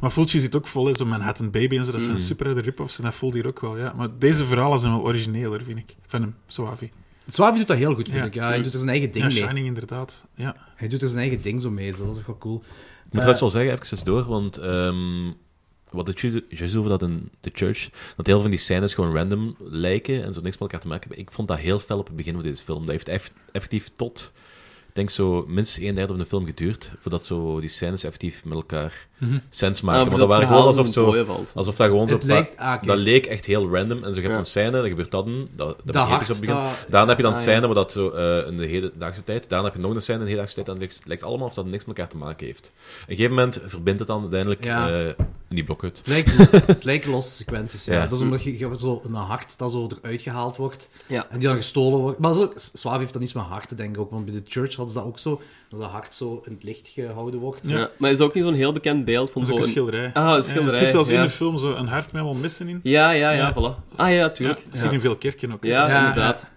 [SPEAKER 7] Maar Fulci zit ook vol, hè, zo Manhattan Baby en zo. Dat
[SPEAKER 6] Mm.
[SPEAKER 7] zijn super harde rip-offs en dat voelt hier ook wel, ja. Maar deze verhalen zijn wel origineler, vind ik. Van hem, Suavi.
[SPEAKER 5] Zwavi doet dat heel goed, vind
[SPEAKER 7] Ja. dus-
[SPEAKER 5] ik. Ja, hij doet er zijn eigen ding
[SPEAKER 7] Ja,
[SPEAKER 5] mee.
[SPEAKER 7] Shining inderdaad. Ja.
[SPEAKER 5] Hij doet er zijn eigen ding zo mee, zo. dat is ook wel cool.
[SPEAKER 6] Ik moet trouwens wel zeggen, even eens door, want ehm, wat het juist- juist over dat in The Church, dat heel veel van die scènes gewoon random lijken en zo niks met elkaar te maken hebben. Ik vond dat heel fel op het begin van deze film. Dat heeft eff- effectief tot, ik denk zo, minstens een derde van de film geduurd, voordat zo die scènes effectief met elkaar
[SPEAKER 7] Mhm.
[SPEAKER 6] sens maakten.
[SPEAKER 8] Maar
[SPEAKER 6] Want dat waren gewoon alsof zo...
[SPEAKER 8] valt.
[SPEAKER 6] Alsof dat gewoon zo...
[SPEAKER 5] Het
[SPEAKER 6] pa-
[SPEAKER 5] lijkt- ah, oké.
[SPEAKER 6] Dat leek echt heel random. En zo, je hebt
[SPEAKER 8] Ja.
[SPEAKER 6] een scène, dan gebeurt dat een... Dat,
[SPEAKER 5] Dat
[SPEAKER 6] dat, begreep ik zo op
[SPEAKER 7] dus
[SPEAKER 5] hakt,
[SPEAKER 6] het begin.
[SPEAKER 5] dat-
[SPEAKER 6] Daarna heb je dan
[SPEAKER 8] Ah, ja.
[SPEAKER 6] scène waar dat zo, eh, in de hedendaagse tijd... Daarna heb je nog een scène in de hedendaagse tijd. En het lijkt, het lijkt allemaal of dat niks met elkaar te maken heeft. Op een gegeven moment verbindt het dan uiteindelijk
[SPEAKER 5] Ja.
[SPEAKER 6] eh, in die blokhut.
[SPEAKER 5] Het lijkt, het lijkt losse sequenties, ja.
[SPEAKER 6] Ja.
[SPEAKER 5] Dat is omdat je, je hebt zo een hart dat zo eruit gehaald wordt.
[SPEAKER 8] Ja.
[SPEAKER 5] En die dan gestolen wordt. Maar dat is ook, Suave heeft dan iets met harten, denk ik ook. Want bij de church hadden ze dat ook zo. Dat dat hart zo in het licht gehouden wordt.
[SPEAKER 8] Ja. Maar is dat ook niet zo'n heel bekend beeld van
[SPEAKER 7] Dat is ook
[SPEAKER 8] zo'n...
[SPEAKER 7] een schilderij.
[SPEAKER 8] Ah, een
[SPEAKER 7] Ja,
[SPEAKER 8] schilderij,
[SPEAKER 7] het zit zelfs
[SPEAKER 8] ja.
[SPEAKER 7] in de film zo een hart met allemaal missen in.
[SPEAKER 8] Ja, ja, ja,
[SPEAKER 7] Ja.
[SPEAKER 8] voilà. Ah ja, tuurlijk.
[SPEAKER 7] Ja,
[SPEAKER 8] Ja,
[SPEAKER 7] Dat zit in veel kerken ook. hè. Dus
[SPEAKER 5] Ja.
[SPEAKER 8] inderdaad.
[SPEAKER 5] Dat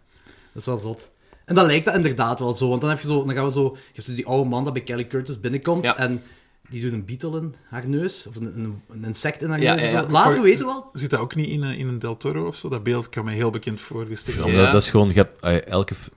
[SPEAKER 5] is wel zot. En dat lijkt dat inderdaad wel zo. Want dan heb je zo, dan gaan we zo, je hebt zo die oude man dat bij Kelly Curtis binnenkomt.
[SPEAKER 8] Ja.
[SPEAKER 5] En die doet een beetle in haar neus. Of een, een, een insect in haar
[SPEAKER 8] Ja,
[SPEAKER 5] neus. en
[SPEAKER 8] ja, ja.
[SPEAKER 5] zo. Later
[SPEAKER 7] Voor-
[SPEAKER 5] weten we wel.
[SPEAKER 7] Zit dat ook niet in, eh, in een Del Toro of zo? Dat beeld kan mij heel bekend voor. Die steekt
[SPEAKER 6] Dus
[SPEAKER 7] zo-
[SPEAKER 8] Ja.
[SPEAKER 6] omdat Dat is gewoon... Je hebt, eh, elke, f-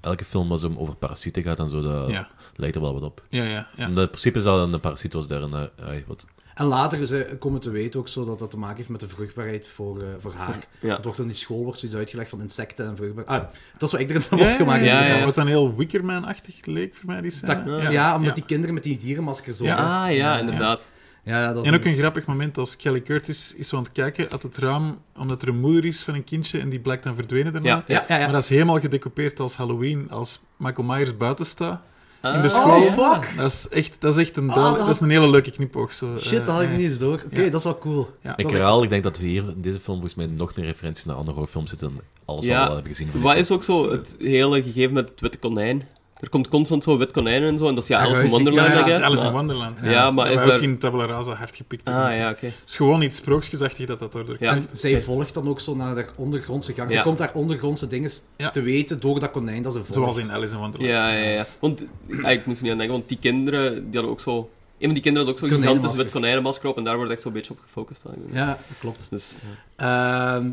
[SPEAKER 6] elke film als het over parasieten gaat en zo, dat
[SPEAKER 7] Ja.
[SPEAKER 6] lijkt er wel wat op.
[SPEAKER 7] Ja, ja, ja.
[SPEAKER 6] Omdat in principe is dat een parasiet was daar een... eh, ai, wat,
[SPEAKER 5] En later ze komen te weten ook zo dat dat te maken heeft met de vruchtbaarheid voor, eh, voor haar.
[SPEAKER 8] Ja.
[SPEAKER 5] Dat wordt in die school wordt zoiets uitgelegd van insecten en vruchtbaar. Ah, dat is wat ik erin
[SPEAKER 8] (laughs)
[SPEAKER 5] heb
[SPEAKER 7] Ja, ja,
[SPEAKER 5] opgemaakt.
[SPEAKER 7] ja,
[SPEAKER 8] Ja,
[SPEAKER 7] ja.
[SPEAKER 8] ja.
[SPEAKER 7] Wat dan heel Wickerman-achtig leek voor mij, die scène.
[SPEAKER 5] Dat- ja, omdat die kinderen met die dierenmaskers zo.
[SPEAKER 7] Ja.
[SPEAKER 5] Ja,
[SPEAKER 8] Ah ja, inderdaad.
[SPEAKER 5] ja dat is
[SPEAKER 7] En ook
[SPEAKER 5] een-
[SPEAKER 7] een grappig moment als Kelly Curtis is zo aan het kijken uit het raam, omdat er een moeder is van een kindje en die blijkt dan verdwenen daarna.
[SPEAKER 8] Ja.
[SPEAKER 5] ja, ja, ja.
[SPEAKER 7] Maar dat is helemaal gedecoupeerd als Halloween, als Michael Myers buiten staat in de
[SPEAKER 8] Ah.
[SPEAKER 7] school.
[SPEAKER 5] Oh, fuck!
[SPEAKER 7] Dat is echt, dat is echt een,
[SPEAKER 5] Ah,
[SPEAKER 7] duidelijk-
[SPEAKER 5] dat-
[SPEAKER 7] dat is een hele leuke knipoog. Zo,
[SPEAKER 5] Shit, dat
[SPEAKER 7] eh,
[SPEAKER 5] had ik
[SPEAKER 7] eh.
[SPEAKER 5] niet eens door. Oké,
[SPEAKER 7] Ja.
[SPEAKER 5] dat is wel cool.
[SPEAKER 7] Ja.
[SPEAKER 6] Ik herhaal, ik denk dat we hier in deze film volgens mij nog meer referenties naar andere horrorfilms zitten dan alles wat
[SPEAKER 8] Ja.
[SPEAKER 6] we al hebben gezien. van die
[SPEAKER 8] Wat
[SPEAKER 6] film.
[SPEAKER 8] is ook zo het hele gegeven met het witte konijn? Er komt constant zo'n wit konijn en zo, en dat is ja,
[SPEAKER 5] Ja,
[SPEAKER 8] Alice in
[SPEAKER 5] juist, ik-
[SPEAKER 8] Wonderland,
[SPEAKER 7] Ja,
[SPEAKER 8] I
[SPEAKER 7] dat is
[SPEAKER 8] guess,
[SPEAKER 7] Alice in
[SPEAKER 8] maar-
[SPEAKER 7] Wonderland.
[SPEAKER 8] Ja, maar
[SPEAKER 7] dat
[SPEAKER 8] is
[SPEAKER 7] hebben we
[SPEAKER 8] daar-
[SPEAKER 7] ook in Tabula Rasa hard gepikt.
[SPEAKER 8] Ah ja, oké.
[SPEAKER 7] Het is gewoon iets sprookjesachtig dat dat doordrukt.
[SPEAKER 8] Ja.
[SPEAKER 5] En zij volgt dan ook zo naar haar ondergrondse gang. Ze
[SPEAKER 8] Ja.
[SPEAKER 5] komt haar ondergrondse dingen
[SPEAKER 7] Ja.
[SPEAKER 5] te weten door dat konijn dat ze volgt.
[SPEAKER 7] Zoals in Alice in Wonderland.
[SPEAKER 8] Ja, ja, ja. Want eh, ik moest er niet aan denken, want die kinderen die hadden ook zo. Een van die kinderen had ook zo'n
[SPEAKER 5] Konijnenmasker.
[SPEAKER 8] gigantisch wit konijnenmasker op en daar wordt echt zo'n beetje op gefocust. dan.
[SPEAKER 5] Ja, dat klopt.
[SPEAKER 8] Dus,
[SPEAKER 5] Ehm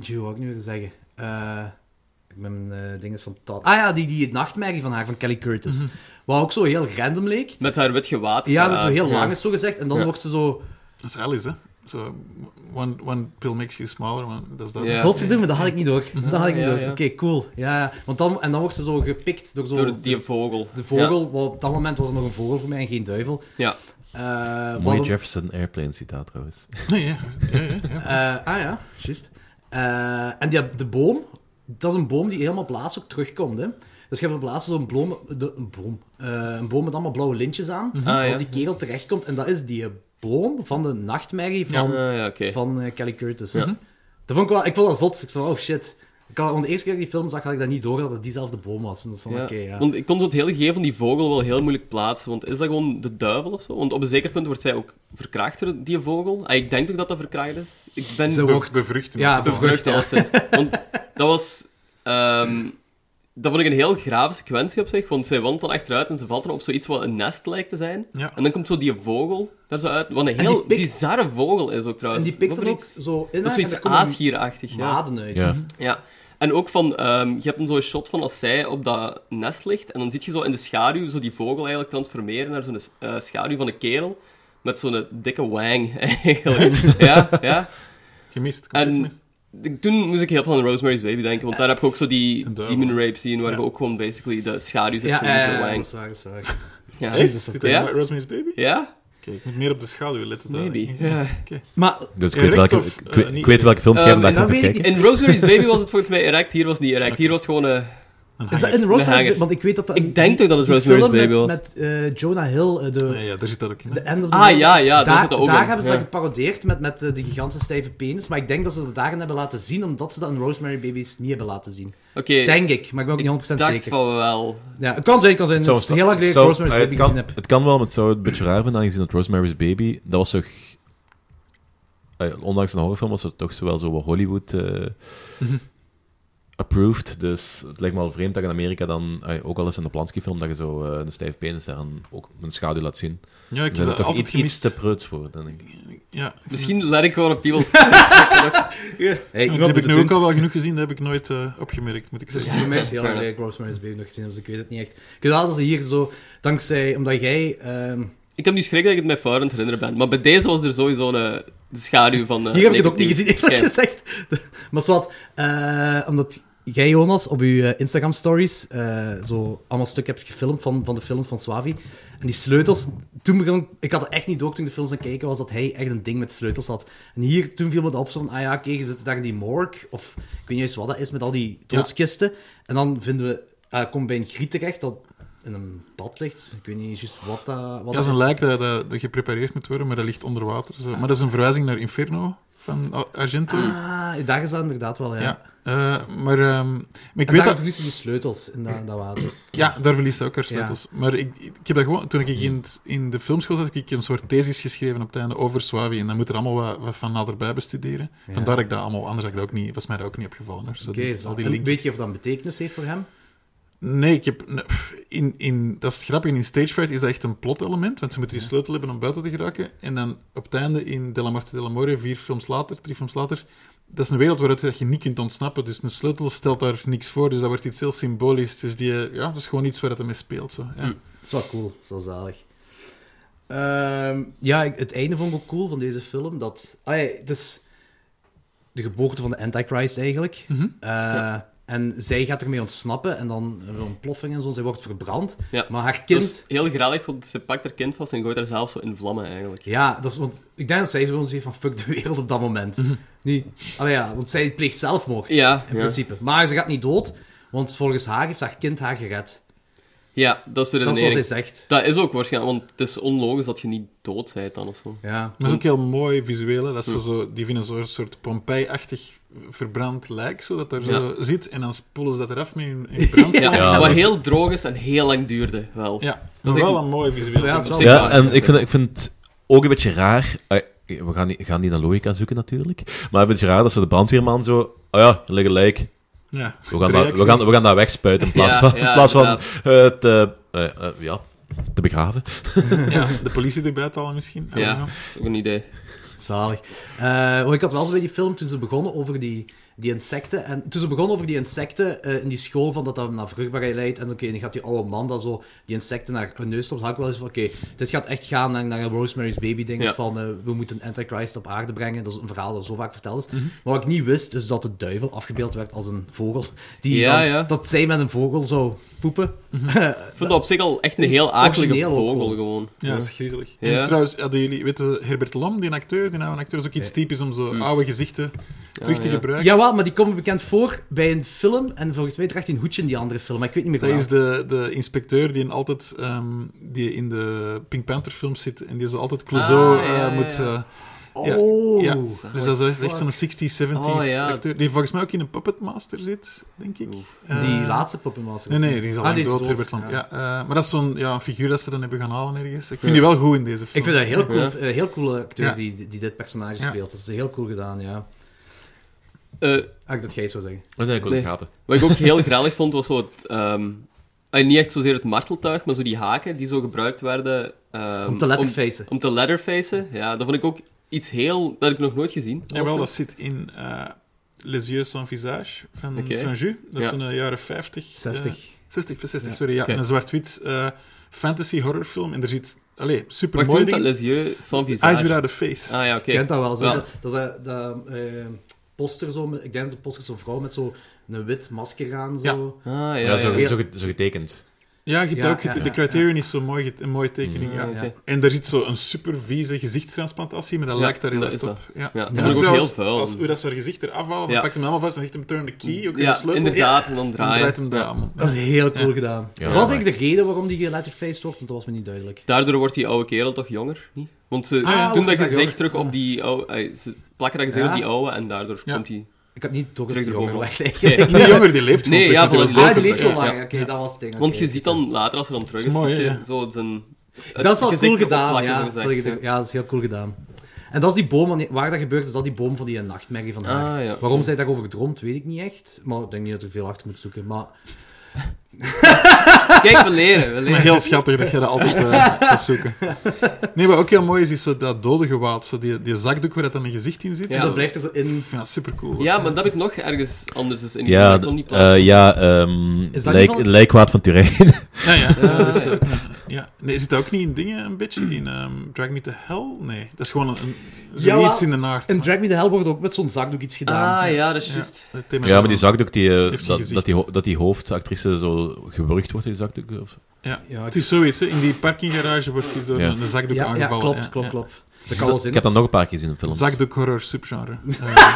[SPEAKER 5] Joe, wat wou ik nu weer zeggen? Eh, ik ben eh dingen van taal. Ah ja, die, die nachtmerrie van haar, van Kelly Curtis.
[SPEAKER 8] Mhm.
[SPEAKER 5] Wat ook zo heel random leek.
[SPEAKER 8] met haar wit gewaad. eh,
[SPEAKER 5] Ja, dat is zo heel
[SPEAKER 8] ja.
[SPEAKER 5] lang is zo gezegd. En dan
[SPEAKER 8] Ja.
[SPEAKER 5] wordt ze zo...
[SPEAKER 7] Dat is Alice, hè. Zo, one, one pill makes you smaller, one- dat is dat.
[SPEAKER 8] Ja. Mhm.
[SPEAKER 5] Godverdomme, dat had ik niet door. Dat had ik niet
[SPEAKER 8] Ja,
[SPEAKER 5] door.
[SPEAKER 8] ja.
[SPEAKER 5] Oké, cool. Ja, ja. Want dan, en dan wordt ze zo gepikt door zo...
[SPEAKER 8] Door die vogel.
[SPEAKER 5] De vogel, wat op dat moment was er nog een vogel voor mij en geen duivel.
[SPEAKER 8] Ja.
[SPEAKER 5] Eh, wat
[SPEAKER 6] Mooie
[SPEAKER 5] een-
[SPEAKER 6] Jefferson Airplane citaat trouwens.
[SPEAKER 7] Nee, ja, ja, ja, ja.
[SPEAKER 5] eh, ah ja, juist. Eh, en die, de boom, dat is een boom die helemaal op laatst ook terugkomt. Hè? Dus je hebt op laatst zo'n bloem, de, een, boom, eh, een boom met allemaal blauwe lintjes aan, waar
[SPEAKER 8] Ah, ja.
[SPEAKER 5] die kerel terechtkomt. En dat is die eh, boom van de nachtmerrie
[SPEAKER 8] Ja,
[SPEAKER 5] van,
[SPEAKER 8] ah, ja oké.
[SPEAKER 5] van eh, Kelly Curtis. Dat vond ik, wel, ik vond dat zot. Ik zei, oh shit. Ik had, want de eerste keer dat ik die film zag, had ik dat niet door dat het diezelfde boom was. En dat is van,
[SPEAKER 8] Ja.
[SPEAKER 5] oké, ja.
[SPEAKER 8] Want ik kon zo het hele gegeven van die vogel wel heel moeilijk plaatsen. Want is dat gewoon de duivel of zo? Want op een zeker punt wordt zij ook verkracht door die vogel. Ah, ik denk toch dat dat verkracht is? Ik ben
[SPEAKER 5] Ze
[SPEAKER 7] Be-
[SPEAKER 5] wordt-
[SPEAKER 7] Bevruchten.
[SPEAKER 5] Ja,
[SPEAKER 8] bevrucht
[SPEAKER 5] bevrucht, ja.
[SPEAKER 8] alleszins. Want dat was... ehm, dat vond ik een heel grave sequentie op zich, want zij wandelt dan achteruit en ze valt dan op zoiets wat een nest lijkt te zijn.
[SPEAKER 7] Ja.
[SPEAKER 8] En dan komt zo die vogel daar zo uit, wat een
[SPEAKER 5] die
[SPEAKER 8] heel
[SPEAKER 5] pikt-
[SPEAKER 8] bizarre vogel is ook
[SPEAKER 5] En
[SPEAKER 8] trouwens.
[SPEAKER 5] die pikt
[SPEAKER 8] Wat
[SPEAKER 5] er
[SPEAKER 8] voor
[SPEAKER 5] ook
[SPEAKER 8] iets-
[SPEAKER 5] zo in
[SPEAKER 8] Dat is
[SPEAKER 5] haar en
[SPEAKER 8] zoiets
[SPEAKER 5] er komen
[SPEAKER 8] aasgierachtig, ja.
[SPEAKER 5] maden uit.
[SPEAKER 6] Ja.
[SPEAKER 8] ja. En ook van, ehm, je hebt dan zo'n shot van als zij op dat nest ligt, en dan zie je zo in de schaduw zo die vogel eigenlijk transformeren naar zo'n eh, schaduw van een kerel, met zo'n dikke wang (laughs) eigenlijk. ja, ja.
[SPEAKER 7] Gemist. compleet
[SPEAKER 8] En
[SPEAKER 7] gemist.
[SPEAKER 8] ik- toen moest ik heel veel aan Rosemary's Baby denken, want daar heb je ook zo die
[SPEAKER 7] Een duivel.
[SPEAKER 8] demon rape scene, waar
[SPEAKER 7] Ja.
[SPEAKER 8] we ook gewoon basically de schaduw zit
[SPEAKER 5] Ja,
[SPEAKER 8] van
[SPEAKER 5] eh, ja,
[SPEAKER 8] die
[SPEAKER 5] ja,
[SPEAKER 8] wang.
[SPEAKER 5] dat is waar, dat is waar.
[SPEAKER 8] Ja.
[SPEAKER 7] Echt? Zit dat
[SPEAKER 8] Ja.
[SPEAKER 7] in Rosemary's Baby?
[SPEAKER 8] Ja?
[SPEAKER 7] Kijk, ik moet meer op de schaduw letten. daar.
[SPEAKER 8] Maybe.
[SPEAKER 7] Ja.
[SPEAKER 8] Ja.
[SPEAKER 5] Maar
[SPEAKER 6] Dus ik
[SPEAKER 7] Erect
[SPEAKER 6] weet welke,
[SPEAKER 7] of,
[SPEAKER 6] ik
[SPEAKER 7] eh,
[SPEAKER 6] weet-
[SPEAKER 7] niet-
[SPEAKER 6] ik weet welke films jij
[SPEAKER 5] Ehm,
[SPEAKER 6] vandaag
[SPEAKER 5] en
[SPEAKER 6] gaat
[SPEAKER 5] dat weet
[SPEAKER 6] bekijken.
[SPEAKER 8] In Rosemary's Baby was het volgens mij erect, hier was het niet erect. Hier was het gewoon... eh,
[SPEAKER 7] Een
[SPEAKER 5] is dat
[SPEAKER 7] hanger.
[SPEAKER 5] in Rosemary's
[SPEAKER 8] hanger.
[SPEAKER 5] Want ik weet dat dat...
[SPEAKER 8] Ik denk toch dat het
[SPEAKER 5] die
[SPEAKER 8] Rosemary's
[SPEAKER 5] film met-
[SPEAKER 8] Baby was.
[SPEAKER 5] Met eh, Jonah Hill, eh, de...
[SPEAKER 7] Nee, ja, daar zit dat ook in. hè.
[SPEAKER 5] The End of the
[SPEAKER 8] Ah,
[SPEAKER 5] World.
[SPEAKER 8] ja, ja, daar
[SPEAKER 5] daar,
[SPEAKER 8] zit dat ook
[SPEAKER 5] daar
[SPEAKER 8] in,
[SPEAKER 5] hebben ze dat
[SPEAKER 8] ja.
[SPEAKER 5] geparodeerd met, met eh, de gigantische stijve penis. Maar ik denk dat ze dat daarin hebben laten zien, omdat ze dat in Rosemary Babies niet hebben laten zien.
[SPEAKER 8] Oké,
[SPEAKER 5] Denk ik, maar ik ben ook
[SPEAKER 8] ik
[SPEAKER 5] niet 100%
[SPEAKER 8] dacht
[SPEAKER 5] zeker.
[SPEAKER 8] van wel.
[SPEAKER 5] Ja, het kan zijn, het kan zijn.
[SPEAKER 6] Zou-
[SPEAKER 5] het is heel lang geleden dat
[SPEAKER 6] zou-
[SPEAKER 5] ik Rosemary's
[SPEAKER 6] eh,
[SPEAKER 5] Baby
[SPEAKER 6] het kan,
[SPEAKER 5] gezien heb.
[SPEAKER 6] Het kan wel, maar het zou het een beetje raar vinden, aangezien dat Rosemary's Baby, dat was toch... eh, ondanks een horrorfilm was het toch zowel zo wat Hollywood... eh,
[SPEAKER 5] Mhm.
[SPEAKER 6] Approved, dus het lijkt me wel vreemd dat in Amerika dan, eh, ook al is het een Polanski-film, dat je zo eh, een stijf penis daar dan ook een schaduw laat zien.
[SPEAKER 7] Ja,
[SPEAKER 6] We
[SPEAKER 7] ik heb
[SPEAKER 6] zijn er
[SPEAKER 7] dat
[SPEAKER 6] toch
[SPEAKER 7] altijd
[SPEAKER 6] iets, iets
[SPEAKER 7] gemist.
[SPEAKER 6] te preuts voor, denk ik.
[SPEAKER 7] Ja, ik vind
[SPEAKER 8] Misschien let ik gewoon op Peebles.
[SPEAKER 5] Hey,
[SPEAKER 7] Dat heb ik nu ook al wel genoeg gezien, dat heb ik nooit eh, opgemerkt, moet ik
[SPEAKER 5] Het is
[SPEAKER 7] zeggen.
[SPEAKER 5] voor mij is heel
[SPEAKER 8] fair
[SPEAKER 5] erg dat ik Rosemary's Baby nog gezien heb, dus ik weet het niet echt. Ik weet wel dat ze hier zo, dankzij, omdat jij... ehm,
[SPEAKER 8] ik heb nu schrik dat ik het mij fout aan het herinneren ben. Maar bij deze was er sowieso een, de schaduw van... eh,
[SPEAKER 5] hier heb
[SPEAKER 8] Naked
[SPEAKER 5] ik het ook niet
[SPEAKER 8] News.
[SPEAKER 5] gezien, eerlijk
[SPEAKER 8] Oké.
[SPEAKER 5] gezegd. (laughs) Maar zwart, eh, omdat jij, Jonas, op je Instagram-stories eh, zo allemaal stuk hebt gefilmd van, van de films van Swavi. En die sleutels, toen begon... Ik had het echt niet door toen ik de films aan het kijken was, dat hij echt een ding met sleutels had. En hier, toen viel me dat op, zo van, ah ja, kijk, we zitten daar in die morgue, of ik weet niet eens wat dat is, met al die doodskisten. En dan vinden we... eh komt bij een griet terecht dat in een bad ligt. Ik weet niet eens juist wat dat wat
[SPEAKER 7] Ja,
[SPEAKER 5] dat
[SPEAKER 7] dat is een lijk dat, dat, dat geprepareerd moet worden, maar dat ligt onder water. Zo. Maar dat is een verwijzing naar Inferno van Ar- Argento.
[SPEAKER 5] Ah, daar is dat inderdaad wel, ja.
[SPEAKER 7] Ja. Eh, maar, ehm, maar
[SPEAKER 5] en
[SPEAKER 7] ik weet
[SPEAKER 5] daar
[SPEAKER 7] dat...
[SPEAKER 5] verliezen die sleutels in dat, dat water.
[SPEAKER 7] Ja, daar verliest hij ook haar sleutels. Maar ik, ik heb dat gewoon... Toen ik in,
[SPEAKER 5] Hmm.
[SPEAKER 7] het- in de filmschool zat, heb ik een soort thesis geschreven op het einde over Swavi. En dan moet er allemaal wat, wat van naderbij bestuderen. Vandaar dat ik dat allemaal... Anders had ik dat ook niet... Was mij dat ook niet opgevallen. Hoor. Zo
[SPEAKER 5] Oké,
[SPEAKER 7] die-
[SPEAKER 5] zo.
[SPEAKER 7] al die
[SPEAKER 5] En
[SPEAKER 7] linken.
[SPEAKER 5] weet je of dat een betekenis heeft voor hem?
[SPEAKER 7] Nee, ik heb... nee, pff, In, in, dat is het grappige. In Stagefight is dat echt een plot-element, want ze moeten die sleutel hebben om buiten te geraken. En dan op het einde in De La Morte de la More, vier films later, drie films later... Dat is een wereld waaruit dat je niet kunt ontsnappen. Dus een sleutel stelt daar niks voor. Dus dat wordt iets heel symbolisch. Dus die, eh, ja, dat is gewoon iets waar het mee speelt. Zo. Ja.
[SPEAKER 5] Dat is wel cool, dat is wel zalig. Ehm, ja, ik- het einde vond ik ook cool van deze film. Dat, ah, ja, het is de geboorte van de Antichrist eigenlijk. Eh, En zij gaat ermee ontsnappen en dan hebben we een ploffing en zo. Zij wordt verbrand.
[SPEAKER 8] Ja.
[SPEAKER 5] Maar haar
[SPEAKER 8] Dat
[SPEAKER 5] kind...
[SPEAKER 8] is Dus heel grappig, want ze pakt haar kind vast en gooit haar zelf zo in vlammen, eigenlijk.
[SPEAKER 5] Ja, dat is, want ik denk dat zij gewoon zegt van fuck de wereld op dat moment. Nee, allee, ja, want zij pleegt zelfmoord.
[SPEAKER 8] Mhm. Ja,
[SPEAKER 5] In
[SPEAKER 8] ja.
[SPEAKER 5] principe. Maar ze gaat niet dood, want volgens haar heeft haar kind haar gered.
[SPEAKER 8] Ja, dat is de
[SPEAKER 5] Dat is wat
[SPEAKER 8] redenering.
[SPEAKER 5] zij
[SPEAKER 8] Dat is,
[SPEAKER 5] zegt.
[SPEAKER 8] ook waarschijnlijk, want het is onlogisch dat je niet dood bent dan of zo.
[SPEAKER 5] Ja.
[SPEAKER 8] Hm.
[SPEAKER 7] Dat is ook heel mooi visueel. Hè? Dat ze zo, die vinden zo'n soort Pompeii-achtig verbrand lijk, zo, dat daar zo zit. En dan spoelen ze dat eraf met hun, hun brand.
[SPEAKER 8] Ja,
[SPEAKER 6] Ja,
[SPEAKER 8] wat
[SPEAKER 6] dat is-
[SPEAKER 8] heel droog is en heel lang duurde, wel.
[SPEAKER 7] Ja,
[SPEAKER 8] Dat
[SPEAKER 7] dat
[SPEAKER 8] is
[SPEAKER 7] is
[SPEAKER 8] echt-
[SPEAKER 7] wel een mooi visueel.
[SPEAKER 5] Ja, het
[SPEAKER 7] Ja,
[SPEAKER 5] is wel-
[SPEAKER 8] Ja,
[SPEAKER 6] Ja, en
[SPEAKER 8] ja,
[SPEAKER 6] ik vind, ik vind het ook een beetje raar. eh, We gaan niet, gaan niet naar logica zoeken natuurlijk. Maar een beetje raar dat zo de brandweerman zo. Oh ja, er ligt een lijk. We gaan,
[SPEAKER 7] de
[SPEAKER 6] dat, we
[SPEAKER 7] reactie.
[SPEAKER 6] gaan, we gaan dat wegspuiten in plaats
[SPEAKER 8] Ja,
[SPEAKER 6] van,
[SPEAKER 8] ja,
[SPEAKER 6] in plaats van
[SPEAKER 8] inderdaad.
[SPEAKER 6] eh, het. eh, eh, eh, ja, te begraven.
[SPEAKER 7] Ja, de politie erbij te halen misschien. I
[SPEAKER 8] Ja.
[SPEAKER 7] don't know.
[SPEAKER 8] Dat is ook een idee.
[SPEAKER 5] Zalig. Eh, want ik had wel zo bij die film, toen ze begonnen over die, die insecten, en toen ze begonnen over die insecten eh, in die school, van dat dat naar vruchtbaarheid leidt, en oké, dan gaat die oude man dat zo, die insecten naar hun neus stopt, had ik wel eens van, oké, dit gaat echt gaan naar, naar Rosemary's Baby ding,
[SPEAKER 8] Ja.
[SPEAKER 5] van eh, we moeten Antichrist op aarde brengen, dat is een verhaal dat zo vaak verteld is.
[SPEAKER 8] Mhm.
[SPEAKER 5] Maar wat ik niet wist, is dat de duivel afgebeeld werd als een vogel, (laughs) die
[SPEAKER 8] Ja,
[SPEAKER 5] dan-
[SPEAKER 8] ja.
[SPEAKER 5] dat zij met een vogel zou poepen.
[SPEAKER 8] Ik vind dat op zich al echt een heel akelige
[SPEAKER 5] Origineel ook
[SPEAKER 8] vogel,
[SPEAKER 5] wel.
[SPEAKER 8] gewoon. Dus,
[SPEAKER 7] Ja, dat is griezelig.
[SPEAKER 8] Ja.
[SPEAKER 7] En trouwens, hadden jullie, weet je, Herbert Lam, die acteur, die oude acteur, is ook iets typisch om zo oude gezichten terug te
[SPEAKER 8] Hm. ja.
[SPEAKER 7] gebruiken.
[SPEAKER 5] Jawel, maar die komen bekend voor bij een film, en volgens mij draagt hij een hoedje in die andere film, maar ik weet niet meer
[SPEAKER 7] Dat
[SPEAKER 5] waar.
[SPEAKER 7] is de, de inspecteur die in altijd ehm, die in de Pink Panther films zit en die zo altijd Clouseau
[SPEAKER 8] Ah, ja,
[SPEAKER 7] eh,
[SPEAKER 8] ja,
[SPEAKER 7] moet.
[SPEAKER 8] ja.
[SPEAKER 7] eh,
[SPEAKER 5] Oh.
[SPEAKER 7] Ja, ja. dus dat is echt zo'n 60s, 70s
[SPEAKER 8] Oh, ja.
[SPEAKER 7] acteur. Die volgens mij ook in een Puppet Master zit, denk ik. Eh,
[SPEAKER 5] Die laatste poppenmaster.
[SPEAKER 7] Nee, nee, die is al lang
[SPEAKER 5] die is
[SPEAKER 7] dood,
[SPEAKER 5] dood,
[SPEAKER 7] Herbert Lam.
[SPEAKER 5] ja.
[SPEAKER 7] Ja. eh, maar dat is zo'n ja, een figuur dat ze dan hebben gaan halen ergens. Ik vind die wel goed in deze film.
[SPEAKER 5] Ik vind dat een heel cool,
[SPEAKER 8] Ja.
[SPEAKER 5] eh, heel coole acteur
[SPEAKER 7] Ja.
[SPEAKER 5] die, die dit personage
[SPEAKER 7] Ja.
[SPEAKER 5] speelt. Dat is heel cool gedaan, ja.
[SPEAKER 8] Eh,
[SPEAKER 5] Ah, ik dat jij zou zeggen.
[SPEAKER 6] Oh nee, ik wil
[SPEAKER 8] Nee.
[SPEAKER 6] het gapen.
[SPEAKER 8] wat ik ook heel grappig vond, was zo het... ehm, eh, niet echt zozeer het marteltuig, maar zo die haken die zo gebruikt werden... ehm,
[SPEAKER 5] Om te letterfacen.
[SPEAKER 8] Om te letterfacen, ja. Dat vond ik ook iets heel... Dat heb ik nog nooit gezien.
[SPEAKER 7] Jawel, dat zit in eh, Les Yeux sans Visage van
[SPEAKER 8] Oké.
[SPEAKER 7] Saint-Ju. Dat is
[SPEAKER 8] Ja.
[SPEAKER 7] van de jaren 50. eh,
[SPEAKER 5] 60.
[SPEAKER 7] 60, 60, sorry. Ja,
[SPEAKER 5] Oké.
[SPEAKER 7] een zwart-wit eh, fantasy horrorfilm. En er zit... Allee,
[SPEAKER 8] Wacht, hoe
[SPEAKER 7] supermooi
[SPEAKER 8] heet dat?
[SPEAKER 7] ding.
[SPEAKER 8] Les yeux sans
[SPEAKER 7] Eyes
[SPEAKER 8] visage.
[SPEAKER 7] Without a Face.
[SPEAKER 8] Ah ja, oké.
[SPEAKER 5] Ik kent dat wel. Zo,
[SPEAKER 8] Ja.
[SPEAKER 5] Dat, dat is dat, dat, eh, poster zo. met- Ik denk dat de poster is zo'n vrouw met zo'n wit masker aan. Zo.
[SPEAKER 8] Ah ja,
[SPEAKER 6] Ja, zo,
[SPEAKER 8] ja.
[SPEAKER 6] Zo, ge- zo getekend.
[SPEAKER 7] Ja, je
[SPEAKER 5] Ja,
[SPEAKER 7] duikt-
[SPEAKER 5] ja,
[SPEAKER 7] de
[SPEAKER 5] ja,
[SPEAKER 7] Criterion is zo'n mooi, get- een mooie tekening. Ja.
[SPEAKER 8] Ah, oké.
[SPEAKER 7] En daar zit zo een super vieze gezichtstransplantatie, maar dat
[SPEAKER 8] Ja,
[SPEAKER 7] lijkt daar heel
[SPEAKER 8] dat
[SPEAKER 7] erg
[SPEAKER 8] is
[SPEAKER 7] op. Ja.
[SPEAKER 8] Ja,
[SPEAKER 7] En
[SPEAKER 8] dat
[SPEAKER 7] ook
[SPEAKER 8] is ook
[SPEAKER 7] trouwens,
[SPEAKER 8] heel vuil.
[SPEAKER 7] Als, hoe dat ze haar gezicht eraf halen, dan
[SPEAKER 8] Ja.
[SPEAKER 7] pakt hem helemaal vast en zegt hem turn the key, ook in de
[SPEAKER 8] Ja,
[SPEAKER 7] sleutel.
[SPEAKER 8] inderdaad, en dan
[SPEAKER 7] En dan
[SPEAKER 8] draaien.
[SPEAKER 7] draait hem daar
[SPEAKER 8] (laughs)
[SPEAKER 7] allemaal.
[SPEAKER 5] Dat is heel cool gedaan.
[SPEAKER 6] Ja,
[SPEAKER 5] dat was
[SPEAKER 6] maar-
[SPEAKER 5] eigenlijk de reden waarom die geletterfaced wordt, want dat was me niet duidelijk.
[SPEAKER 8] Daardoor wordt die oude kerel toch jonger, niet? Want ze
[SPEAKER 5] ja,
[SPEAKER 8] doen
[SPEAKER 5] wordt
[SPEAKER 8] dat
[SPEAKER 5] hij
[SPEAKER 8] gezicht
[SPEAKER 5] jonger.
[SPEAKER 8] terug op die oude... ey, Ze plakken dat gezicht
[SPEAKER 5] Ja.
[SPEAKER 8] op die oude en daardoor
[SPEAKER 7] Ja.
[SPEAKER 8] komt die...
[SPEAKER 5] Ik had niet door dat
[SPEAKER 8] Terug
[SPEAKER 5] die
[SPEAKER 8] erboven.
[SPEAKER 5] jonger werd
[SPEAKER 8] Nee,
[SPEAKER 5] (laughs) eigenlijk.
[SPEAKER 7] Die jonger die leeft
[SPEAKER 8] Nee,
[SPEAKER 7] gewoon
[SPEAKER 8] ja,
[SPEAKER 7] terug,
[SPEAKER 8] volgens
[SPEAKER 7] die
[SPEAKER 8] mij
[SPEAKER 7] was
[SPEAKER 5] Ah,
[SPEAKER 8] leuk
[SPEAKER 5] die
[SPEAKER 7] dood.
[SPEAKER 5] leeft
[SPEAKER 8] effect, ja.
[SPEAKER 5] wel langer.
[SPEAKER 8] Ja.
[SPEAKER 5] Oké, dat was het ding.
[SPEAKER 8] Want
[SPEAKER 5] oké. dus,
[SPEAKER 8] je ziet dan later, als ze dan terug
[SPEAKER 7] Dat
[SPEAKER 8] is,
[SPEAKER 7] is mooi,
[SPEAKER 8] zie je
[SPEAKER 7] ja.
[SPEAKER 8] zo zijn... het
[SPEAKER 5] Dat is wel
[SPEAKER 8] gezicht
[SPEAKER 5] cool
[SPEAKER 8] erop
[SPEAKER 5] gedaan,
[SPEAKER 8] plakken,
[SPEAKER 5] ja.
[SPEAKER 8] zogezegd.
[SPEAKER 5] Dat- Ja, dat is heel cool gedaan. En dat is die boom, want waar dat gebeurt, is dat die boom van die nachtmerrie van haar.
[SPEAKER 8] Ah, ja.
[SPEAKER 5] Waarom zij daarover droomt, weet ik niet echt. Maar ik denk niet dat ik veel achter moet zoeken. Maar
[SPEAKER 8] Kijk, we leren, we (laughs)
[SPEAKER 7] Maar
[SPEAKER 8] leren.
[SPEAKER 7] heel schattig dat je dat
[SPEAKER 8] (laughs)
[SPEAKER 7] altijd eh, gaat zoeken. Nee, wat ook heel mooi is, is zo dat dode gewaad. Zo die, die zakdoek waar dat dan een gezicht in zit.
[SPEAKER 8] Ja.
[SPEAKER 5] dus
[SPEAKER 7] Zo,
[SPEAKER 5] dat blijft er zo in.
[SPEAKER 7] ik vind dat supercool.
[SPEAKER 8] Ja, maar dat heb ik nog ergens anders. Dus in die
[SPEAKER 9] Ja,
[SPEAKER 8] ja,
[SPEAKER 9] d-
[SPEAKER 8] kon niet plaatsen.
[SPEAKER 9] eh, ja ehm,
[SPEAKER 5] Is dat niet
[SPEAKER 9] lijk,
[SPEAKER 5] van-
[SPEAKER 9] lijkwaad van Turijn.
[SPEAKER 7] Ja, ja. dat is, eh, ook niet- ja. Nee, zit dat ook niet in dingen een beetje? In ehm, Drag Me to Hell? Nee, dat is gewoon een, een,
[SPEAKER 5] Ja,
[SPEAKER 7] zoiets
[SPEAKER 5] wel,
[SPEAKER 7] in de naart.
[SPEAKER 5] In Drag Me The Hell wordt ook met zo'n zakdoek iets gedaan.
[SPEAKER 8] Ah, ja, dat is juist.
[SPEAKER 7] het thema
[SPEAKER 9] ja, maar die
[SPEAKER 7] daarvan.
[SPEAKER 9] zakdoek, die, eh,
[SPEAKER 7] geen
[SPEAKER 9] dat,
[SPEAKER 7] gezicht.
[SPEAKER 9] dat, die, ho- dat die hoofdactrice zo gewurgd wordt in die zakdoek. Of,
[SPEAKER 7] Ja.
[SPEAKER 5] Ja,
[SPEAKER 7] Het is zoiets, hè. in die parkinggarage wordt hij door
[SPEAKER 9] Ja.
[SPEAKER 7] een, een zakdoek
[SPEAKER 5] ja, ja,
[SPEAKER 7] aangevallen.
[SPEAKER 5] klopt,
[SPEAKER 7] ja,
[SPEAKER 5] klopt,
[SPEAKER 7] ja.
[SPEAKER 5] klopt. Dat kan wel
[SPEAKER 9] ik
[SPEAKER 5] zin.
[SPEAKER 9] heb dat nog een paar keer gezien in films.
[SPEAKER 7] Zakdoek horror
[SPEAKER 5] (laughs)
[SPEAKER 7] subgenre. Eh, ja.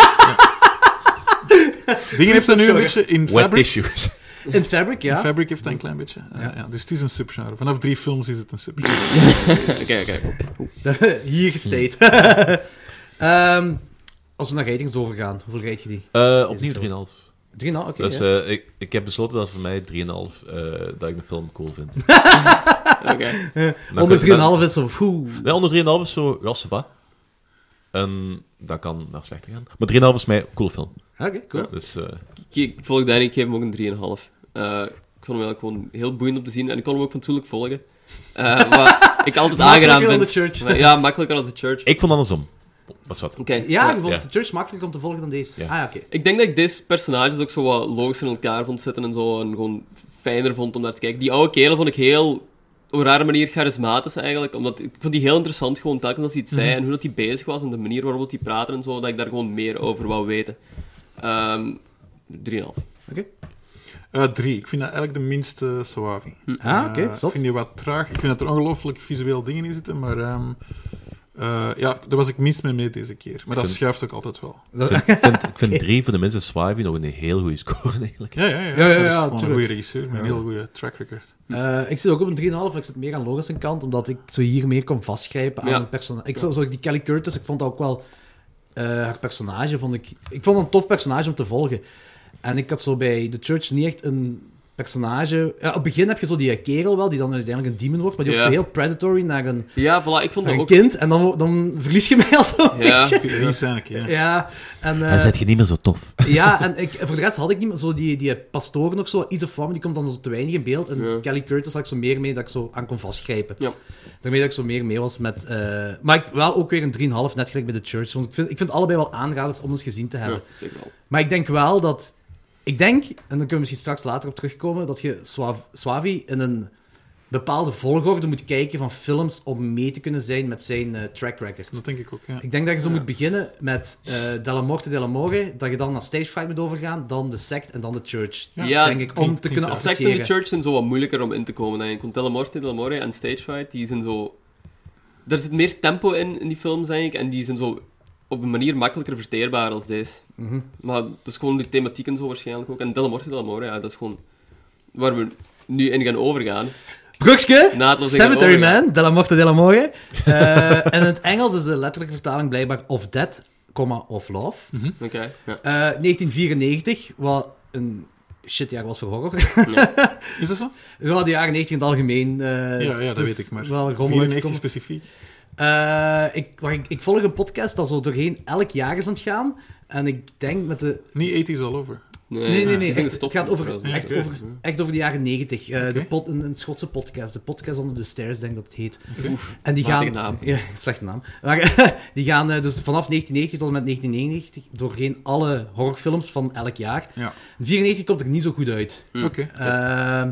[SPEAKER 7] Dingen heeft dat nu een beetje in
[SPEAKER 9] Wet
[SPEAKER 7] Fabric.
[SPEAKER 9] tissues.
[SPEAKER 6] (laughs)
[SPEAKER 5] In Fabric,
[SPEAKER 7] in
[SPEAKER 5] ja.
[SPEAKER 7] Fabric heeft dat een klein beetje. Eh,
[SPEAKER 5] Ja.
[SPEAKER 7] ja. dus het is een subgenre. Vanaf drie films is het een subgenre.
[SPEAKER 8] (laughs) Oké, oké.
[SPEAKER 5] (laughs) Hier gesteed. Ehm, als we naar ratings doorgaan, hoeveel rate je die?
[SPEAKER 9] Eh,
[SPEAKER 5] Is het zo?
[SPEAKER 9] opnieuw 3,5.
[SPEAKER 5] 3,5? Oké.
[SPEAKER 9] Dus
[SPEAKER 5] ja.
[SPEAKER 9] eh, ik, ik heb besloten dat voor mij 3,5 eh, dat ik de film cool
[SPEAKER 5] (laughs)
[SPEAKER 9] vind.
[SPEAKER 8] Oké.
[SPEAKER 6] nou,
[SPEAKER 9] Dan
[SPEAKER 5] Onder
[SPEAKER 9] kun- dan-
[SPEAKER 5] 3,5 is zo... Poeh.
[SPEAKER 9] Nee, onder 3,5 is zo, ja, ça va. En dat kan naar slechter gaan. Maar 3,5 is mij een cool film.
[SPEAKER 5] Oké, cool.
[SPEAKER 9] Dus, eh,
[SPEAKER 8] (laughs) Ik- Ik volg Danny, ik geef hem ook een 3,5. Eh, ik vond hem eigenlijk gewoon heel boeiend om te zien en ik kon hem ook fatsoenlijk volgen. Eh (laughs) wat ik altijd aangenaam
[SPEAKER 5] Makkelijker dan
[SPEAKER 8] vind.
[SPEAKER 5] de church.
[SPEAKER 8] Maar ja, makkelijker dan de church.
[SPEAKER 9] ik vond andersom. Was wat.
[SPEAKER 8] Oké.
[SPEAKER 5] Ja, je vond
[SPEAKER 9] Ja.
[SPEAKER 5] de church makkelijker om te volgen dan deze.
[SPEAKER 9] Ja.
[SPEAKER 5] Ah, ja, oké.
[SPEAKER 8] Ik denk dat ik deze personages ook zo wat logisch in elkaar vond zitten en zo. En gewoon fijner vond om naar te kijken. Die oude kerel vond ik heel, op een rare manier, charismatisch eigenlijk. Omdat ik vond die heel interessant gewoon telkens als hij iets zei en hoe dat hij bezig was en de manier waarop hij praatte en zo. Dat ik daar gewoon meer over wou weten. Ehm 3,5.
[SPEAKER 7] Eh, drie. Ik vind dat eigenlijk de minste Suavi.
[SPEAKER 5] Ah, oké,
[SPEAKER 7] Eh,
[SPEAKER 5] zot.
[SPEAKER 7] Ik vind die wat traag. Ik vind dat er ongelooflijk visueel dingen in zitten, maar... ehm, eh, ja, daar was ik minst mee mee deze keer. Maar dat
[SPEAKER 9] vind-
[SPEAKER 7] schuift ook altijd wel.
[SPEAKER 9] Ik vind, ik vind 3 voor de mensen Swaivy nog een heel goede score (laughs) eigenlijk.
[SPEAKER 7] Ja, ja, ja.
[SPEAKER 5] ja,
[SPEAKER 7] dat
[SPEAKER 5] ja,
[SPEAKER 7] is gewoon een
[SPEAKER 5] tuurlijk.
[SPEAKER 7] goede regisseur met een heel goede track record.
[SPEAKER 5] Eh, ik zit ook op een 3,5, maar ik zit meer aan Lorenz zijn kant, omdat ik zo hier meer kon vastgrijpen aan
[SPEAKER 8] Ja.
[SPEAKER 5] een personage. Ik zag zo die Kelly Curtis, ik vond dat ook wel... eh, haar personage vond ik... Ik vond het een tof personage om te volgen. En ik had zo bij The Church niet echt een personage... Ja, op het begin heb je zo die kerel wel, die dan uiteindelijk een demon wordt, maar die
[SPEAKER 8] Ja.
[SPEAKER 5] ook zo heel predatory naar een,
[SPEAKER 8] Ja, voilà, ik vond
[SPEAKER 5] naar
[SPEAKER 8] dat
[SPEAKER 5] een
[SPEAKER 8] ook.
[SPEAKER 5] kind. En dan, dan verlies je mij al zo'n
[SPEAKER 8] Ja.
[SPEAKER 5] beetje.
[SPEAKER 7] Die zijn ik,
[SPEAKER 5] (laughs)
[SPEAKER 7] ja.
[SPEAKER 5] Ja, en... eh,
[SPEAKER 9] Dan zet je niet meer zo tof.
[SPEAKER 5] Ja, en ik, voor de rest had ik niet meer zo die, die pastoor nog zo iets of wat, maar die komt dan zo te weinig in beeld. En
[SPEAKER 8] Ja.
[SPEAKER 5] Kelly Curtis had ik zo meer mee dat ik zo aan kon vastgrijpen.
[SPEAKER 8] Ja.
[SPEAKER 5] Daarmee dat ik zo meer mee was met... eh, maar ik wel ook weer een 3,5, net gelijk bij The Church. Want ik vind, ik vind allebei wel aanraders om eens gezien te hebben.
[SPEAKER 8] Ja, zeker wel.
[SPEAKER 5] Maar ik denk wel dat... Ik denk, en dan kunnen we misschien straks later op terugkomen, dat je Swa- Swavi in een bepaalde volgorde moet kijken van films om mee te kunnen zijn met zijn eh, track record.
[SPEAKER 7] Dat denk ik ook, ja.
[SPEAKER 5] Ik denk dat je zo moet beginnen met eh Della Morte, Della More, dat je dan naar Stage Fright moet overgaan, dan de sect en dan de church.
[SPEAKER 7] Ja.
[SPEAKER 8] Ja,
[SPEAKER 5] denk ik, om
[SPEAKER 7] klinkt-
[SPEAKER 5] te
[SPEAKER 7] klinkt
[SPEAKER 5] kunnen
[SPEAKER 7] wel.
[SPEAKER 8] Sect en de
[SPEAKER 5] associëren.
[SPEAKER 8] Church zijn zo wat moeilijker om in te komen, denk ik. Want Telemorte, Telemore en Stagefight, die zijn zo... Daar zit meer tempo in, in die films, denk ik. En die zijn zo op een manier makkelijker verteerbaar als deze.
[SPEAKER 5] Mhm.
[SPEAKER 8] Maar dat is gewoon de thematiek en zo waarschijnlijk ook. En Telemorte, Telemore, ja, dat is gewoon waar we nu in gaan overgaan.
[SPEAKER 5] Hm? Brugske,
[SPEAKER 8] Naadloos
[SPEAKER 5] Cemetery
[SPEAKER 8] tegenover, ja.
[SPEAKER 5] Man, Della Morte, Della More. Eh, en in het Engels is de letterlijke vertaling blijkbaar Of Dead, comma, Of Love.
[SPEAKER 8] Oké, ja.
[SPEAKER 5] Eh, 1994, wat een shitjaar was voor horror. (laughs)
[SPEAKER 7] Is dat zo?
[SPEAKER 5] Ja, de jaren 90 in het algemeen. eh,
[SPEAKER 7] ja, dat
[SPEAKER 5] het is
[SPEAKER 7] weet ik maar.
[SPEAKER 5] Wel rommelig.
[SPEAKER 7] 94 specifiek.
[SPEAKER 5] Eh, ik, maar ik, ik volg een podcast dat zo doorheen elk jaar is aan het gaan. En ik denk met de
[SPEAKER 7] Niet 80s all over.
[SPEAKER 5] Nee, nee, nee.
[SPEAKER 8] die zijn
[SPEAKER 5] echt- het
[SPEAKER 8] gestopt
[SPEAKER 5] gaat over,
[SPEAKER 8] trouwens.
[SPEAKER 5] echt,
[SPEAKER 7] Ja.
[SPEAKER 5] over, echt over de jaren negentig.
[SPEAKER 7] Oké.
[SPEAKER 5] een, een Schotse podcast. De podcast onder de stairs, denk ik dat het heet.
[SPEAKER 8] Oef,
[SPEAKER 5] En die gaan...
[SPEAKER 8] matige naam.
[SPEAKER 5] Ja, slechte naam. Maar, (laughs) die gaan eh, dus vanaf 1990 tot en met 1999 doorheen alle horrorfilms van elk jaar.
[SPEAKER 7] Ja.
[SPEAKER 5] 94 komt er niet zo goed uit.
[SPEAKER 8] Hm.
[SPEAKER 7] Oké.
[SPEAKER 5] Ehm,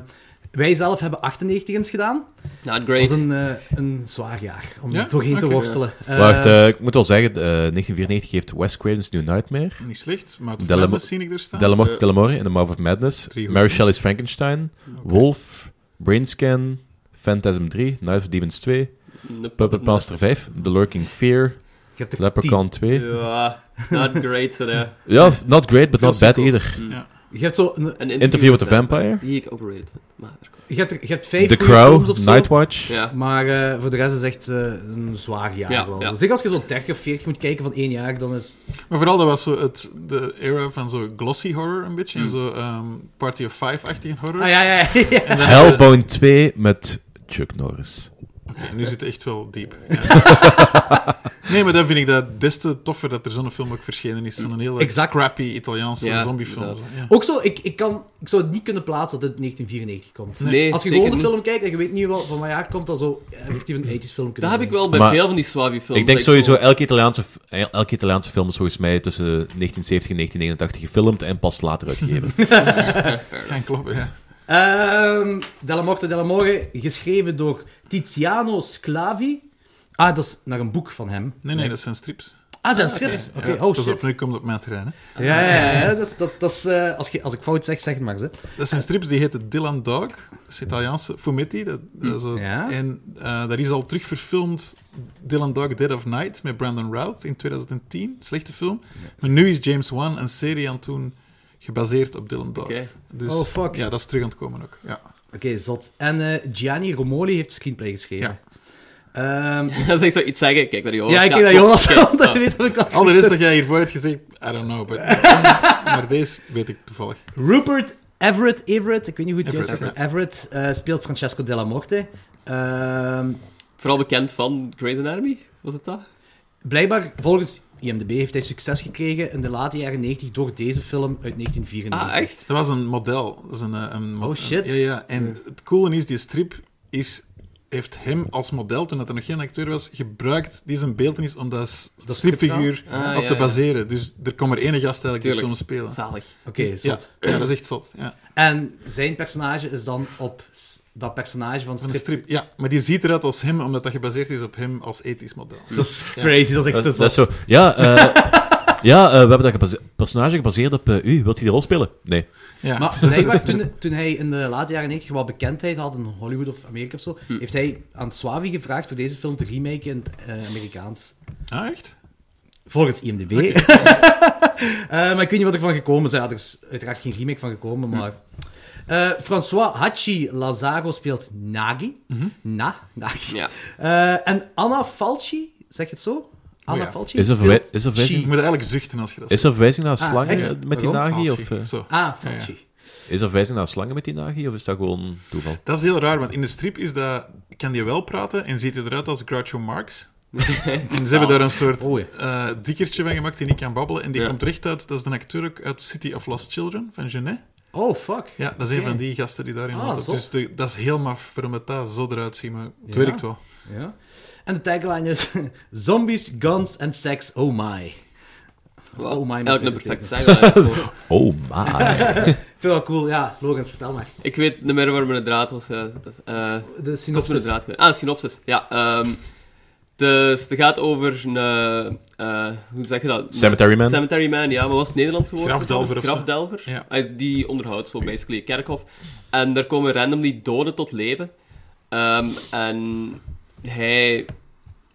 [SPEAKER 5] wij zelf hebben 98 eens gedaan.
[SPEAKER 8] Not
[SPEAKER 5] Dat
[SPEAKER 8] great.
[SPEAKER 5] was een, eh, een zwaar jaar om
[SPEAKER 7] Ja?
[SPEAKER 5] doorheen te
[SPEAKER 7] Oké.
[SPEAKER 5] worstelen.
[SPEAKER 9] (laughs)
[SPEAKER 5] Eh,
[SPEAKER 9] Wacht, eh, ik moet wel zeggen, eh, 1994 heeft Wes Craven's New Nightmare,
[SPEAKER 7] Niet slecht, maar
[SPEAKER 9] Delle-
[SPEAKER 5] Ah,
[SPEAKER 7] het dat zie ik er staan.
[SPEAKER 9] Delamorte Delamore in The Mouth of Madness,
[SPEAKER 7] Drie goed.
[SPEAKER 9] Mary Shelley's Frankenstein, Wolf, Brainscan, Phantasm 3, Night of Demons 2, Puppet Master 5, The Lurking Fear,
[SPEAKER 5] Je hebt er
[SPEAKER 9] Leprechaun 2.
[SPEAKER 8] Ja, not great, zeg. hè.
[SPEAKER 9] Ja, not great, but
[SPEAKER 7] Veel
[SPEAKER 9] not bad
[SPEAKER 7] sequels.
[SPEAKER 9] either.
[SPEAKER 5] tien- Je hebt zo... een-
[SPEAKER 8] Een
[SPEAKER 9] Interview with the Vampire,
[SPEAKER 8] Die ik overrated vind. Maar,
[SPEAKER 5] Je hebt, er- je hebt vijf
[SPEAKER 9] The
[SPEAKER 5] goeie films of
[SPEAKER 9] Crow,
[SPEAKER 5] zo,
[SPEAKER 9] Nightwatch.
[SPEAKER 8] ja.
[SPEAKER 5] Maar eh, voor de rest is echt eh, een zwaar jaar
[SPEAKER 8] Ja,
[SPEAKER 5] wel.
[SPEAKER 8] ja.
[SPEAKER 5] Zeker als je zo'n 30 of 40 moet kijken van één jaar, dan is...
[SPEAKER 7] Maar vooral, dat was zo het, de era van zo glossy horror een beetje. En
[SPEAKER 9] Hmm.
[SPEAKER 7] zo ehm, Party of Five-achtige horror.
[SPEAKER 5] Ah ja, ja, ja. (laughs)
[SPEAKER 7] En dan-
[SPEAKER 9] Hellbound 2 met Chuck Norris.
[SPEAKER 7] Ja, nu zit het echt wel diep. (laughs) nee, maar dan vind ik dat des te toffer dat er zo'n film ook verschenen is. Zo'n hele
[SPEAKER 5] Exact.
[SPEAKER 7] crappy Italiaanse
[SPEAKER 8] Ja,
[SPEAKER 7] zombiefilm.
[SPEAKER 8] inderdaad.
[SPEAKER 7] Ja.
[SPEAKER 5] Ook zo, ik, ik, kan, ik zou het niet kunnen plaatsen dat het 1994 komt.
[SPEAKER 8] Nee,
[SPEAKER 5] Als je
[SPEAKER 8] zeker
[SPEAKER 5] gewoon een
[SPEAKER 8] niet.
[SPEAKER 5] film kijkt en je weet niet wel van waar jaar het komt, dan zo effectief een 80s film kunnen
[SPEAKER 8] Dat heb ik wel bij
[SPEAKER 9] Maar-
[SPEAKER 8] veel van die Suavi-films.
[SPEAKER 9] Ik denk
[SPEAKER 8] dat
[SPEAKER 9] sowieso,
[SPEAKER 8] zo-
[SPEAKER 9] elke Italiaanse, f- el- elke Italiaanse film is volgens mij tussen 1970 en 1989 gefilmd en pas later uitgegeven.
[SPEAKER 7] Ja, klopt, ja.
[SPEAKER 5] Ehm Della Morte Della More, geschreven door Tiziano Sclavi. Ah, dat is naar een boek van hem.
[SPEAKER 7] Nee, nee, dat zijn strips.
[SPEAKER 5] Ah, zijn strips. Oké,
[SPEAKER 7] Ja,
[SPEAKER 5] oh
[SPEAKER 7] pas op,
[SPEAKER 5] shit.
[SPEAKER 7] nu komt het op mijn terrein. Hè.
[SPEAKER 5] Ja, ja, ja. ja, Dat is, dat is, dat is, eh, als, je, als ik fout zeg, zeg het maar eens. hè.
[SPEAKER 7] Dat zijn strips die heten Dylan Dog. Dat is Italiaanse fumetti. Dat, dat is zo-
[SPEAKER 5] Ja.
[SPEAKER 7] En eh daar is al terug verfilmd Dylan Dog Dead of Night met Brandon Routh in 2010. Slechte film. Maar nu is James Wan een serie aan het doen gebaseerd op Dylan Dog.
[SPEAKER 8] Oké.
[SPEAKER 7] Dus,
[SPEAKER 5] Oh, fuck.
[SPEAKER 7] Ja, dat is terug aan het komen ook. Ja.
[SPEAKER 5] Oké, zot. En eh, Gianni Romoli heeft screenplay geschreven. Ja.
[SPEAKER 8] (laughs) Dat is echt zo iets zeggen. Kijk naar Jonas.
[SPEAKER 5] ja, ik kijk naar Jonas,
[SPEAKER 8] Oh, klopt.
[SPEAKER 5] want
[SPEAKER 8] Oké,
[SPEAKER 5] dat
[SPEAKER 8] zo.
[SPEAKER 5] weet ik al.
[SPEAKER 7] Al de rest dat jij hiervoor hebt gezegd, I don't know. But, maar deze weet ik toevallig.
[SPEAKER 5] Rupert Everett, Everett, ik weet niet hoe het
[SPEAKER 7] Everett,
[SPEAKER 5] is. Everett, eh, speelt Francesco Della Morte. Ehm,
[SPEAKER 8] Vooral bekend van Grey's Anatomy, was het dat?
[SPEAKER 5] blijkbaar, volgens IMDb, heeft hij succes gekregen in de late jaren 90 door deze film uit 1994.
[SPEAKER 8] Ah, echt?
[SPEAKER 7] Dat was een model. Dat is een, eh, een mo-
[SPEAKER 5] Oh, shit.
[SPEAKER 7] een- ja, ja. En het coole is, die strip is, heeft hem als model, toen dat er nog geen acteur was, gebruikt die zijn beeldenis om dat, s-
[SPEAKER 5] Dat
[SPEAKER 7] stripfiguur
[SPEAKER 8] stripverhaal? Ah,
[SPEAKER 7] op
[SPEAKER 8] ja,
[SPEAKER 7] te
[SPEAKER 8] ja.
[SPEAKER 7] baseren. Dus er komt maar één gast eigenlijk
[SPEAKER 8] Tuurlijk.
[SPEAKER 7] die film spelen.
[SPEAKER 8] Zalig.
[SPEAKER 5] Oké,
[SPEAKER 7] Dus, Ja,
[SPEAKER 5] zot.
[SPEAKER 7] ja, dat is echt zot.
[SPEAKER 5] (clears throat)
[SPEAKER 7] Ja.
[SPEAKER 5] En zijn personage is dan op s- dat personage van
[SPEAKER 7] Van
[SPEAKER 5] strip.
[SPEAKER 7] de strip, ja. Maar die ziet eruit als hem, omdat dat gebaseerd is op hem als ethisch model.
[SPEAKER 5] Dat is crazy, dat is echt
[SPEAKER 9] dat,
[SPEAKER 5] te
[SPEAKER 9] dat is
[SPEAKER 5] zot.
[SPEAKER 9] zo. Ja, eh, (laughs) ja eh, we hebben dat gebase- personage gebaseerd op eh, u. Wilt u die rol spelen? Nee.
[SPEAKER 7] Ja. (laughs)
[SPEAKER 5] Maar blijkbaar toen, toen hij in de late jaren 90 wel bekendheid had in Hollywood of Amerika of zo, heeft hij aan Swavi gevraagd voor deze film te remaken in het eh, Amerikaans.
[SPEAKER 7] Ah, echt?
[SPEAKER 5] Volgens IMDb. Eh, maar ik weet niet wat er van gekomen is. hè. Er is uiteraard geen remake van gekomen, maar... Eh, François Hachi Lazaro speelt Nagi. Na, Nagi.
[SPEAKER 8] Ja. (laughs)
[SPEAKER 5] Eh, en Anna Falchi, zeg je het zo? Anna
[SPEAKER 7] ja.
[SPEAKER 5] Falchi
[SPEAKER 9] Is er
[SPEAKER 5] speelt
[SPEAKER 9] verwij- is er verwijzing-
[SPEAKER 7] Je
[SPEAKER 5] She.
[SPEAKER 7] moet eigenlijk zuchten als je dat
[SPEAKER 9] Is er verwijzing naar
[SPEAKER 5] Ah,
[SPEAKER 9] slangen
[SPEAKER 5] echt?
[SPEAKER 9] eh, met die
[SPEAKER 7] Waarom?
[SPEAKER 9] nagi? Of,
[SPEAKER 7] Falsi.
[SPEAKER 9] eh,
[SPEAKER 7] Zo.
[SPEAKER 5] Ah, Falchi.
[SPEAKER 9] is er verwijzing naar slangen met die nagi? Of is dat gewoon toeval?
[SPEAKER 7] Dat is heel raar, want in de strip is dat, kan die wel praten en ziet hij eruit als Groucho Marx. en ze hebben daar een soort
[SPEAKER 5] Oh ja.
[SPEAKER 7] eh, dikkertje van gemaakt die niet kan babbelen. En die
[SPEAKER 8] Ja.
[SPEAKER 7] komt recht uit, dat is de acteur ook uit City of Lost Children van Genet.
[SPEAKER 5] Oh, fuck.
[SPEAKER 7] Ja, dat is een van die gasten die daarin
[SPEAKER 5] Ah,
[SPEAKER 7] was.
[SPEAKER 5] zot.
[SPEAKER 7] Dus de- dat is heel maf waarom het daar zo eruit ziet, maar het
[SPEAKER 5] Ja.
[SPEAKER 7] werkt wel.
[SPEAKER 5] Ja. En de tagline is... (laughs) Zombies, guns and sex, oh my. Of oh my. met
[SPEAKER 8] Elk een
[SPEAKER 5] witte
[SPEAKER 8] perfecte
[SPEAKER 5] tekens. (laughs)
[SPEAKER 8] tagline.
[SPEAKER 9] Oh my.
[SPEAKER 5] Ik vind dat cool. Ja, Logans, vertel maar.
[SPEAKER 8] Ik weet niet meer waar mijn draad was. eh, dat is, eh,
[SPEAKER 5] De
[SPEAKER 8] Dat is
[SPEAKER 5] synopsis.
[SPEAKER 8] inderdaad goed. Ah, synopsis. Ja, ehm, dus het gaat over een... eh, eh, hoe zeg je dat?
[SPEAKER 9] Cemetery man.
[SPEAKER 8] Cemetery man, ja. Wat was het Nederlandse woord?
[SPEAKER 7] Grafdelver of zo.
[SPEAKER 8] Grafdelver.
[SPEAKER 7] Ja.
[SPEAKER 8] Hij- Die onderhoudt zo basically een kerkhof. En daar komen randomly doden tot leven. Ehm, en hij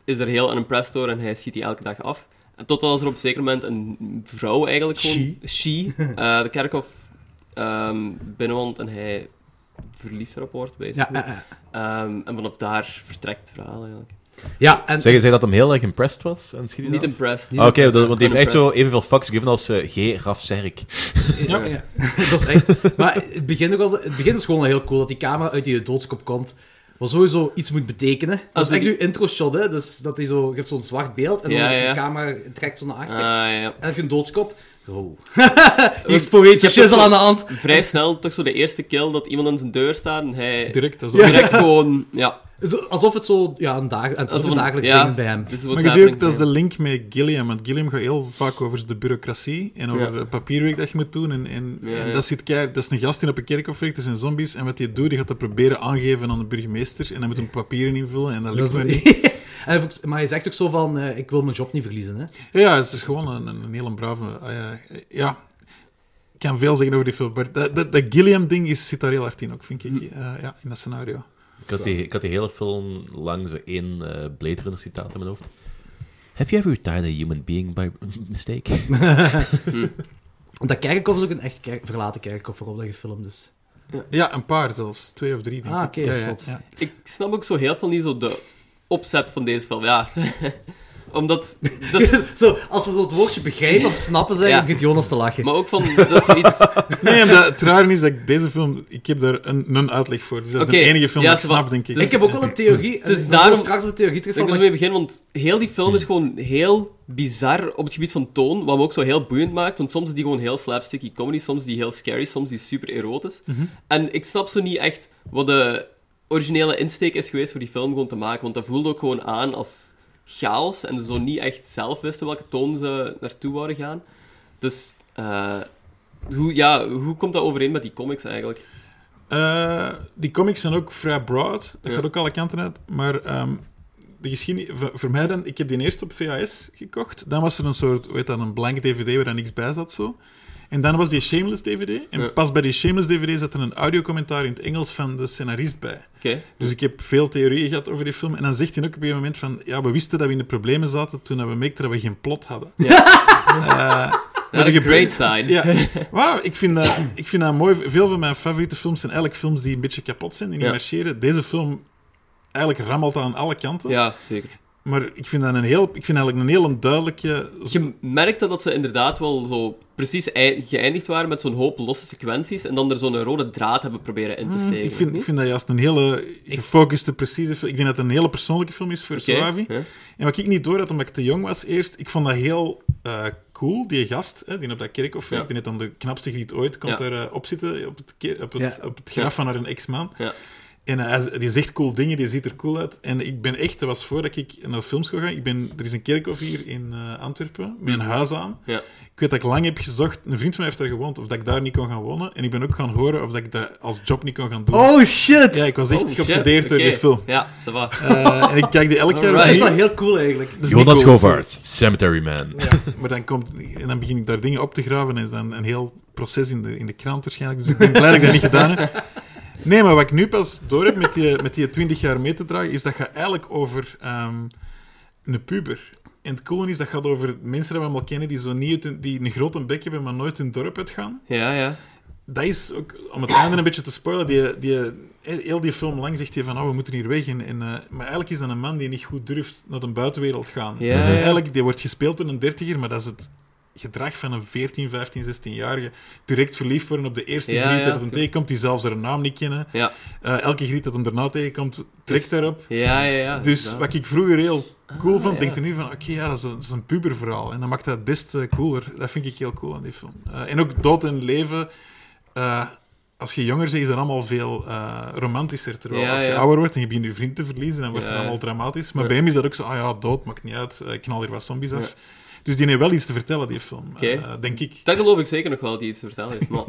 [SPEAKER 8] is er heel unimpressed door en hij schiet die elke dag af. En Totdat als er op een zeker moment een vrouw eigenlijk gewoon... She. eh, de kerkhof ehm binnenwoont en hij verliefd erop wordt,
[SPEAKER 5] Ja,
[SPEAKER 8] basically.
[SPEAKER 5] eh, eh.
[SPEAKER 8] Ehm, en vanaf daar vertrekt het verhaal eigenlijk.
[SPEAKER 5] ja, en...
[SPEAKER 9] Zeg je dat hem heel erg impressed was? En schiet hij
[SPEAKER 8] Niet
[SPEAKER 9] dan?
[SPEAKER 8] impressed.
[SPEAKER 9] Ah, Oké, dat- want die heeft echt zo
[SPEAKER 8] Unimpressed.
[SPEAKER 9] evenveel fucks gegeven als eh, G. Raf Serk.
[SPEAKER 5] Ja, ja. (laughs) dat is echt. Maar het begin, ook al, het begin is gewoon heel cool dat die camera uit die doodskop komt. Wat sowieso iets moet betekenen. Dat is
[SPEAKER 8] Als
[SPEAKER 5] echt
[SPEAKER 8] die-
[SPEAKER 5] uw intro shot, hè? Dus dat hij zo, je hebt zo'n zwart beeld en dan
[SPEAKER 8] Ja, ja, ja.
[SPEAKER 5] de camera trekt zo naar achter. En
[SPEAKER 8] Ah, ja.
[SPEAKER 5] dan heb je een doodskop.
[SPEAKER 8] (laughs)
[SPEAKER 5] Zo. (laughs) Hier
[SPEAKER 8] Want
[SPEAKER 5] is poëtisch
[SPEAKER 8] ik heb
[SPEAKER 5] shit al
[SPEAKER 8] ook
[SPEAKER 5] aan de hand.
[SPEAKER 8] Vrij snel, toch zo de eerste kill dat iemand aan zijn deur staat en hij
[SPEAKER 7] Direct, dat is ook- (laughs)
[SPEAKER 8] direct gewoon... Ja,
[SPEAKER 5] Zo- Alsof het zo ja, een, dag, het is
[SPEAKER 8] Alsof
[SPEAKER 5] een
[SPEAKER 8] een-
[SPEAKER 5] dagelijks
[SPEAKER 8] ja.
[SPEAKER 5] ding bij hem.
[SPEAKER 8] dit is
[SPEAKER 7] Maar
[SPEAKER 8] what's
[SPEAKER 7] je ziet ook,
[SPEAKER 8] happening.
[SPEAKER 7] dat is de link met Gilliam. Want Gilliam gaat heel vaak over de bureaucratie en over het papierwerk dat je moet doen. En, en,
[SPEAKER 8] Ja,
[SPEAKER 7] en
[SPEAKER 8] ja.
[SPEAKER 7] dat, zit keihard- dat is een gast die op een kerkhof werkt, er zijn zombies. En wat hij doet, die gaat dat proberen aangeven aan de burgemeester. En dan moet hem papieren invullen en dat lukt
[SPEAKER 5] Dat
[SPEAKER 7] maar
[SPEAKER 5] is- (laughs)
[SPEAKER 7] niet.
[SPEAKER 5] En hij- maar hij zegt ook zo van, eh, ik wil mijn job niet verliezen. Hè?
[SPEAKER 7] Ja, Ja, het is gewoon een, een, een heel brave... ah ja, ja. kan veel zeggen over die film, maar dat, dat, dat Gilliam-ding is- zit daar heel hard in ook, vind
[SPEAKER 8] Hm.
[SPEAKER 7] ik. eh, ja, in dat scenario.
[SPEAKER 6] Ik had, die, ik had die hele film lang zo één eh, Blade Runner citaat in mijn hoofd. Have you ever retired a human being by
[SPEAKER 8] (laughs)
[SPEAKER 6] mistake?
[SPEAKER 5] Dat kerkhof is ook een echt kerk, verlaten kerkhof waarop dat gefilmd is.
[SPEAKER 7] Ja, een paar zelfs. Twee of drie, denk
[SPEAKER 5] Ah,
[SPEAKER 7] ik.
[SPEAKER 5] oké,
[SPEAKER 7] ja, ja,
[SPEAKER 5] zot.
[SPEAKER 7] ja.
[SPEAKER 8] Ik snap ook zo heel veel niet zo de opzet van deze film. Ja. (laughs) Omdat... Dat
[SPEAKER 7] (laughs)
[SPEAKER 8] is,
[SPEAKER 5] (laughs) Zo, als ze zo het woordje begrijpen of snappen zijn,
[SPEAKER 8] Ja.
[SPEAKER 5] dan begint Jonas te lachen.
[SPEAKER 8] maar ook van... Dat is zoiets...
[SPEAKER 7] Nee, omdat het raar is dat ik deze film... Ik heb daar een, een uitleg voor. Dus dat is
[SPEAKER 8] Oké,
[SPEAKER 7] de enige film
[SPEAKER 8] ja,
[SPEAKER 7] dat ik
[SPEAKER 8] zo van-
[SPEAKER 7] snap, denk ik.
[SPEAKER 5] ik heb ook wel een theorie.
[SPEAKER 8] Het is
[SPEAKER 5] en we
[SPEAKER 8] daarom-
[SPEAKER 5] zullen straks mijn theorie
[SPEAKER 8] Ik wil
[SPEAKER 5] terugvallen.
[SPEAKER 8] er
[SPEAKER 5] maar-
[SPEAKER 8] mee beginnen, want heel die film is gewoon heel bizar op het gebied van toon, wat me ook zo heel boeiend maakt, want soms is die gewoon heel slapsticky comedy, soms die heel scary, soms die super erotisch. En ik snap zo niet echt wat de originele insteek is geweest voor die film gewoon te maken, want dat voelde ook gewoon aan als chaos en ze zo niet echt zelf wisten welke toon ze naartoe wouden gaan. Dus, eh, hoe, ja, hoe komt dat overeen met die comics eigenlijk?
[SPEAKER 7] Eh, die comics zijn ook vrij broad.
[SPEAKER 8] Ja.
[SPEAKER 7] Dat gaat ook alle kanten uit. Maar ehm, de geschiedenis... Voor, voor mij dan... Ik heb die eerst op VHS gekocht. Dan was er een soort... Weet dat, een blank DVD waar dan niks bij zat, zo. En dan was die Shameless DVD. En
[SPEAKER 8] Ja.
[SPEAKER 7] pas bij die Shameless DVD zat er een audiocommentaar in het Engels van de scenarist bij.
[SPEAKER 8] Oké.
[SPEAKER 7] Dus ik heb veel theorieën gehad over die film. En dan zegt hij ook op een moment van... Ja, we wisten dat we in de problemen zaten toen dat we merkten dat we geen plot hadden. Ja.
[SPEAKER 8] (laughs) Not a great sign.
[SPEAKER 7] Ja. Wauw, ik, vind dat- ik vind dat mooi. Veel van mijn favoriete films zijn eigenlijk films die een beetje kapot zijn, die niet
[SPEAKER 8] Ja.
[SPEAKER 7] marcheren. Deze film eigenlijk rammelt aan alle kanten.
[SPEAKER 8] Ja, zeker.
[SPEAKER 7] Maar ik vind dat een heel... Ik vind eigenlijk een heel duidelijke...
[SPEAKER 8] Je merkte dat ze inderdaad wel zo precies ei- geëindigd waren met zo'n hoop losse sequenties en dan er zo'n rode draad hebben proberen in te steken.
[SPEAKER 7] Hmm, Ik vind, ik
[SPEAKER 8] niet?
[SPEAKER 7] vind dat juist een hele gefocuste, precieze film. Ik denk dat het een hele persoonlijke film is voor
[SPEAKER 8] Oké,
[SPEAKER 7] Suavi.
[SPEAKER 8] ja.
[SPEAKER 7] En wat ik niet door had, omdat ik te jong was eerst, ik vond dat heel eh, cool, die gast, hè, die op dat kerkhof
[SPEAKER 8] Ja.
[SPEAKER 7] werkt, die net dan de knapste griet ooit komt
[SPEAKER 8] Ja.
[SPEAKER 7] daar eh, op zitten, op het, keer- op het,
[SPEAKER 5] Ja.
[SPEAKER 7] op het graf
[SPEAKER 8] Ja.
[SPEAKER 7] van haar een ex-man.
[SPEAKER 8] Ja.
[SPEAKER 7] En eh, hij z- die zegt cool dingen, die ziet er cool uit. En ik ben echt, dat was voordat ik naar films kon gaan, ik ben, er is een kerkhof hier in eh, Antwerpen, met een huis aan.
[SPEAKER 8] Mhm. Ja.
[SPEAKER 7] Ik weet dat ik lang heb gezocht, een vriend van mij heeft daar gewoond, of dat ik daar niet kon gaan wonen. En ik ben ook gaan horen of dat ik dat als job niet kon gaan doen.
[SPEAKER 5] Oh shit!
[SPEAKER 7] Ja, ik was echt
[SPEAKER 8] Oh,
[SPEAKER 7] geobsedeerd
[SPEAKER 8] shit,
[SPEAKER 7] door die
[SPEAKER 8] oké.
[SPEAKER 5] (laughs)
[SPEAKER 7] film.
[SPEAKER 8] Ja, ça va.
[SPEAKER 7] Eh, en ik kijk die elk jaar
[SPEAKER 5] Dat
[SPEAKER 8] Alright.
[SPEAKER 5] is
[SPEAKER 7] opnieuw.
[SPEAKER 5] wel heel cool eigenlijk.
[SPEAKER 7] Dat is niet
[SPEAKER 9] Jonas
[SPEAKER 7] cool,
[SPEAKER 9] Govaerts, Cemetery Man.
[SPEAKER 7] zo. Ja, maar dan, komt, en dan begin ik daar dingen op te graven en is dan een heel proces in de, in de krant waarschijnlijk. Dus ik ben blij dat ik dat niet gedaan heb. Nee, maar wat ik nu pas door heb met die, met die 20 jaar mee te dragen, is dat gaat eigenlijk over ehm, een puber. En het coole is, dat gaat over mensen die we allemaal kennen die, zo niet uit hun- die een grote bek hebben, maar nooit hun dorp uitgaan.
[SPEAKER 8] Ja, ja.
[SPEAKER 7] dat is ook, om het einde een beetje te spoilen, die, die, heel die film lang zegt hij van, oh, we moeten hier weg. En, en, eh, maar eigenlijk is dat een man die niet goed durft naar de buitenwereld gaan.
[SPEAKER 8] Ja,
[SPEAKER 7] En
[SPEAKER 8] ja.
[SPEAKER 7] Eigenlijk, die wordt gespeeld door een dertiger, maar dat is het gedrag van een 14, 15, 16-jarige. Direct verliefd worden op de eerste
[SPEAKER 8] Ja,
[SPEAKER 7] griet
[SPEAKER 8] ja,
[SPEAKER 7] dat hem
[SPEAKER 8] tuurlijk.
[SPEAKER 7] tegenkomt, die zelfs haar naam niet kennen.
[SPEAKER 8] Ja,
[SPEAKER 7] Eh, elke griet dat hem daarna tegenkomt, trekt daarop.
[SPEAKER 8] ja, ja. ja
[SPEAKER 7] Dus
[SPEAKER 8] inderdaad.
[SPEAKER 7] wat ik vroeger heel cool
[SPEAKER 8] Ah,
[SPEAKER 7] vond,
[SPEAKER 8] ja.
[SPEAKER 7] denk ik nu van, oké, ja, dat is een, dat is een puberverhaal. En dat maakt dat des te cooler. Dat vind ik heel cool aan die film. Eh, en ook dood en leven, eh, als je jonger bent, is dat allemaal veel eh, romantischer. Terwijl
[SPEAKER 8] Ja,
[SPEAKER 7] als je
[SPEAKER 8] ja.
[SPEAKER 7] ouder wordt en je begint je vriend te verliezen, dan wordt
[SPEAKER 8] Ja.
[SPEAKER 7] het allemaal dramatisch. Maar
[SPEAKER 8] Ja.
[SPEAKER 7] bij hem is dat ook zo, ah ja, dood, maakt niet uit, eh, ik knal hier wat zombies af. Dus die heeft wel iets te vertellen, die film.
[SPEAKER 8] Oké.
[SPEAKER 7] Eh, denk ik.
[SPEAKER 8] Dat geloof ik zeker nog wel, die iets te vertellen heeft.
[SPEAKER 7] (laughs)
[SPEAKER 8] Maar...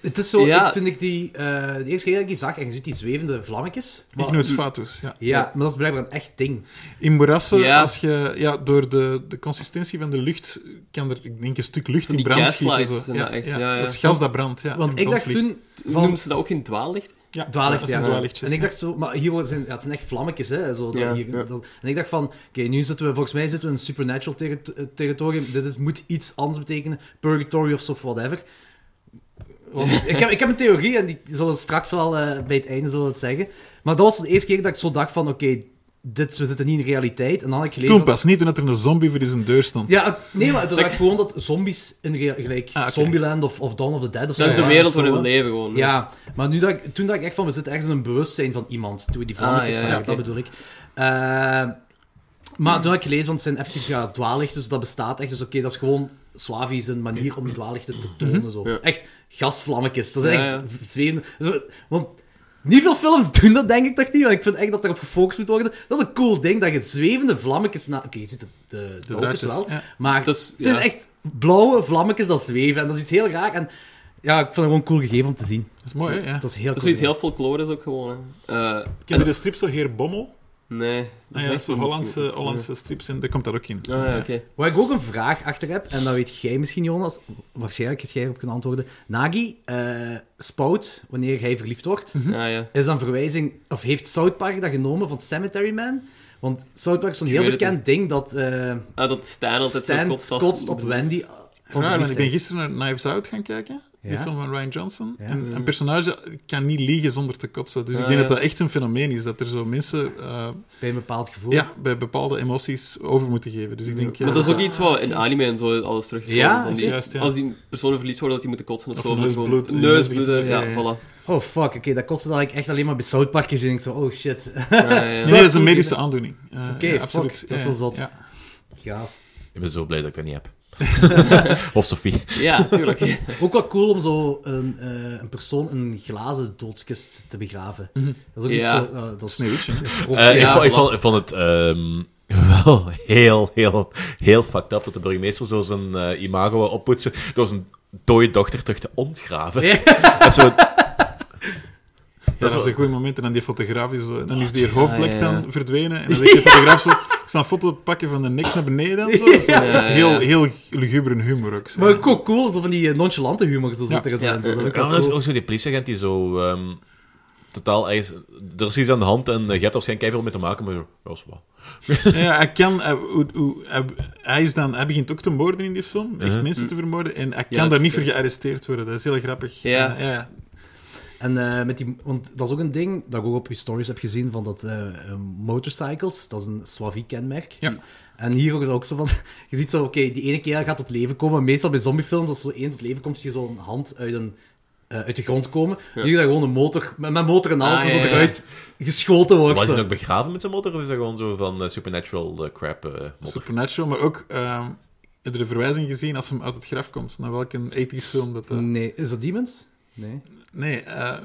[SPEAKER 5] Het is zo,
[SPEAKER 8] Ja.
[SPEAKER 5] ik- toen ik die eh, de eerste keer dat ik die zag, en je ziet die zwevende vlammetjes. Maar-
[SPEAKER 7] Igno's fatus, ja.
[SPEAKER 5] Ja, maar dat is blijkbaar een echt ding.
[SPEAKER 7] In moerassen,
[SPEAKER 8] Ja.
[SPEAKER 7] als je, ja, door de, de consistentie van de lucht, kan er, ik denk, een stuk lucht
[SPEAKER 8] Van
[SPEAKER 7] in
[SPEAKER 8] die
[SPEAKER 7] brand schieten.
[SPEAKER 8] gaslights
[SPEAKER 7] Zo.
[SPEAKER 8] en dat echt, ja, ja.
[SPEAKER 7] Dat is gas dat brandt, ja.
[SPEAKER 5] Want
[SPEAKER 7] in
[SPEAKER 5] ik dacht
[SPEAKER 7] brandvlieg.
[SPEAKER 5] toen... Van,
[SPEAKER 8] Noemen ze dat ook geen dwaallicht?
[SPEAKER 7] Ja,
[SPEAKER 5] Dwaallicht,
[SPEAKER 7] dat zijn
[SPEAKER 5] ja.
[SPEAKER 7] dwaallichtjes,
[SPEAKER 5] en ik
[SPEAKER 7] ja.
[SPEAKER 5] dacht zo, maar hier worden- zijn, ja, het zijn echt vlammetjes, hè? Zo, dat
[SPEAKER 8] Ja,
[SPEAKER 5] hier-
[SPEAKER 8] ja.
[SPEAKER 5] dat- en ik dacht van, oké, nu zitten we, volgens mij zitten we in een supernatural terri- eh, territorium. Dit is, moet iets anders betekenen, purgatory of zo, whatever. Want ik, heb, ik heb een theorie en die zullen we straks wel eh, bij het einde zullen we het zeggen. Maar dat was de eerste keer dat ik zo dacht van, oké, dit, we zitten niet in realiteit. En dan had ik gelezen...
[SPEAKER 7] Toen pas, niet toen dat er een zombie voor in zijn deur stond.
[SPEAKER 5] Ja, het- nee, maar toen dacht ik gewoon dat zombies in real- gelijk
[SPEAKER 7] Ah, oké.
[SPEAKER 5] Zombieland of, of Dawn of the Dead
[SPEAKER 8] Dat
[SPEAKER 5] of zo
[SPEAKER 8] is de
[SPEAKER 5] waren,
[SPEAKER 8] wereld
[SPEAKER 5] zo,
[SPEAKER 8] waarin we
[SPEAKER 5] hè.
[SPEAKER 8] leven gewoon.
[SPEAKER 5] Ja, maar nu dat ik, toen dat ik echt van, we zitten ergens in een bewustzijn van iemand. Toen we die vlammetjes
[SPEAKER 8] Ah, ja, ja,
[SPEAKER 5] zagen, dat
[SPEAKER 8] oké. Hmm.
[SPEAKER 5] bedoel ik. Eh, maar toen had ik gelezen, want het zijn effectief ja, dwaallichten, dus dat bestaat echt. Dus oké, dat is gewoon Swavi zijn manier om dwaallichten te tonen. Zo.
[SPEAKER 8] Mhm. Ja.
[SPEAKER 5] Echt gasvlammetjes. Dat is
[SPEAKER 8] Ja,
[SPEAKER 5] echt zwevende... zo- Want niet veel films (laughs) doen dat, denk ik toch niet. Want ik vind echt dat erop gefocust moet worden. Dat is een cool ding, dat je zwevende vlammetjes... Na... Oké, je ziet het, de, de donkers
[SPEAKER 7] draadjes,
[SPEAKER 5] wel.
[SPEAKER 7] ja.
[SPEAKER 5] Maar
[SPEAKER 8] Dat is-
[SPEAKER 5] het zijn
[SPEAKER 8] ja.
[SPEAKER 5] echt blauwe vlammetjes dat zweven. En dat is iets heel raar. En ja, ik vond het gewoon cool gegeven om te zien.
[SPEAKER 7] Dat is mooi, hè? Ja.
[SPEAKER 5] Dat is heel
[SPEAKER 8] Dat is
[SPEAKER 5] cool.
[SPEAKER 8] zoiets heel folklorisch ook gewoon. hè. Eh,
[SPEAKER 7] Ik heb
[SPEAKER 8] en-
[SPEAKER 7] hier de strip zo Heer Bommel.
[SPEAKER 8] Nee. dat
[SPEAKER 7] Ah,
[SPEAKER 8] is
[SPEAKER 7] ja,
[SPEAKER 8] echt
[SPEAKER 7] zo
[SPEAKER 8] niet
[SPEAKER 7] Hollandse,
[SPEAKER 8] misschien-
[SPEAKER 7] Hollandse strips, in, daar komt dat ook in.
[SPEAKER 8] Ah, ja, oké.
[SPEAKER 5] Waar ik ook een vraag achter heb, en dat weet jij misschien, Jonas, waarschijnlijk het jij erop kunnen antwoorden. Nagi, eh, Spout, wanneer hij verliefd wordt,
[SPEAKER 7] Mhm.
[SPEAKER 8] Ah, ja.
[SPEAKER 5] is dan verwijzing, of heeft South Park dat genomen van Cemetery Man? Want South Park is zo'n
[SPEAKER 8] Ik
[SPEAKER 5] heel
[SPEAKER 8] weet het
[SPEAKER 5] bekend ding dat eh
[SPEAKER 8] Ah, dat Stijn altijd
[SPEAKER 5] Stan
[SPEAKER 8] zo kotst als- nou,
[SPEAKER 5] kotst op Wendy. eh, Van
[SPEAKER 7] Raar, want ik ben
[SPEAKER 5] verliefdheid.
[SPEAKER 7] gisteren naar Knives Out gaan kijken, die
[SPEAKER 5] Ja?
[SPEAKER 7] film van Ryan Johnson.
[SPEAKER 5] Ja.
[SPEAKER 7] En een personage kan niet liegen zonder te kotsen. Dus ik
[SPEAKER 8] Ah,
[SPEAKER 7] denk dat
[SPEAKER 8] ja.
[SPEAKER 7] dat echt een fenomeen is, dat er zo mensen eh,
[SPEAKER 5] bij een bepaald gevoel.
[SPEAKER 7] ja, bij bepaalde emoties over moeten geven. Dus ik denk... ja,
[SPEAKER 8] Maar dat is
[SPEAKER 5] eh,
[SPEAKER 8] ook iets wat in anime en zo alles terugkomt.
[SPEAKER 5] Ja,
[SPEAKER 8] Van die-
[SPEAKER 7] juist, ja.
[SPEAKER 8] Als die personen verliefd worden, dat die moeten kotsen of,
[SPEAKER 7] Of
[SPEAKER 8] zo. maar gewoon-
[SPEAKER 7] neusbloed, eh,
[SPEAKER 8] Neusbloeden, ja,
[SPEAKER 7] neusbloed, ja,
[SPEAKER 8] voilà.
[SPEAKER 5] Oh fuck, oké, dat kotste dat ik echt alleen maar bij South Park gezien. Ik zo, oh shit.
[SPEAKER 8] Ja, ja,
[SPEAKER 7] Nee,
[SPEAKER 8] ja.
[SPEAKER 7] dat is een medische aandoening. Eh,
[SPEAKER 5] Oké,
[SPEAKER 7] ja,
[SPEAKER 5] fuck,
[SPEAKER 7] absoluut.
[SPEAKER 5] dat is
[SPEAKER 7] Ja,
[SPEAKER 5] wel zot.
[SPEAKER 7] ja.
[SPEAKER 5] Gaaf.
[SPEAKER 9] (laughs) Ik ben zo blij dat ik dat niet heb.
[SPEAKER 8] (laughs)
[SPEAKER 9] of Sophie.
[SPEAKER 8] Ja,
[SPEAKER 5] (laughs)
[SPEAKER 8] tuurlijk.
[SPEAKER 5] Ook wel cool om zo een, eh, een persoon in een glazen doodskist te begraven. Dat is ook
[SPEAKER 8] Ja.
[SPEAKER 5] iets zo... eh, dat is
[SPEAKER 7] Sneeuwtje, hè.
[SPEAKER 5] (laughs) dat is
[SPEAKER 9] Eh, ik,
[SPEAKER 8] ja,
[SPEAKER 9] vond, ik,
[SPEAKER 8] voilà.
[SPEAKER 9] vond, ik vond het ehm, (laughs) wel heel, heel, heel fucked up dat de burgemeester zo zijn eh, imago wou oppoetsen door zijn dode dochter terug te ontgraven. Dat is zo,
[SPEAKER 7] Ja, dat is een goed moment. En dan die fotograaf is, zo- dan is die hoofdplek
[SPEAKER 8] Ah, ja, ja.
[SPEAKER 7] dan verdwenen. En dan is die fotograaf zo... Ik sta een foto te pakken van de nek naar beneden en zo. Dat is
[SPEAKER 8] Ja, ja, ja.
[SPEAKER 7] Heel, heel luguber humor ook. zo.
[SPEAKER 5] Maar ook wel cool, zo van die eh, nonchalante humor zo zit er zo
[SPEAKER 8] ja,
[SPEAKER 5] in. Zo, dat is ook
[SPEAKER 9] Ja,
[SPEAKER 5] wel
[SPEAKER 9] maar dat is
[SPEAKER 5] cool.
[SPEAKER 9] ook zo die politieagent die zo ehm, totaal ergens... Er is iets aan de hand en eh, je hebt er waarschijnlijk veel mee te maken, maar ja, dat is wel.
[SPEAKER 7] Ja, hij kan... Hij, hoe- hoe- hij, hij is dan, hij begint ook te moorden in die film. Echt mensen te vermoorden. En hij kan
[SPEAKER 8] Mhm. dat
[SPEAKER 7] daar
[SPEAKER 8] is
[SPEAKER 7] niet voor
[SPEAKER 8] juist.
[SPEAKER 7] gearresteerd worden. Dat is heel grappig.
[SPEAKER 8] Ja.
[SPEAKER 7] Eh, ja.
[SPEAKER 5] En eh, met die... Want dat is ook een ding dat ik ook op je stories heb gezien van dat eh, eh, motorcycles, dat is een Swavi-kenmerk.
[SPEAKER 7] Ja.
[SPEAKER 5] En hier ook, ook zo van... (laughs) Je ziet zo, oké, die ene keer gaat tot leven komen. Meestal bij zombiefilms, als er zo één tot leven komt, zie je zo'n hand uit een... eh, uit de grond komen. Nu is dat gewoon een motor, met, met motor en
[SPEAKER 8] Ah,
[SPEAKER 5] auto,
[SPEAKER 8] ja,
[SPEAKER 5] zo
[SPEAKER 8] ja.
[SPEAKER 5] eruit geschoten wordt.
[SPEAKER 9] Was hij
[SPEAKER 5] zo.
[SPEAKER 9] dan ook begraven met zijn motor of is dat gewoon zo van eh, supernatural eh, crap eh motor?
[SPEAKER 7] Supernatural, maar ook... ehm heb je de verwijzing gezien als hem uit het graf komt? Naar welke 80s film dat... eh,
[SPEAKER 5] Nee, is dat Demons? Nee.
[SPEAKER 7] Nee, eh,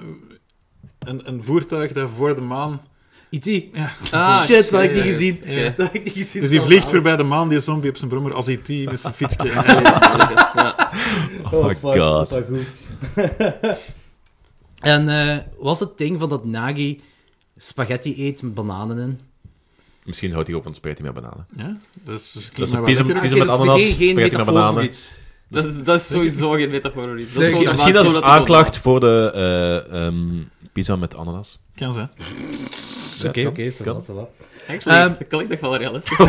[SPEAKER 7] een, een voertuig dat voor de maan...
[SPEAKER 5] E.T.
[SPEAKER 7] Ja.
[SPEAKER 8] Ah,
[SPEAKER 5] E Shit, dat heb ik
[SPEAKER 8] shit.
[SPEAKER 5] niet gezien.
[SPEAKER 7] Ja.
[SPEAKER 5] Dat heb ik niet gezien.
[SPEAKER 7] Dus die
[SPEAKER 5] Dat
[SPEAKER 7] vliegt
[SPEAKER 5] was
[SPEAKER 7] voorbij de maan, die zombie op zijn brommer, als IT met zijn
[SPEAKER 5] (laughs)
[SPEAKER 7] fietsje.
[SPEAKER 8] Ja.
[SPEAKER 5] Oh, fuck,
[SPEAKER 9] God.
[SPEAKER 5] dat is wel goed. (laughs) en eh, was het ding van dat Nagi spaghetti eet met bananen in?
[SPEAKER 9] Misschien houdt hij ook van spaghetti met bananen.
[SPEAKER 7] Ja, dat is, dus
[SPEAKER 9] Dat
[SPEAKER 7] klinkt
[SPEAKER 9] is een
[SPEAKER 7] mij wel
[SPEAKER 9] pizza, pizza
[SPEAKER 5] Oké,
[SPEAKER 7] lekker.
[SPEAKER 9] met
[SPEAKER 5] dat is
[SPEAKER 9] ananas,
[SPEAKER 5] geen- geen
[SPEAKER 9] spaghetti met
[SPEAKER 5] metafoor voor
[SPEAKER 9] bananen.
[SPEAKER 5] iets.
[SPEAKER 8] Dat is, dat is sowieso geen metafoor. Riet. Dat is
[SPEAKER 9] Misschien,
[SPEAKER 8] gewoon
[SPEAKER 9] misschien dat
[SPEAKER 8] maar
[SPEAKER 9] is een
[SPEAKER 8] zo het
[SPEAKER 9] aanklacht voor de eh, ehm, pizza met ananas.
[SPEAKER 7] Kan zijn.
[SPEAKER 5] Ja,
[SPEAKER 9] Oké,
[SPEAKER 5] Oké, zo
[SPEAKER 9] kan.
[SPEAKER 5] wat, zo wat.
[SPEAKER 8] opkomt. Actually,
[SPEAKER 5] Ehm, Oh,
[SPEAKER 8] dat klinkt nog wel realistisch.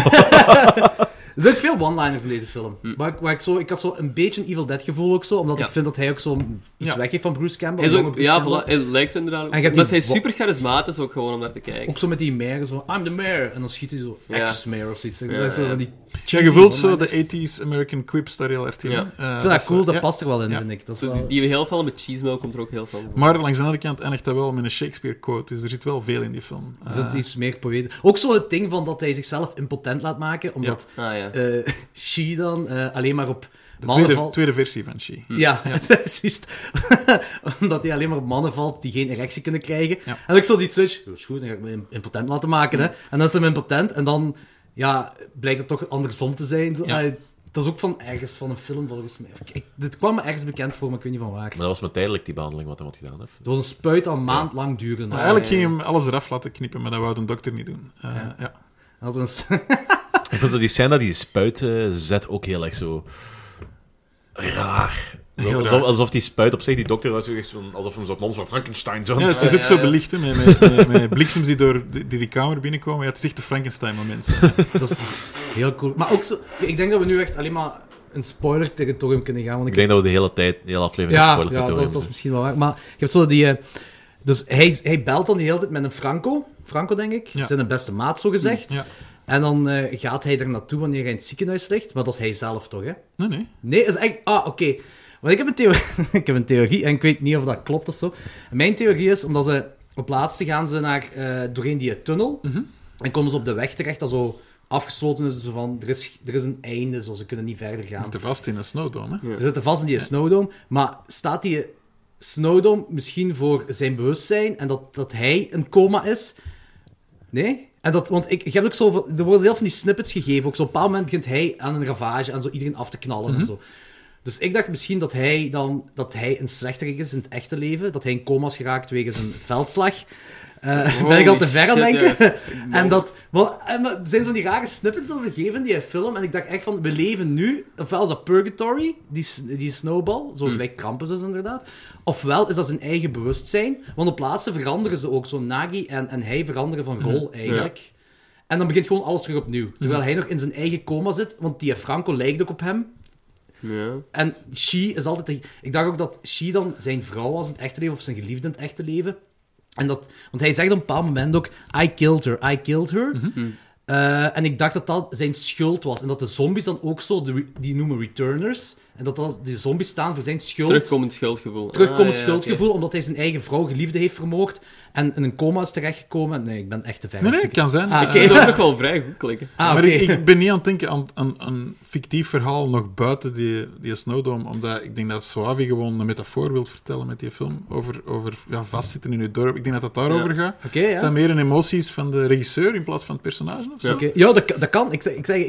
[SPEAKER 5] Er zijn ook veel one-liners in deze film. Waar, ik- waar ik, zo, ik had zo een beetje een Evil Dead gevoel ook zo, omdat
[SPEAKER 8] Ja.
[SPEAKER 5] ik vind dat hij ook zo iets
[SPEAKER 7] Ja.
[SPEAKER 5] weggeeft van Bruce Campbell.
[SPEAKER 8] Hij is
[SPEAKER 5] de jonge
[SPEAKER 8] ook,
[SPEAKER 5] Bruce
[SPEAKER 8] ja,
[SPEAKER 5] Campbell.
[SPEAKER 8] voilà, hij lijkt er inderdaad op.
[SPEAKER 5] En je hebt
[SPEAKER 8] Maar
[SPEAKER 5] die
[SPEAKER 8] hij is super charismatisch ook gewoon om naar te kijken.
[SPEAKER 5] Ook zo met die mayor, zo van, I'm the mayor. En dan schiet hij zo,
[SPEAKER 8] Ja.
[SPEAKER 5] ex-mayor of zoiets.
[SPEAKER 8] Ja,
[SPEAKER 5] Dat is zo
[SPEAKER 8] ja.
[SPEAKER 5] van die
[SPEAKER 7] Ja,
[SPEAKER 5] cheesy
[SPEAKER 7] je voelt zo
[SPEAKER 5] one-liners.
[SPEAKER 7] de 80s American quips daar heel erg in.
[SPEAKER 8] Ja.
[SPEAKER 7] Eh,
[SPEAKER 8] Ik
[SPEAKER 5] Ik vind dat
[SPEAKER 7] is
[SPEAKER 5] cool,
[SPEAKER 7] wel-
[SPEAKER 5] dat
[SPEAKER 7] ja.
[SPEAKER 5] past er wel in,
[SPEAKER 7] Ja.
[SPEAKER 5] vind ik. Dat is
[SPEAKER 8] Zo die,
[SPEAKER 5] wel...
[SPEAKER 8] die we heel veel met cheesemel komt er ook heel veel van.
[SPEAKER 7] Maar langs de andere kant eindigt dat wel met een Shakespeare-quote, dus er zit wel veel in die film. Eh,
[SPEAKER 5] Er zit iets meer poëtisch. Ook zo het ding van dat hij zichzelf impotent laat maken, omdat
[SPEAKER 8] Ah ja.
[SPEAKER 5] eh (laughs) She dan eh, alleen maar op
[SPEAKER 7] de
[SPEAKER 5] mannen
[SPEAKER 7] tweede,
[SPEAKER 5] valt.
[SPEAKER 7] tweede versie van She.
[SPEAKER 5] Ja, (laughs) precies. omdat hij alleen maar op mannen valt die geen erectie kunnen krijgen.
[SPEAKER 7] Ja. Hm.
[SPEAKER 5] En ik zo die switch, dat is goed, dan ga ik me im- impotent laten maken. Hè. En dan is hij impotent en dan ja, blijkt het toch andersom te zijn. Zo,
[SPEAKER 7] Ja.
[SPEAKER 5] eh, dat is ook van ergens, van een film volgens mij. Ik, dit kwam me ergens bekend voor, maar ik weet niet van waar.
[SPEAKER 9] Maar dat was maar tijdelijk die behandeling wat hij had gedaan. Heeft.
[SPEAKER 5] Het was een spuit al maand lang duren.
[SPEAKER 7] Maar eigenlijk ging hem alles eraf laten knippen, maar dat wou de dokter niet doen. Eh, ja.
[SPEAKER 5] En dat was-
[SPEAKER 9] Ik vond zo die scène dat die spuit eh, zet ook heel erg zo raar.
[SPEAKER 7] Heel
[SPEAKER 9] alsof,
[SPEAKER 7] raar.
[SPEAKER 9] alsof die spuit op zich, die dokter, was echt zo'n- alsof hem zo'n monster van Frankenstein zo.
[SPEAKER 7] Ja, het is
[SPEAKER 8] Ja,
[SPEAKER 7] ook
[SPEAKER 8] ja,
[SPEAKER 7] zo
[SPEAKER 8] ja.
[SPEAKER 7] belicht, hè, met, met, met, met bliksems die door die, die kamer binnenkomen. Ja, het is echt een Frankenstein-moment. zo.
[SPEAKER 5] (laughs) Dat is dus heel cool. Maar ook zo, ik denk dat we nu echt alleen maar een spoiler territorium kunnen gaan. Want ik,
[SPEAKER 9] Ik denk dat we de hele tijd, de hele aflevering
[SPEAKER 5] ja,
[SPEAKER 9] gespoilerd
[SPEAKER 5] ja
[SPEAKER 9] hebben door
[SPEAKER 5] dat, dat is
[SPEAKER 9] hem.
[SPEAKER 5] misschien wel waar. Maar je hebt zo die. eh, dus hij, hij belt dan de hele tijd met een Franco. Franco, denk ik.
[SPEAKER 7] Ja.
[SPEAKER 5] Zijn de beste maat, zo gezegd.
[SPEAKER 7] Ja.
[SPEAKER 5] En dan eh, gaat hij er naartoe wanneer hij in het ziekenhuis ligt. Maar dat is hij zelf toch, hè?
[SPEAKER 7] Nee, nee.
[SPEAKER 5] Nee, is echt. Ah, oké. Want ik heb, een theorie, (laughs) ik heb een theorie en ik weet niet of dat klopt of zo. Mijn theorie is omdat ze op laatste gaan ze naar, eh, doorheen die tunnel
[SPEAKER 7] Mhm.
[SPEAKER 5] en komen ze op de weg terecht dat zo afgesloten is. Dus van, er, is er is een einde, zo, ze kunnen niet verder
[SPEAKER 7] Het
[SPEAKER 5] gaan.
[SPEAKER 7] is te vast in een snowdome, hè.
[SPEAKER 5] Ze zitten vast in die snowdome, maar staat die snowdome misschien voor zijn bewustzijn en dat, dat hij een coma is? Nee? En dat, want ik, ik heb ook zo, van- er worden heel veel van die snippets gegeven. Ook zo op een bepaald moment begint hij aan een ravage en zo iedereen af te knallen
[SPEAKER 10] Mhm.
[SPEAKER 5] en zo. Dus ik dacht misschien dat hij dan dat hij een slechterik is in het echte leven, dat hij in coma is geraakt wegens een veldslag. Eh,
[SPEAKER 8] (laughs)
[SPEAKER 5] Eh, ben
[SPEAKER 10] Holy
[SPEAKER 5] ik al te ver aan
[SPEAKER 10] shit,
[SPEAKER 5] denken?
[SPEAKER 10] yes.
[SPEAKER 5] en dat... Wel, en, maar, er zijn van die rare snippets dat ze geven in die film. En ik dacht echt van, we leven nu... Ofwel is dat Purgatory, die, s- die snowball. Zo gelijk Krampus dus inderdaad. Ofwel is dat zijn eigen bewustzijn. Want op plaatsen veranderen ze ook. Zo Nagi en, en hij veranderen van rol eigenlijk. En dan begint gewoon alles terug opnieuw. Terwijl hij nog in zijn eigen coma zit. Want die Franco lijkt ook op hem. (laughs)
[SPEAKER 10] Ja.
[SPEAKER 5] En She is altijd... de- Ik dacht ook dat She dan zijn vrouw was in het echte leven, of zijn geliefde in het echte leven. En dat, want hij zegt op een bepaald moment ook, I killed her, I killed her.
[SPEAKER 7] Mhm.
[SPEAKER 5] Eh, en ik dacht dat dat zijn schuld was. En dat de zombies dan ook zo, de re- die noemen returners, en dat, dat die zombies staan voor zijn schuld.
[SPEAKER 10] Terugkomend schuldgevoel.
[SPEAKER 5] Terugkomend
[SPEAKER 10] Ah, ja,
[SPEAKER 5] schuldgevoel, omdat hij zijn eigen vrouw, geliefde, heeft vermoord. En in een coma is terechtgekomen. Nee, ik ben echt te ver.
[SPEAKER 7] Nee, nee, het kan zijn.
[SPEAKER 5] Ah,
[SPEAKER 7] Eh,
[SPEAKER 10] oké. Ik kan ook nog wel vrij goed klikken.
[SPEAKER 5] Ah, oké.
[SPEAKER 7] maar ik, ik ben niet aan het denken aan aan- aan een fictief verhaal nog buiten die, die Snowdome, omdat ik denk dat Suavi gewoon een metafoor wil vertellen met die film over, over ja, vastzitten in je dorp. Ik denk dat dat daarover gaat.
[SPEAKER 5] Oké, ja.
[SPEAKER 7] Dat meer een emotie is van de regisseur in plaats van het personage of zo.
[SPEAKER 5] Oké. Ja, dat, dat kan. Ik, zeg- ik, zeg, ik,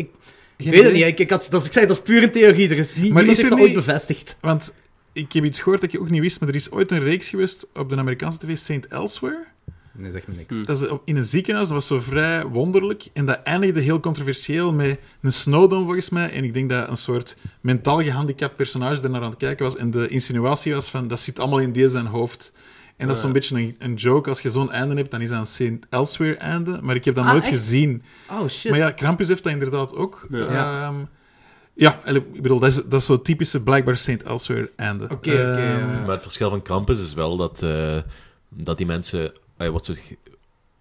[SPEAKER 5] ik weet het
[SPEAKER 7] idee.
[SPEAKER 5] niet. Ik, ik, had, dat, is- ik zeg, dat is puur een theorie. Er is niet,
[SPEAKER 7] Maar
[SPEAKER 5] niemand
[SPEAKER 7] is
[SPEAKER 5] heeft
[SPEAKER 7] er
[SPEAKER 5] dat ooit
[SPEAKER 7] niet-
[SPEAKER 5] bevestigd.
[SPEAKER 7] Want ik heb iets gehoord dat je ook niet wist, maar er is ooit een reeks geweest op de Amerikaanse tv, St. Elsewhere.
[SPEAKER 5] Nee, zeg me niks.
[SPEAKER 7] Dat is op- in een ziekenhuis, dat was zo vrij wonderlijk. En dat eindigde heel controversieel met een Snowdon volgens mij. En ik denk dat een soort mentaal gehandicapt personage er naar aan het kijken was. En de insinuatie was van, dat zit allemaal in deze zijn hoofd. En dat is zo'n beetje een, een joke. Als je zo'n einde hebt, dan is dat een St. Elsewhere einde. Maar ik heb dat
[SPEAKER 5] Ah,
[SPEAKER 7] nooit
[SPEAKER 5] echt?
[SPEAKER 7] gezien.
[SPEAKER 5] Oh, shit.
[SPEAKER 7] Maar ja, Krampus heeft dat inderdaad ook. Ehm,
[SPEAKER 5] Ja.
[SPEAKER 7] Ja, eigenlijk, ik bedoel, dat is, dat is zo'n typische blijkbaar St. Elsewhere einde. Ehm, Oké,
[SPEAKER 5] oké, ja.
[SPEAKER 6] Maar het verschil van Krampus is wel dat, eh, dat die mensen... Hij wordt zo,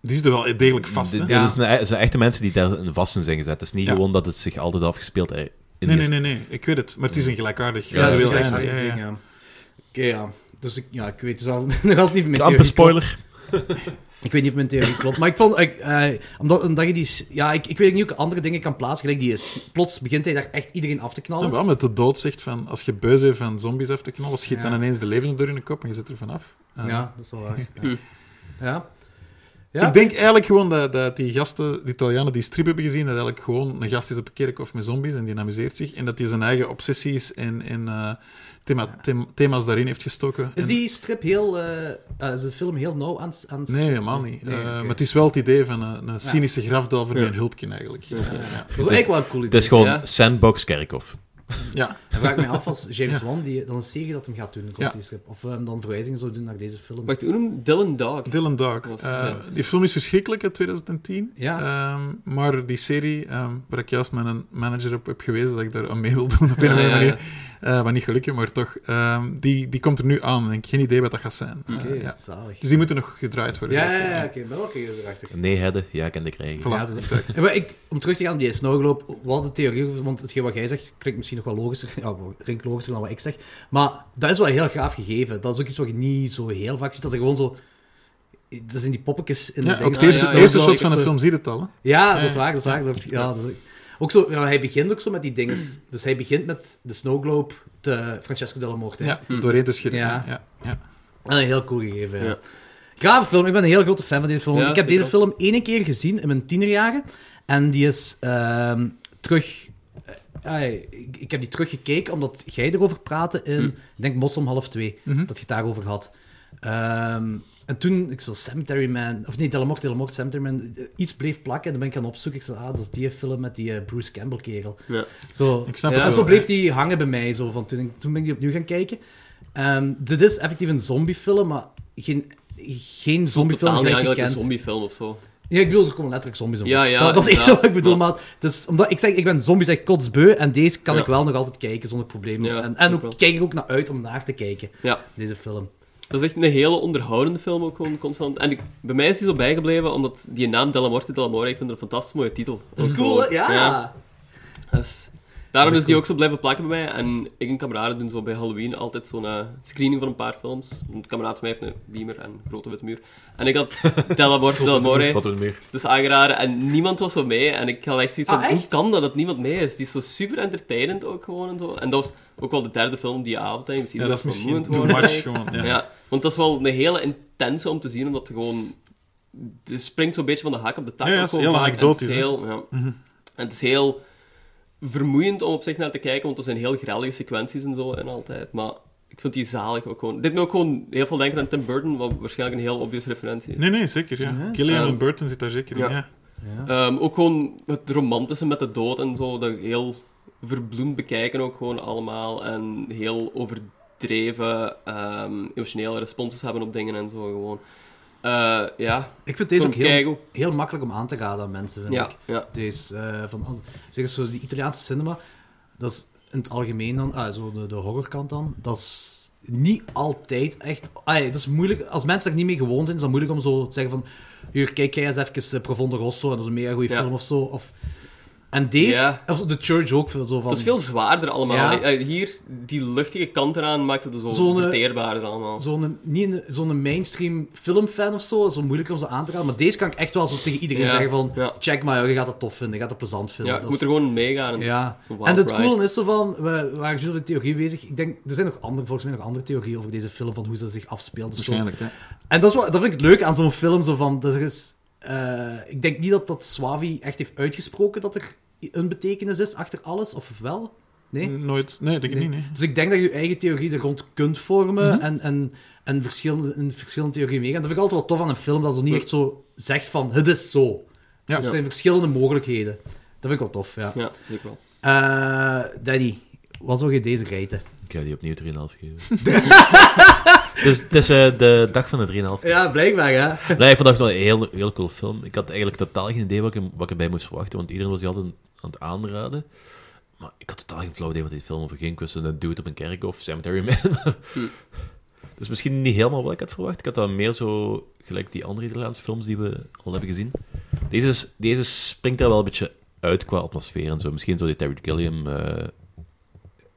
[SPEAKER 7] Die zitten wel degelijk vast, hè?
[SPEAKER 6] dit
[SPEAKER 5] Ja.
[SPEAKER 6] dit is een- e- zijn echte mensen die daar vast in zijn gezet. Het is niet
[SPEAKER 7] Ja.
[SPEAKER 6] gewoon dat het zich altijd afgespeeld heeft. in
[SPEAKER 7] Nee,
[SPEAKER 6] die-
[SPEAKER 7] nee, nee, nee, ik weet het. Maar het is een gelijkaardig
[SPEAKER 5] Ja, dat is
[SPEAKER 7] visueel
[SPEAKER 5] een
[SPEAKER 7] einde,
[SPEAKER 5] gelijkaardig
[SPEAKER 7] ja, ja.
[SPEAKER 5] ding, ja. Oké, ja. Dus ik, ja, ik weet het wel. (laughs) Nog altijd niet of mijn
[SPEAKER 6] Amper
[SPEAKER 5] theorie klopt.
[SPEAKER 6] spoiler.
[SPEAKER 5] Ik weet niet of mijn theorie klopt. Maar ik vond... Ik, eh, omdat, omdat je die... s- Ja, ik, ik weet ook niet of ik andere dingen kan plaatsen. Gelijk die is, plots begint hij daar echt iedereen af te knallen.
[SPEAKER 7] Ja, wel, met de dood zegt van als je beu bent van zombies af te knallen, schiet
[SPEAKER 5] Ja.
[SPEAKER 7] dan ineens de levende door in de kop en je zit er vanaf. Eh,
[SPEAKER 5] Ja, dat is wel waar. Ja. ja. Ja.
[SPEAKER 7] Ik denk eigenlijk gewoon dat, dat die gasten, die Italianen die strip hebben gezien, dat eigenlijk gewoon een gast is op een kerkhof met zombies en die amuseert zich. En dat hij zijn eigen obsessies en, en eh, thema, them- thema's daarin heeft gestoken.
[SPEAKER 5] Is
[SPEAKER 7] En-
[SPEAKER 5] die strip heel... eh, eh, is de film heel nauw aan... s- aan s-
[SPEAKER 7] Nee, helemaal niet.
[SPEAKER 5] Nee,
[SPEAKER 7] Eh,
[SPEAKER 5] oké.
[SPEAKER 7] Maar het is wel het idee van een, een cynische grafdal voor mijn hulpje eigenlijk. Ja, ja.
[SPEAKER 5] Dat is eigenlijk wel een cool idee.
[SPEAKER 6] Het is gewoon
[SPEAKER 10] Ja.
[SPEAKER 6] Sandbox Kerkhof.
[SPEAKER 7] ja.
[SPEAKER 5] Dan vraag ik me af
[SPEAKER 7] (laughs)
[SPEAKER 5] als James
[SPEAKER 7] Ja.
[SPEAKER 5] Wan die, dan een serie dat hem gaat doen, komt
[SPEAKER 7] Ja.
[SPEAKER 5] die strip. Of eh, hem dan verwijzingen zou doen naar deze film.
[SPEAKER 10] Wacht, hoe noemt Dylan Dog?
[SPEAKER 7] Dylan Dog.
[SPEAKER 10] Wat-
[SPEAKER 7] Eh,
[SPEAKER 10] ja.
[SPEAKER 7] Die film is verschrikkelijk uit 2010.
[SPEAKER 5] Ja.
[SPEAKER 7] Ehm, maar die serie, ehm, waar ik juist mijn manager op heb gewezen dat ik daar aan mee wil doen op een of andere
[SPEAKER 10] ja,
[SPEAKER 7] manier. Eh, wat niet gelukkig, maar toch. ehm, die, die komt er nu aan en ik heb geen idee wat dat gaat zijn. Eh,
[SPEAKER 5] Oké,
[SPEAKER 7] ja.
[SPEAKER 5] zalig.
[SPEAKER 7] Dus die moeten nog gedraaid worden.
[SPEAKER 5] Ja, ja, ja, oké, ben wel oké, is erachter.
[SPEAKER 6] Nee, Hedde. Ja, ik en de krijgen.
[SPEAKER 5] Ja, dat is Ja, maar ik, om terug te gaan op die snowglobe, wat de theorie, over- want hetgeen wat jij zegt klinkt misschien nog wel logischer, ja, wel, klinkt logischer dan wat ik zeg, maar dat is wel heel gaaf gegeven. Dat is ook iets wat je niet zo heel vaak ziet, dat er gewoon zo... Dat zijn die poppetjes in
[SPEAKER 7] Ja,
[SPEAKER 5] de
[SPEAKER 7] ook
[SPEAKER 5] dingen.
[SPEAKER 7] het eerste,
[SPEAKER 10] ja, ja,
[SPEAKER 7] eerste
[SPEAKER 10] ja,
[SPEAKER 7] shot
[SPEAKER 10] ja,
[SPEAKER 7] van de
[SPEAKER 10] ja.
[SPEAKER 7] film zie je het al. hè?
[SPEAKER 5] Ja, dat is waar, dat is waar. dat is- ja, dat is- ook zo, ja, hij begint ook zo met die dingen. Dus hij begint met de snowglobe te Francesco della Morte.
[SPEAKER 7] Ja, doorheen te schudden.
[SPEAKER 5] Ja.
[SPEAKER 7] Ja. Ja, ja.
[SPEAKER 5] En een heel cool gegeven, ja.
[SPEAKER 10] Ja.
[SPEAKER 5] Grave film. Ik ben een heel grote fan van deze film.
[SPEAKER 10] Ja,
[SPEAKER 5] ik heb
[SPEAKER 10] zeker.
[SPEAKER 5] deze film één keer gezien in mijn tienerjaren. En die is ehm, terug... eh, ai, ik, ik heb die teruggekeken omdat jij erover praatte in...
[SPEAKER 10] Hm.
[SPEAKER 5] Ik denk Mos om half twee.
[SPEAKER 10] Mhm.
[SPEAKER 5] Dat je het daarover had. Ehm, en toen, ik zo, Cemetery Man... Of nee, Delamort, Delamort, Cemetery Man. eh, Iets bleef plakken en dan ben ik gaan opzoeken. Ik zo, ah, dat is die film met die eh, Bruce Campbell-kerel.
[SPEAKER 10] Ja.
[SPEAKER 5] Zo,
[SPEAKER 7] Ik snap
[SPEAKER 10] Ja,
[SPEAKER 7] het
[SPEAKER 5] en
[SPEAKER 7] wel.
[SPEAKER 5] zo bleef die hangen bij mij. Zo, van toen, ik- toen ben ik die opnieuw gaan kijken. Ehm, dit is effectief een zombiefilm, maar geen, geen zombiefilm
[SPEAKER 10] Totaal niet
[SPEAKER 5] gelijk je
[SPEAKER 10] eigenlijk een
[SPEAKER 5] kent.
[SPEAKER 10] zombiefilm of zo.
[SPEAKER 5] Ja, ik bedoel, er komen letterlijk zombies om.
[SPEAKER 10] Ja, ja,
[SPEAKER 5] dat, dat is echt
[SPEAKER 10] inderdaad.
[SPEAKER 5] wat ik bedoel,
[SPEAKER 10] Maar-
[SPEAKER 5] maar het is, omdat, ik zeg, ik ben zombies echt kotsbeu en deze kan
[SPEAKER 10] Ja.
[SPEAKER 5] ik wel nog altijd kijken zonder problemen.
[SPEAKER 10] Ja,
[SPEAKER 5] en en
[SPEAKER 10] snap
[SPEAKER 5] ook,
[SPEAKER 10] wel.
[SPEAKER 5] kijk ik ook naar uit om naar te kijken,
[SPEAKER 10] Ja,
[SPEAKER 5] deze film.
[SPEAKER 10] dat is echt een hele onderhoudende film ook gewoon constant. En ik- bij mij is die zo bijgebleven, omdat die naam Delamorte Delamore, ik vind het een fantastisch mooie titel.
[SPEAKER 5] Dat is
[SPEAKER 10] Ook
[SPEAKER 5] cool,
[SPEAKER 10] gewoon-
[SPEAKER 5] hè? Ja.
[SPEAKER 10] Dus daarom is,
[SPEAKER 5] Dat is
[SPEAKER 10] die
[SPEAKER 5] cool.
[SPEAKER 10] ook zo blijven plakken bij mij. En ik en kameraden doen zo bij Halloween altijd zo'n eh, screening van een paar films. Een kameraad van mij heeft een beamer en een grote witte muur. En
[SPEAKER 5] (laughs)
[SPEAKER 10] ik had Delamorte Delamore
[SPEAKER 6] Wat doen we meer?
[SPEAKER 10] dus aangeraden en niemand was zo mee. En ik had echt zoiets van,
[SPEAKER 5] Ah,
[SPEAKER 10] hoe
[SPEAKER 5] echt?
[SPEAKER 10] kan dat dat niemand mee is? Die is zo super entertainend ook gewoon en zo. En dat was ook wel de derde film die avond, denk ik. Dus
[SPEAKER 7] Ja, dat is misschien
[SPEAKER 10] vermoeiend
[SPEAKER 7] too
[SPEAKER 10] geworden,
[SPEAKER 7] much
[SPEAKER 10] denk ik.
[SPEAKER 7] gewoon.
[SPEAKER 10] Ja.
[SPEAKER 7] Ja.
[SPEAKER 10] want dat is wel een hele intense om te zien, omdat het gewoon... Het springt zo'n beetje van de hak op de tak.
[SPEAKER 7] Ja, ja,
[SPEAKER 10] ook
[SPEAKER 7] het is
[SPEAKER 10] gewoon
[SPEAKER 7] heel
[SPEAKER 10] vaak. En het is
[SPEAKER 7] anekdotisch, hè? Mhm.
[SPEAKER 10] heel, ja. En het is heel vermoeiend om op zich naar te kijken, want er zijn heel grellige sequenties en zo en altijd. Maar
[SPEAKER 8] Ik vind die zalig ook gewoon. Dit moet ook gewoon heel veel denken aan Tim Burton, wat waarschijnlijk een heel obvious referentie is.
[SPEAKER 7] Nee, nee, zeker, ja.
[SPEAKER 5] Ja,
[SPEAKER 7] Killian
[SPEAKER 8] zo.
[SPEAKER 7] en Burton zit daar zeker in,
[SPEAKER 11] Ja.
[SPEAKER 7] ja.
[SPEAKER 8] Ehm, ook gewoon het romantische met de dood en zo, dat heel verbloemd bekijken ook gewoon allemaal. En heel overdreven ehm, emotionele responses hebben op dingen en zo gewoon. Eh, ja,
[SPEAKER 5] Ik vind deze ook
[SPEAKER 8] Zo'n
[SPEAKER 5] heel,
[SPEAKER 8] keigoed.
[SPEAKER 5] heel makkelijk om aan te raden aan mensen, vind
[SPEAKER 8] Ja,
[SPEAKER 5] ik.
[SPEAKER 8] ja.
[SPEAKER 5] Deze, eh, van, als- zeg eens zo, die Italiaanse cinema, dat is in het algemeen dan, ah, zo de, de horrorkant dan, dat is niet altijd echt... Ah, ja, dat is moeilijk, als mensen daar niet mee gewoon zijn, is dat moeilijk om zo te zeggen van, hier, kijk jij eens even eh, Profondo Rosso, en dat is een mega goede
[SPEAKER 8] Ja.
[SPEAKER 5] film of zo. Of, en deze,
[SPEAKER 8] Ja.
[SPEAKER 5] of zo, The Church ook, veel zo van...
[SPEAKER 8] Dat is veel zwaarder allemaal.
[SPEAKER 5] Ja.
[SPEAKER 8] Eh, Hier, die luchtige kant eraan maakt het zo
[SPEAKER 5] Zo'n, eh,
[SPEAKER 8] verteerbaarder allemaal.
[SPEAKER 5] Zo'n, niet een- zo'n mainstream filmfan of zo, dat is wel moeilijk om zo aan te raden. Maar deze kan ik echt wel zo tegen iedereen
[SPEAKER 8] Ja,
[SPEAKER 5] zeggen van,
[SPEAKER 8] ja.
[SPEAKER 5] check maar, joh, je gaat het tof vinden, je gaat het plezant
[SPEAKER 8] ja,
[SPEAKER 5] vinden.
[SPEAKER 8] je
[SPEAKER 5] Dat
[SPEAKER 8] moet
[SPEAKER 5] is-
[SPEAKER 8] er gewoon meegaan.
[SPEAKER 5] Ja.
[SPEAKER 8] is een wild
[SPEAKER 5] En het
[SPEAKER 8] ride.
[SPEAKER 5] coole is zo van, we we waren juist over de theorie bezig. Ik denk, er zijn nog andere, volgens mij nog andere theorieën over deze film, van hoe ze zich afspeelt of zo.
[SPEAKER 7] Waarschijnlijk, hè.
[SPEAKER 5] En dat, is wat, dat vind ik leuk aan zo'n film, zo van, dat er is... eh, ik denk niet dat dat Swavi echt heeft uitgesproken dat er een betekenis is achter alles, of wel? Nee?
[SPEAKER 7] Nooit, nee, denk Mm,
[SPEAKER 5] Nee.
[SPEAKER 7] ik niet, nee. Mhm.
[SPEAKER 5] Dus ik denk dat je je eigen theorie er rond kunt vormen en, en, en verschillende, in verschillende theorieën meegaan. Dat vind ik altijd wel tof aan een film, dat ze niet echt zo zegt van, het is zo. Dus
[SPEAKER 7] Ja.
[SPEAKER 5] Er
[SPEAKER 7] Ja.
[SPEAKER 5] zijn verschillende mogelijkheden. Dat vind ik wel tof, ja.
[SPEAKER 8] Ja, zeker wel.
[SPEAKER 5] Eh, Danny, wat zou je deze rijden?
[SPEAKER 6] Ik heb die opnieuw 3,5
[SPEAKER 7] (laughs)
[SPEAKER 6] gegeven. dus het is eh, de dag van de 3,5.
[SPEAKER 5] Ja, blijkbaar, hè.
[SPEAKER 6] Nee, ik vond dat wel een heel, heel cool film. Ik had eigenlijk totaal geen idee wat ik, wat ik erbij moest verwachten, want iedereen was die altijd aan het aanraden. Maar ik had totaal geen flauw idee wat die film over ging. Ik wist een dude op een kerk of Cemetery Man. (laughs) Dus misschien niet helemaal wat ik had verwacht. Ik had dan meer zo gelijk die andere Italiaanse films die we al hebben gezien. Deze, is- deze springt daar wel een beetje uit qua atmosfeer en zo. Misschien zo die Terry Gilliam eh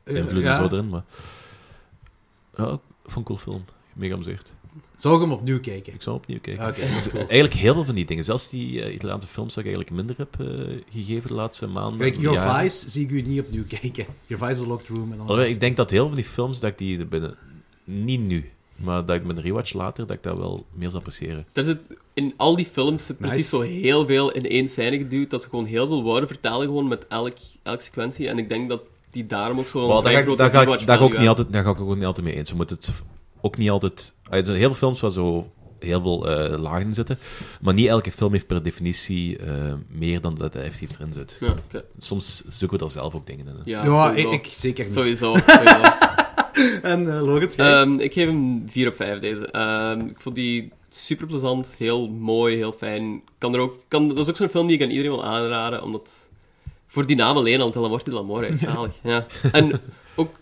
[SPEAKER 6] invloed en
[SPEAKER 5] Eh, Ja.
[SPEAKER 6] zo erin, maar... Ja, ik vond ik een cool film. Mega amuseerd.
[SPEAKER 5] Zou ik hem opnieuw kijken?
[SPEAKER 6] Ik zou opnieuw kijken.
[SPEAKER 5] Oké, dat is cool.
[SPEAKER 6] Eigenlijk heel veel van die dingen. Zelfs die eh, Italiaanse films dat ik eigenlijk minder heb eh, gegeven de laatste maanden.
[SPEAKER 5] Kijk, Your
[SPEAKER 6] jaren.
[SPEAKER 5] Vice zie ik u niet opnieuw kijken. Your Vice is a locked room. En dan...
[SPEAKER 6] Alhoewel, ik denk dat heel veel van die films, dat ik die binnen... Niet nu, maar dat ik met een rewatch later, dat ik dat wel meer zal appreciëren.
[SPEAKER 8] Er zit, in al die films zit precies zo heel veel in één scène geduwd, dat ze gewoon heel veel woorden vertalen gewoon met elk, elk sequentie. En ik denk dat die daarom ook zo'n
[SPEAKER 6] Wel, daar
[SPEAKER 8] vrij
[SPEAKER 6] ga ik,
[SPEAKER 8] grote
[SPEAKER 6] daar ga ik,
[SPEAKER 8] rewatch
[SPEAKER 6] daar ga ik ook
[SPEAKER 8] value
[SPEAKER 6] niet
[SPEAKER 8] hebben.
[SPEAKER 6] altijd, daar ga ik ook niet altijd mee eens. Je moet het ook niet altijd... Ah, Er zijn heel veel films waar zo heel veel eh, lagen in zitten. Maar niet elke film heeft per definitie eh, meer dan dat hij effectief erin zit.
[SPEAKER 8] Ja, oké.
[SPEAKER 6] Soms zoeken we daar zelf ook dingen in. hè.
[SPEAKER 8] ja,
[SPEAKER 5] ja, ik,
[SPEAKER 8] sowieso.
[SPEAKER 5] ik zeker niet.
[SPEAKER 8] Sowieso. sowieso.
[SPEAKER 5] En eh Lorenz, jij?
[SPEAKER 8] Ehm, ik geef hem 4 op 5 deze. Ehm, ik vond die super plezant, heel mooi, heel fijn. Kan er ook, kan, dat is ook zo'n film die ik aan iedereen wil aanraden, omdat voor die naam alleen al, Della Morte L'Amore,
[SPEAKER 5] (laughs)
[SPEAKER 8] zalig. Ja. En ook,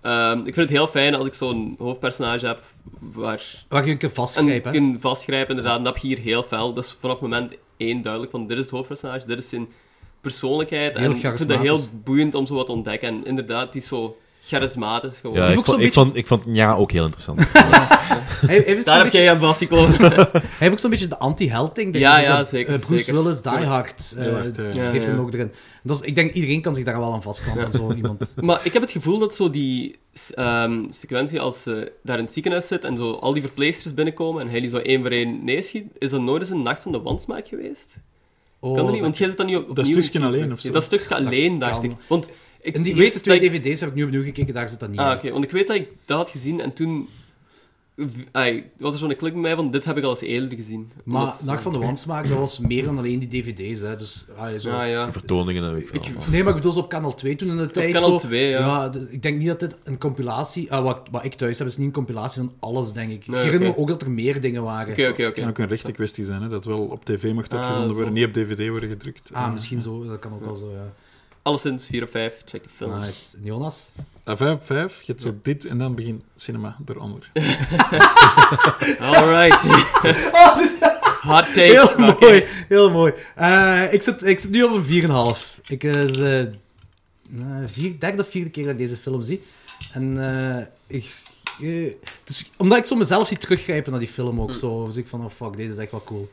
[SPEAKER 8] ehm, ik vind het heel fijn als ik zo'n hoofdpersonage heb waar
[SPEAKER 5] Waar je kunt
[SPEAKER 8] en
[SPEAKER 5] vastgrijpen, hè?
[SPEAKER 8] kun vastgrijpen, inderdaad. En dat heb je hier heel fel. Dat is vanaf moment één duidelijk van, dit is het hoofdpersonage, dit is zijn persoonlijkheid.
[SPEAKER 5] Heel
[SPEAKER 8] en ik vind dat heel
[SPEAKER 5] charismatisch.
[SPEAKER 8] boeiend om zo wat te ontdekken. En inderdaad, die is zo charismatisch gewoon.
[SPEAKER 6] Ja,
[SPEAKER 5] Die
[SPEAKER 6] ik,
[SPEAKER 5] vond ik
[SPEAKER 6] vond,
[SPEAKER 5] zo'n
[SPEAKER 6] ik,
[SPEAKER 5] beetje-
[SPEAKER 6] vond, ik vond Nja ook heel
[SPEAKER 5] (laughs)
[SPEAKER 6] interessant.
[SPEAKER 5] Hij, hij heeft
[SPEAKER 8] Daar
[SPEAKER 5] ook zo'n
[SPEAKER 8] heb
[SPEAKER 5] beetje,
[SPEAKER 8] jij aan vastgekloven.
[SPEAKER 5] (laughs) hij heeft ook zo'n beetje de anti-helding.
[SPEAKER 8] Ja, ja, zeker,
[SPEAKER 5] eh, Bruce
[SPEAKER 8] zeker.
[SPEAKER 5] Willis, Die Hard, eh,
[SPEAKER 7] Heel hard, eh,
[SPEAKER 8] Ja,
[SPEAKER 5] heeft
[SPEAKER 8] ja.
[SPEAKER 5] hem ook erin. Dus ik denk, iedereen kan zich daar wel aan vastklampen, aan zo iemand.
[SPEAKER 8] Maar ik heb het gevoel dat zo die s- ehm, sequentie als ze daar in het ziekenhuis zit en zo al die verpleegsters binnenkomen en hij die zo één voor één neerschiet, is dat nooit eens een nacht van de wandsmaak geweest?
[SPEAKER 5] Oh,
[SPEAKER 8] kan dat niet? Want jij zit dan niet op, opnieuw
[SPEAKER 7] stukje
[SPEAKER 8] in het
[SPEAKER 7] alleen
[SPEAKER 8] zien.
[SPEAKER 7] of zo.
[SPEAKER 8] Ja, dat stukje alleen, dacht
[SPEAKER 5] kan.
[SPEAKER 8] ik. Want ik
[SPEAKER 5] In die
[SPEAKER 8] weet
[SPEAKER 5] eerste twee
[SPEAKER 8] dat ik-
[SPEAKER 5] dvd's heb ik nu opnieuw gekeken, daar zit dat niet
[SPEAKER 8] Ah,
[SPEAKER 5] in.
[SPEAKER 8] oké. Want ik weet dat ik dat had gezien en toen... v- ai, was er zo'n klik bij mij van, dit heb ik al eens eerder gezien.
[SPEAKER 5] Maar
[SPEAKER 8] Omdat-
[SPEAKER 5] Nacht van de Wandsmaak, dat was meer dan alleen die dvd's, hè. Dus, ah, ja, zo.
[SPEAKER 8] Ah, ja.
[SPEAKER 6] Vertoningen en weet ik veel
[SPEAKER 8] Ik-
[SPEAKER 6] allemaal.
[SPEAKER 5] Nee, maar ik bedoel, zo op kanaal 2 toen in de tijd.
[SPEAKER 8] kanaal
[SPEAKER 5] zo,
[SPEAKER 8] 2, ja.
[SPEAKER 5] dus ik denk niet dat dit een compilatie... eh, wat, wat ik thuis heb, is niet een compilatie van alles, denk ik.
[SPEAKER 8] Nee,
[SPEAKER 5] ik herinner
[SPEAKER 8] oké.
[SPEAKER 5] me ook dat er meer dingen waren.
[SPEAKER 8] Oké, oké,
[SPEAKER 7] Het kan
[SPEAKER 8] oké.
[SPEAKER 7] ook een rechte kwestie zijn, hè, dat wel op tv mag
[SPEAKER 8] Ah,
[SPEAKER 7] uitgezonden
[SPEAKER 8] zo.
[SPEAKER 7] worden, niet op dvd worden gedrukt.
[SPEAKER 5] Ah, misschien zo. Dat kan ook wel zo, ja.
[SPEAKER 8] Alleszins 4 of 5, check de film.
[SPEAKER 5] Nice. En Jonas?
[SPEAKER 7] Ah, vijf op vijf, je hebt zo dit en dan begint cinema eronder.
[SPEAKER 8] Alright. (laughs)
[SPEAKER 5] (laughs)
[SPEAKER 8] Hot take.
[SPEAKER 5] Heel
[SPEAKER 8] Oké.
[SPEAKER 5] mooi, heel mooi. Eh, ik, zit, ik zit nu op een 4,5. Ik eh, is eh, eh, vier, derde of vierde keer dat ik deze film zie. En eh, ik, eh, het is- omdat ik zo mezelf zie teruggrijpen naar die film ook zo, dus ik van, oh fuck, deze is echt wel cool.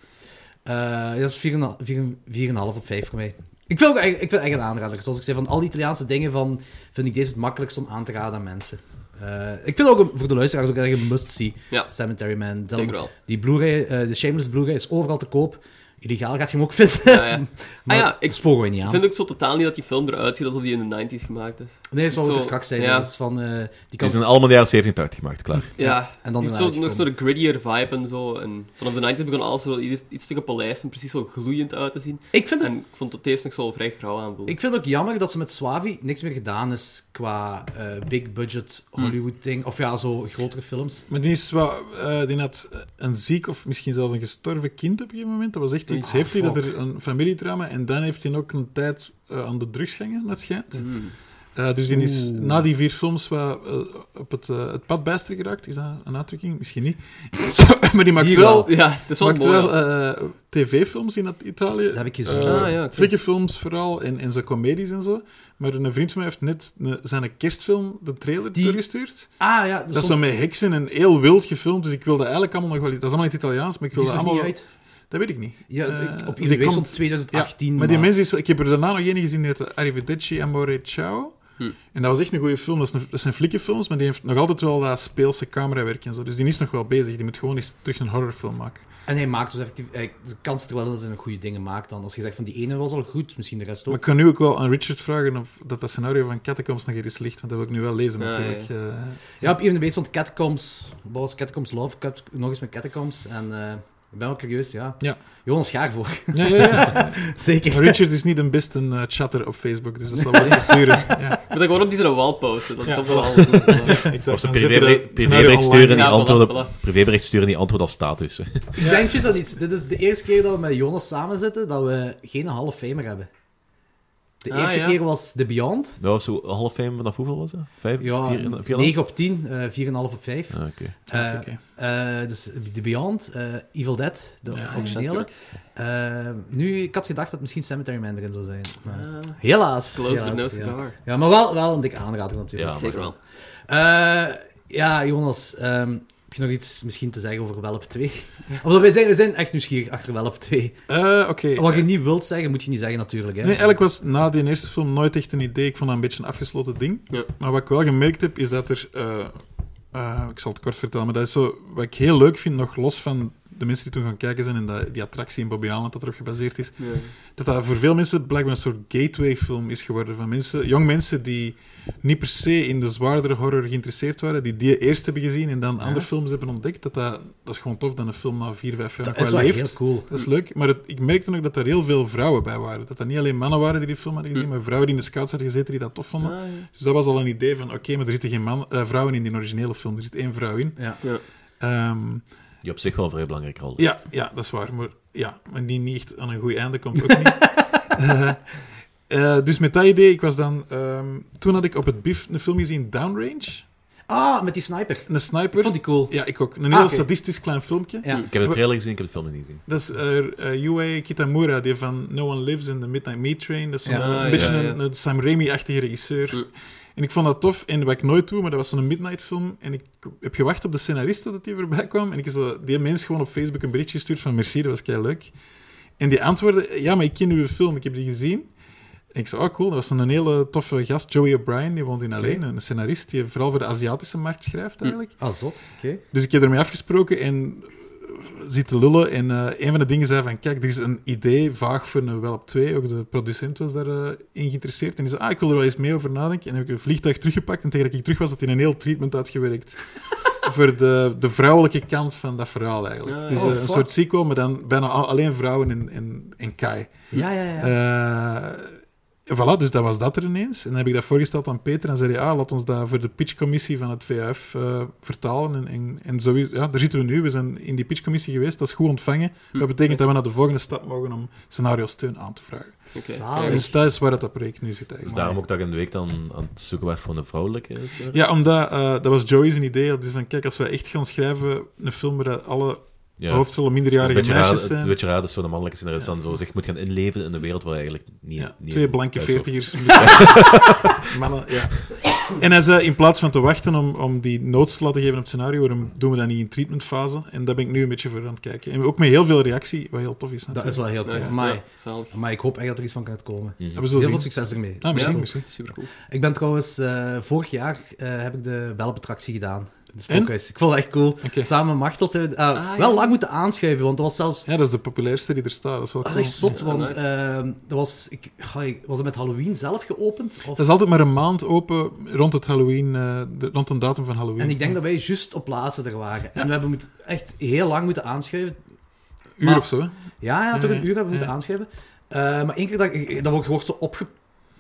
[SPEAKER 5] Eh, dat is 4,5 vier- 4,5 op 5 voor mij. Ik vind, ook, eigenlijk- ik vind het echt een aanrader. Zoals ik zei, van al die Italiaanse dingen van, vind ik deze het makkelijkst om aan te raden aan mensen. Eh, ik vind ook een- voor de luisteraars ook echt een must-see.
[SPEAKER 8] Ja.
[SPEAKER 5] Cemetery Man, Del
[SPEAKER 8] Zeker wel.
[SPEAKER 5] die Blu-ray, eh, de Shameless Blu-ray is overal te koop. illegaal gaat je hem ook vinden. (laughs)
[SPEAKER 10] Nou Ja, ja.
[SPEAKER 5] Maar
[SPEAKER 10] Ah ja, ik
[SPEAKER 5] dat sporen we niet aan.
[SPEAKER 10] Ik vind ook zo totaal niet dat die film eruit ziet alsof die in de 90s gemaakt is.
[SPEAKER 5] Nee, dat is wat
[SPEAKER 10] zo-
[SPEAKER 5] we er straks zeiden.
[SPEAKER 10] ja.
[SPEAKER 5] Dat is van, eh, die
[SPEAKER 9] Die
[SPEAKER 5] kan
[SPEAKER 9] zijn allemaal in de jaren 1780 gemaakt,
[SPEAKER 5] (laughs)
[SPEAKER 9] klaar.
[SPEAKER 10] Ja,
[SPEAKER 5] en dan
[SPEAKER 10] die is
[SPEAKER 5] daarna
[SPEAKER 10] zo, nog
[SPEAKER 5] uitgekomen.
[SPEAKER 10] zo'n grittier vibe en zo. En vanaf de 90s begon alles er wel iets, iets te gepolijst en precies zo gloeiend uit te zien.
[SPEAKER 5] Ik vind, het,
[SPEAKER 10] En ik vond dat deze nog zo vrij grauw aanvoelde.
[SPEAKER 5] ik vind het ook jammer dat ze met Swavi niks meer gedaan is qua eh, big budget
[SPEAKER 10] Hmm.
[SPEAKER 5] Hollywood ding. Of ja, zo grotere films.
[SPEAKER 7] Maar die, is wel, eh, die had een ziek of misschien zelfs een gestorven kind op een gegeven moment. Dat was echt iets.
[SPEAKER 5] Ah,
[SPEAKER 7] heeft hij dat
[SPEAKER 5] fuck.
[SPEAKER 7] er een familietrauma en dan heeft hij ook een tijd eh, aan de drugs gehangen, dat schijnt.
[SPEAKER 8] Mm.
[SPEAKER 10] Hmm.
[SPEAKER 7] Eh, dus die is na die vier films wat, eh, op het, eh, het pad bijster geraakt. Is dat een uitdrukking? Misschien niet. (coughs) maar die maakt
[SPEAKER 5] Hier
[SPEAKER 7] wel,
[SPEAKER 10] Ja, het is wel
[SPEAKER 7] maakt
[SPEAKER 10] mooi.
[SPEAKER 7] wel
[SPEAKER 10] als-
[SPEAKER 7] eh, tv-films in het Italië.
[SPEAKER 5] Dat heb ik gezien.
[SPEAKER 7] Eh,
[SPEAKER 10] Ah, ja, ik
[SPEAKER 7] Flikkenfilms vooral en, en zo comedies en zo. Maar een vriend van mij heeft net een- zijn kerstfilm, de trailer,
[SPEAKER 5] Die-
[SPEAKER 7] doorgestuurd.
[SPEAKER 5] Ah ja,
[SPEAKER 7] Dat is zo met heksen en heel wild gefilmd, dus ik wilde eigenlijk allemaal nog wel iets. Dat is allemaal in het Italiaans, maar ik
[SPEAKER 5] Die is
[SPEAKER 7] wilde
[SPEAKER 5] nog
[SPEAKER 7] allemaal.
[SPEAKER 5] niet uit.
[SPEAKER 7] Dat weet ik niet.
[SPEAKER 5] Ja,
[SPEAKER 7] Eh,
[SPEAKER 5] ik- op
[SPEAKER 7] die
[SPEAKER 5] IMDb
[SPEAKER 7] komt-
[SPEAKER 5] stond 2018.
[SPEAKER 7] Ja, maar, die mensen is. Ik heb er daarna nog één gezien die heette Arrivederci Amore Ciao.
[SPEAKER 10] Hm.
[SPEAKER 7] En dat was echt een goede film. Dat, is een, dat zijn flikkenfilms, maar die heeft nog altijd wel dat speelse camerawerk en zo. Dus die is nog wel bezig. Die moet gewoon eens terug een horrorfilm maken.
[SPEAKER 5] En hij maakt dus effectief... eh, De kans zit er wel in dat hij nog goede dingen maakt dan. Als je zegt van die ene was al goed, misschien de rest ook.
[SPEAKER 7] Maar ik kan nu ook wel aan Richard vragen of dat, dat scenario van Catacombs nog eens ligt, want dat wil ik nu wel lezen
[SPEAKER 10] Ja,
[SPEAKER 7] natuurlijk.
[SPEAKER 10] ja,
[SPEAKER 7] Eh,
[SPEAKER 5] Ja, op IMDb stond Catacombs. Wat was het? Catacombs Love? Cat- nog eens met Catacombs. En eh, ik ben wel curieus, ja.
[SPEAKER 7] Ja.
[SPEAKER 5] Jonas Schaar
[SPEAKER 7] (laughs)
[SPEAKER 5] voor.
[SPEAKER 7] (laughs) ja, ja, ja.
[SPEAKER 5] Zeker.
[SPEAKER 7] Maar Richard is niet een beste eh, chatter op Facebook, dus dat zal (laughs) wel iets duren. Ja.
[SPEAKER 10] Ik moet dat gewoon op die zijn wall posten. Dat
[SPEAKER 7] Ja,
[SPEAKER 10] komt
[SPEAKER 7] voilà.
[SPEAKER 10] wel allemaal goed.
[SPEAKER 7] Exact.
[SPEAKER 9] Of ze
[SPEAKER 7] Dan zetten we
[SPEAKER 9] privébericht
[SPEAKER 7] dat
[SPEAKER 9] privébericht
[SPEAKER 7] scenario
[SPEAKER 9] sturen, en die
[SPEAKER 10] online. Ja, voilà,
[SPEAKER 9] antwoorden-
[SPEAKER 10] voilà.
[SPEAKER 9] privébericht sturen die antwoord als
[SPEAKER 5] (laughs)
[SPEAKER 9] status. hè.
[SPEAKER 5] Ik denk juist dat iets. Dit is de eerste keer dat we met Jonas samen zitten dat we geen Hall of Famer hebben. De
[SPEAKER 10] Ah,
[SPEAKER 5] eerste
[SPEAKER 10] ja.
[SPEAKER 5] keer was The Beyond.
[SPEAKER 9] Dat was zo half fame vanaf hoeveel was dat? Vijf?
[SPEAKER 5] Ja,
[SPEAKER 9] vier, vier, en
[SPEAKER 5] 9 op 10, eh 4,5 op 5.
[SPEAKER 9] een half? Ah, oké.
[SPEAKER 5] Eh,
[SPEAKER 7] Oké.
[SPEAKER 5] eh, dus The Beyond, eh, Evil Dead, de
[SPEAKER 7] Ja,
[SPEAKER 5] originele. Eh, nu, ik had gedacht dat het misschien Cemetery Mandarin zou zijn. Maar
[SPEAKER 8] Ah.
[SPEAKER 5] helaas.
[SPEAKER 10] Ah, Close
[SPEAKER 5] helaas,
[SPEAKER 10] but no
[SPEAKER 5] ja.
[SPEAKER 10] cigar.
[SPEAKER 5] Ja, maar wel, wel een dikke aanrader natuurlijk.
[SPEAKER 9] Ja,
[SPEAKER 10] Zeker wel.
[SPEAKER 5] Eh, ja, Jonas, ehm, heb je nog iets misschien te zeggen over Welp 2? (laughs) Omdat wij zijn, wij zijn echt nieuwsgierig achter Welp 2.
[SPEAKER 7] Eh, Oké.
[SPEAKER 5] Wat je niet wilt zeggen, moet je niet zeggen natuurlijk. Hè?
[SPEAKER 7] Nee, eigenlijk was na die eerste film nooit echt een idee. Ik vond dat een beetje een afgesloten ding.
[SPEAKER 10] Ja.
[SPEAKER 7] Maar wat ik wel gemerkt heb, is dat er... eh, eh, ik zal het kort vertellen, maar dat is zo... Wat ik heel leuk vind, nog los van de mensen die toen gaan kijken zijn en dat, die attractie in Bobby Island dat erop gebaseerd is, dat dat voor veel mensen blijkbaar een soort gateway-film is geworden van mensen, jong mensen die niet per se in de zwaardere horror geïnteresseerd waren, die die eerst hebben gezien en dan andere films hebben ontdekt, dat, dat dat is gewoon tof dat een film na vier, vijf jaar
[SPEAKER 5] dat
[SPEAKER 7] nog
[SPEAKER 5] is
[SPEAKER 7] wel
[SPEAKER 5] wel
[SPEAKER 7] leeft.
[SPEAKER 5] heel cool.
[SPEAKER 7] Dat is leuk, maar het- ik merkte nog dat er heel veel vrouwen bij waren. Dat dat niet alleen mannen waren die die film hadden
[SPEAKER 5] Mm.
[SPEAKER 7] gezien, maar vrouwen die in de scouts hadden gezeten die dat tof vonden.
[SPEAKER 10] Ah,
[SPEAKER 7] Dus dat was al een idee van, oké, maar er zitten geen man, eh, vrouwen in die originele film. Er zit één vrouw in.
[SPEAKER 5] Ja.
[SPEAKER 10] Ja.
[SPEAKER 7] Ehm,
[SPEAKER 9] Die op zich wel een vrij belangrijke rol.
[SPEAKER 7] ja, ja, dat is waar. Maar, ja, maar die niet echt aan een goed einde komt
[SPEAKER 5] (laughs)
[SPEAKER 7] ook niet. Eh, eh, dus met dat idee, ik was dan... ehm, toen had ik op het BIF een film gezien, Downrange.
[SPEAKER 5] Ah, met die sniper.
[SPEAKER 7] Een sniper.
[SPEAKER 5] Ik vond die cool.
[SPEAKER 7] Ja, ik ook. Een heel
[SPEAKER 5] Ah, oké.
[SPEAKER 7] statistisch klein filmpje.
[SPEAKER 5] Ja.
[SPEAKER 9] Ik heb de trailer gezien, ik heb de film nog niet gezien.
[SPEAKER 7] Dat is eh eh, Yue Kitamura, die van No One Lives in the Midnight Meat Train. Dat is zo'n-
[SPEAKER 5] Ja. Mm.
[SPEAKER 7] een
[SPEAKER 10] Ah,
[SPEAKER 7] beetje
[SPEAKER 10] ja,
[SPEAKER 7] Een, een Sam Raimi-achtige regisseur. En ik vond dat tof. En wat ik nooit doe, maar dat was zo'n Midnight film. En ik heb gewacht op de scenarist dat die voorbij kwam. En ik heb zo, die mens gewoon op Facebook een berichtje gestuurd van merci, dat was kei leuk. En die antwoordde, ja, maar ik ken uw film, ik heb die gezien. En ik zei, oh cool, dat was een hele toffe gast, Joey O'Brien, die woont in alleen, een scenarist die vooral voor de Aziatische markt schrijft eigenlijk.
[SPEAKER 5] Ah, zot. Oké.
[SPEAKER 7] Dus ik heb ermee afgesproken en zit te lullen. En eh, een van de dingen zei van, kijk, er is een idee vaag voor een Welp 2. Ook de producent was daarin in geïnteresseerd. En die zei, ah, ik wil er wel eens mee over nadenken. En dan heb ik een vliegtuig teruggepakt. En tegen dat ik terug was, had hij een heel
[SPEAKER 5] (laughs)
[SPEAKER 7] treatment uitgewerkt. voor de, de vrouwelijke kant van dat verhaal eigenlijk.
[SPEAKER 10] Ah,
[SPEAKER 7] dus
[SPEAKER 5] ja.
[SPEAKER 7] eh,
[SPEAKER 5] Oh,
[SPEAKER 7] een
[SPEAKER 5] fuck.
[SPEAKER 7] soort sequel, maar dan bijna al- alleen vrouwen en, en, en Kai.
[SPEAKER 5] Ja, ja, ja.
[SPEAKER 7] Eh, voilà, dus dat was dat er ineens. En dan heb ik dat voorgesteld aan Peter en zei hij, ah, laat ons dat voor de pitchcommissie van het VF eh, vertalen. En, en, en zo, is- ja, daar zitten we nu. We zijn in die pitchcommissie geweest, dat is goed ontvangen.
[SPEAKER 9] Hm.
[SPEAKER 7] Dat betekent dat we naar de volgende stap mogen om scenario steun aan te vragen.
[SPEAKER 5] Zalig.
[SPEAKER 7] Dus dat is waar dat, dat project nu zit
[SPEAKER 9] Dus
[SPEAKER 7] eigenlijk.
[SPEAKER 9] daarom ook dat ik in de week dan aan het zoeken was voor een vrouwelijke. regisseur.
[SPEAKER 7] Ja, omdat, eh, dat was Joey's idee. Dat is van, kijk, als we echt gaan schrijven, een film waar dat alle
[SPEAKER 9] Ja.
[SPEAKER 7] hoofdrollen
[SPEAKER 9] Dat is
[SPEAKER 7] minderjarige
[SPEAKER 9] Een beetje raar,
[SPEAKER 7] meisjes
[SPEAKER 9] het- een
[SPEAKER 5] eh.
[SPEAKER 7] zijn.
[SPEAKER 9] beetje raar dat zo'n mannelijke scenarist dan zo zich moet gaan inleven in een wereld waar hij eigenlijk niet...
[SPEAKER 7] Ja,
[SPEAKER 9] niet
[SPEAKER 7] twee blanke
[SPEAKER 9] thuis hoort.
[SPEAKER 7] veertigers. (laughs) Mannen, ja. En hij zei, in plaats van te wachten om, om die noodslag te geven op het scenario, waarom doen we dat niet in treatmentfase? En daar ben ik nu een beetje voor aan het kijken. En ook met heel veel reactie, wat heel tof is
[SPEAKER 5] dat is
[SPEAKER 7] natuurlijk.
[SPEAKER 5] wel heel cool.
[SPEAKER 10] Nice.
[SPEAKER 5] Maar,
[SPEAKER 10] Ja, zalig.
[SPEAKER 5] maar ik hoop echt dat er iets van kan komen.
[SPEAKER 7] Ja, we zullen
[SPEAKER 5] Heel veel
[SPEAKER 7] zien.
[SPEAKER 5] succes ermee.
[SPEAKER 7] Ah, misschien,
[SPEAKER 10] Ja.
[SPEAKER 7] misschien.
[SPEAKER 10] Supercool.
[SPEAKER 5] Ik ben trouwens, eh, vorig jaar eh, heb ik de welbettractie gedaan. de spookhuis. Ik vond dat echt cool.
[SPEAKER 7] Oké.
[SPEAKER 5] Samen met Machtel zijn we... eh,
[SPEAKER 10] Ah,
[SPEAKER 5] wel lang moeten aanschuiven, want dat was zelfs...
[SPEAKER 7] Ja, dat is de populairste die er staat. Dat is wel
[SPEAKER 5] Dat
[SPEAKER 7] cool.
[SPEAKER 5] is echt zot,
[SPEAKER 10] Ja,
[SPEAKER 5] want
[SPEAKER 10] nice.
[SPEAKER 5] ehm, dat was... Ik, ga ik- was het met Halloween zelf geopend? Of...
[SPEAKER 7] Dat is altijd maar een maand open rond het Halloween, eh, de- rond de datum van Halloween.
[SPEAKER 5] En ik denk dat wij juist op laatste er waren. En we hebben moet, echt heel lang moeten aanschuiven.
[SPEAKER 7] Een uur
[SPEAKER 5] maar-
[SPEAKER 7] of zo. hè?
[SPEAKER 5] Ja, ja toch
[SPEAKER 7] Ja,
[SPEAKER 5] een uur hebben we moeten
[SPEAKER 7] ja.
[SPEAKER 5] aanschuiven. Eh, maar één keer dat, ik- dat wordt, je wordt zo opge...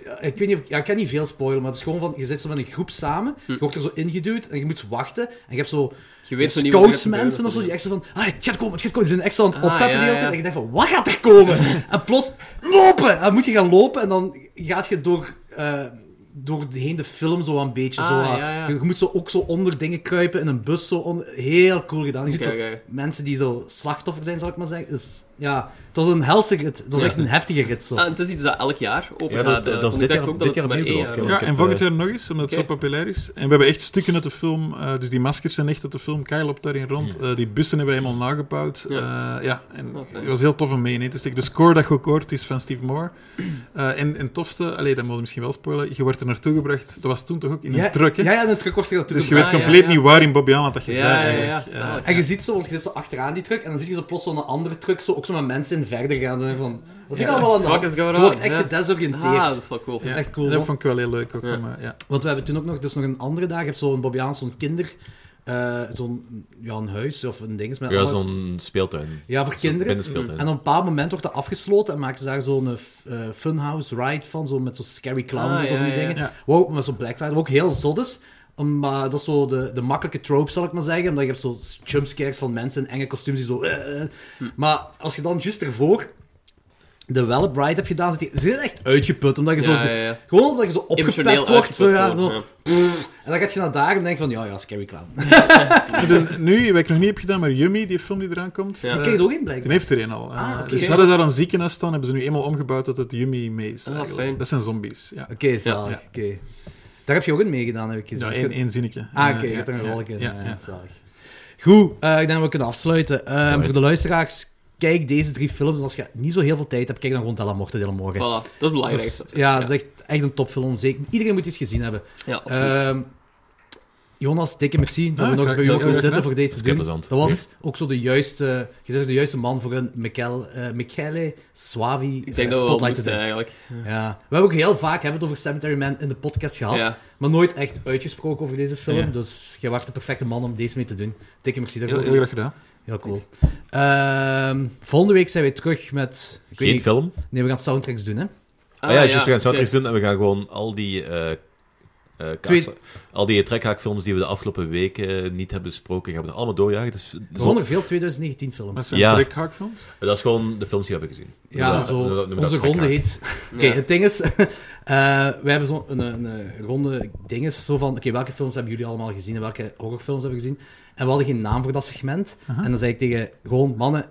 [SPEAKER 5] Ja, Ik weet niet of ik, ja, ik kan niet veel spoilen, maar het is gewoon van... Je zit zo met een groep samen,
[SPEAKER 10] Hm.
[SPEAKER 5] je wordt er zo ingeduwd en je moet wachten. En je hebt zo
[SPEAKER 10] Je weet zo niet wat er gaat
[SPEAKER 5] scouts mensen of zo, die
[SPEAKER 10] gebeuren.
[SPEAKER 5] echt zo van... "Ah, het gaat komen, het gaat komen. Die zijn echt zo aan het
[SPEAKER 10] Ah,
[SPEAKER 5] oppeppen
[SPEAKER 10] ja,
[SPEAKER 5] de hele
[SPEAKER 10] ja.
[SPEAKER 5] tijd. En je denkt van, wat gaat er komen? (laughs) en plots, lopen! En dan moet je gaan lopen en dan gaat je door... eh, door de heen de film zo een beetje.
[SPEAKER 10] Ah,
[SPEAKER 5] zo, eh,
[SPEAKER 10] ja, ja.
[SPEAKER 5] Je, je moet zo ook zo onder dingen kruipen in een bus. Zo onder- heel cool gedaan. Je ziet
[SPEAKER 10] Oké,
[SPEAKER 5] zo
[SPEAKER 10] oké.
[SPEAKER 5] mensen die zo slachtoffer zijn, zal ik maar zeggen. Dus, ja, het was een helse rit. Het was echt een heftige rit. Zo.
[SPEAKER 10] Ah, en het is iets dat elk jaar open
[SPEAKER 9] Ja, dat-
[SPEAKER 10] gaat.
[SPEAKER 9] dat
[SPEAKER 10] eh,
[SPEAKER 9] is
[SPEAKER 10] want
[SPEAKER 9] dit
[SPEAKER 10] ik dacht
[SPEAKER 9] jaar-
[SPEAKER 10] ook
[SPEAKER 9] dit
[SPEAKER 10] dat het
[SPEAKER 9] jaar
[SPEAKER 10] maar
[SPEAKER 9] opnieuw
[SPEAKER 10] één
[SPEAKER 9] geloof
[SPEAKER 10] jaar
[SPEAKER 9] ik,
[SPEAKER 10] was.
[SPEAKER 9] hè.
[SPEAKER 7] Ja,
[SPEAKER 9] Ik heb,
[SPEAKER 7] en volgend
[SPEAKER 9] eh,
[SPEAKER 7] jaar nog eens, omdat het
[SPEAKER 10] oké.
[SPEAKER 7] zo populair is. En we hebben echt stukken uit de film, eh, dus die maskers zijn echt uit de film. Kyle loopt daarin rond. Eh, die bussen hebben we helemaal nagebouwd. Ja, ja en
[SPEAKER 10] Oké.
[SPEAKER 7] het was heel tof om mee in te steken. De score dat je ook hoort is van
[SPEAKER 10] (clears throat)
[SPEAKER 7] Steve Moore. Eh, en en het tofste, allee, dat moet je misschien wel spoilen, je wordt er naartoe gebracht, dat was toen toch ook in een
[SPEAKER 5] ja,
[SPEAKER 7] truck, hè?
[SPEAKER 5] ja, ja, en het truck was er naartoe
[SPEAKER 7] Dus je
[SPEAKER 5] gebracht.
[SPEAKER 7] weet
[SPEAKER 10] Ah, ja,
[SPEAKER 7] compleet
[SPEAKER 10] ja.
[SPEAKER 7] niet waar in Bobby Allen dat je zei
[SPEAKER 10] Ja, ja, ja.
[SPEAKER 7] eigenlijk. Eh,
[SPEAKER 10] zalig.
[SPEAKER 5] En je ziet zo, want je zit zo achteraan die truck, en dan zie je zo plots zo'n andere truck, zo, ook zo met mensen in verder gaan. En dan van, wat is hier allemaal aan de
[SPEAKER 10] Fuck
[SPEAKER 5] hand?
[SPEAKER 10] is going
[SPEAKER 5] Je wordt
[SPEAKER 10] on,
[SPEAKER 5] echt
[SPEAKER 10] ja.
[SPEAKER 5] gedesoriënteerd.
[SPEAKER 10] Ah, dat is wel cool.
[SPEAKER 5] Dat is echt cool,
[SPEAKER 7] dat
[SPEAKER 5] hoor.
[SPEAKER 7] vond ik wel heel leuk ook.
[SPEAKER 10] Ja.
[SPEAKER 7] om, eh, ja.
[SPEAKER 5] Want we hebben toen ook nog, dus nog een andere dag, je hebt zo'n Bobbiaans, zo'n kinder, eh, zo'n ja, een huis of een ding. Met
[SPEAKER 6] Ja,
[SPEAKER 5] allemaal-
[SPEAKER 6] zo'n speeltuin.
[SPEAKER 5] ja, voor kinderen.
[SPEAKER 6] Binnenspeeltuin.
[SPEAKER 5] En op een bepaald moment wordt dat afgesloten en maken ze daar zo'n eh, f- eh, funhouse ride van, zo met zo'n scary clowns
[SPEAKER 10] Ah,
[SPEAKER 5] en zo
[SPEAKER 10] ja,
[SPEAKER 5] van die
[SPEAKER 10] ja,
[SPEAKER 5] dingen.
[SPEAKER 7] ja.
[SPEAKER 5] Wow, met zo'n blacklight, wat ook heel zot is. om, eh, dat is zo de, de makkelijke trope, zal ik maar zeggen. Omdat je hebt zo jumpscares van mensen in enge kostuums die zo... eh, eh.
[SPEAKER 10] Hm.
[SPEAKER 5] Maar als je dan juist ervoor de Wellop Ride hebt gedaan, zit je, zit je echt uitgeput. Omdat je zo...
[SPEAKER 10] Ja,
[SPEAKER 5] de-
[SPEAKER 10] ja, ja.
[SPEAKER 5] Gewoon omdat je zo
[SPEAKER 10] Emotioneel
[SPEAKER 5] opgepept wordt. Zo, ja,
[SPEAKER 10] uitgeput
[SPEAKER 5] zo,
[SPEAKER 10] worden,
[SPEAKER 5] pff. En dan gaat je naar daar en denk van, ja, ja, scary clown. (laughs) Die
[SPEAKER 7] En dan nu, wat ik nog niet heb gedaan, maar Yummy, die film die eraan komt.
[SPEAKER 10] Ja.
[SPEAKER 7] eh,
[SPEAKER 5] kreeg je ook in,
[SPEAKER 7] Die
[SPEAKER 5] blijkbaar.
[SPEAKER 7] heeft er een al. eh,
[SPEAKER 5] Ah, oké.
[SPEAKER 7] Dus ze hadden daar een ziekenhuis staan, hebben ze nu eenmaal omgebouwd tot het Yumi Maze.
[SPEAKER 10] Ah,
[SPEAKER 7] eigenlijk.
[SPEAKER 10] fijn.
[SPEAKER 7] dat zijn zombies. Ja,
[SPEAKER 5] Oké, zalig.
[SPEAKER 7] ja.
[SPEAKER 5] Oké. Daar heb je ook in meegedaan, heb ik gezien.
[SPEAKER 7] ja één, één zinnetje.
[SPEAKER 5] Ah,
[SPEAKER 7] Eh,
[SPEAKER 5] oké, je hebt er een rolletje in.
[SPEAKER 7] Ja,
[SPEAKER 5] Ja,
[SPEAKER 7] ja.
[SPEAKER 5] zalig. Goed, eh, ik denk dat we kunnen afsluiten. Ehm,
[SPEAKER 6] Right.
[SPEAKER 5] Voor de luisteraars, kijk deze drie films. En als je niet zo heel veel tijd hebt, kijk dan gewoon Della Morte della Morgen.
[SPEAKER 10] Voilà, dat is het
[SPEAKER 5] Dat is-
[SPEAKER 10] belangrijkste.
[SPEAKER 5] ja, dat is echt, echt een topfilm. Zeker. Iedereen moet die eens gezien hebben.
[SPEAKER 10] Ja,
[SPEAKER 9] eh,
[SPEAKER 10] absoluut.
[SPEAKER 5] Ehm, Jonas, dikke merci dat
[SPEAKER 7] Ja,
[SPEAKER 5] we nog eens bij
[SPEAKER 7] graag
[SPEAKER 5] u mochten
[SPEAKER 7] gedaan. Ja,
[SPEAKER 5] zitten
[SPEAKER 7] graag
[SPEAKER 5] voor deze
[SPEAKER 6] is
[SPEAKER 5] doen.
[SPEAKER 6] plezant.
[SPEAKER 5] Dat
[SPEAKER 9] Hm?
[SPEAKER 5] was ook zo de juiste, je bent ook de juiste man voor een Michele, eh, Michele Suavi
[SPEAKER 10] Ik denk
[SPEAKER 5] eh,
[SPEAKER 10] dat we wel
[SPEAKER 5] spotlight te
[SPEAKER 10] moesten
[SPEAKER 5] doen.
[SPEAKER 10] eigenlijk.
[SPEAKER 5] Ja. We hebben ook heel vaak hebben het over Cemetery Man in de podcast gehad,
[SPEAKER 10] Ja.
[SPEAKER 9] Ah,
[SPEAKER 5] maar nooit echt uitgesproken over deze film.
[SPEAKER 7] Ja.
[SPEAKER 5] Dus jij was de perfecte man om deze mee te doen. Dikke merci
[SPEAKER 7] Heel,
[SPEAKER 5] daarvoor.
[SPEAKER 7] heel graag gedaan.
[SPEAKER 5] Heel cool. Ehm, volgende week zijn we terug met... Ik weet
[SPEAKER 9] Geen
[SPEAKER 5] niet-
[SPEAKER 9] film.
[SPEAKER 5] nee, we gaan soundtracks doen, hè?
[SPEAKER 10] Ah,
[SPEAKER 9] Ah, ja, juist, we gaan
[SPEAKER 10] oké.
[SPEAKER 9] soundtracks doen en we gaan gewoon al die... eh, eh, kaas-
[SPEAKER 5] Twee-
[SPEAKER 9] Al die trekhaakfilms die we de afgelopen weken eh, niet hebben besproken, gaan we er allemaal doorjagen. Dus, dus-
[SPEAKER 5] Zonder veel 2019
[SPEAKER 7] Maar
[SPEAKER 5] films.
[SPEAKER 7] zijn
[SPEAKER 9] Ja.
[SPEAKER 7] ja. trekhaakfilms?
[SPEAKER 9] dat is gewoon de films die we hebben gezien.
[SPEAKER 5] Ja,
[SPEAKER 9] Noem dat-
[SPEAKER 5] zo,
[SPEAKER 9] noem dat- noem dat
[SPEAKER 5] onze ronde
[SPEAKER 9] trekhaak.
[SPEAKER 5] heet... (laughs) Oké,
[SPEAKER 10] Ja.
[SPEAKER 5] het ding is... eh we hebben zo'n een, een, een ronde ding is zo van... Oké, welke films hebben jullie allemaal gezien en welke horrorfilms hebben we gezien? En we hadden geen naam voor dat segment. En dan zei ik tegen gewoon mannen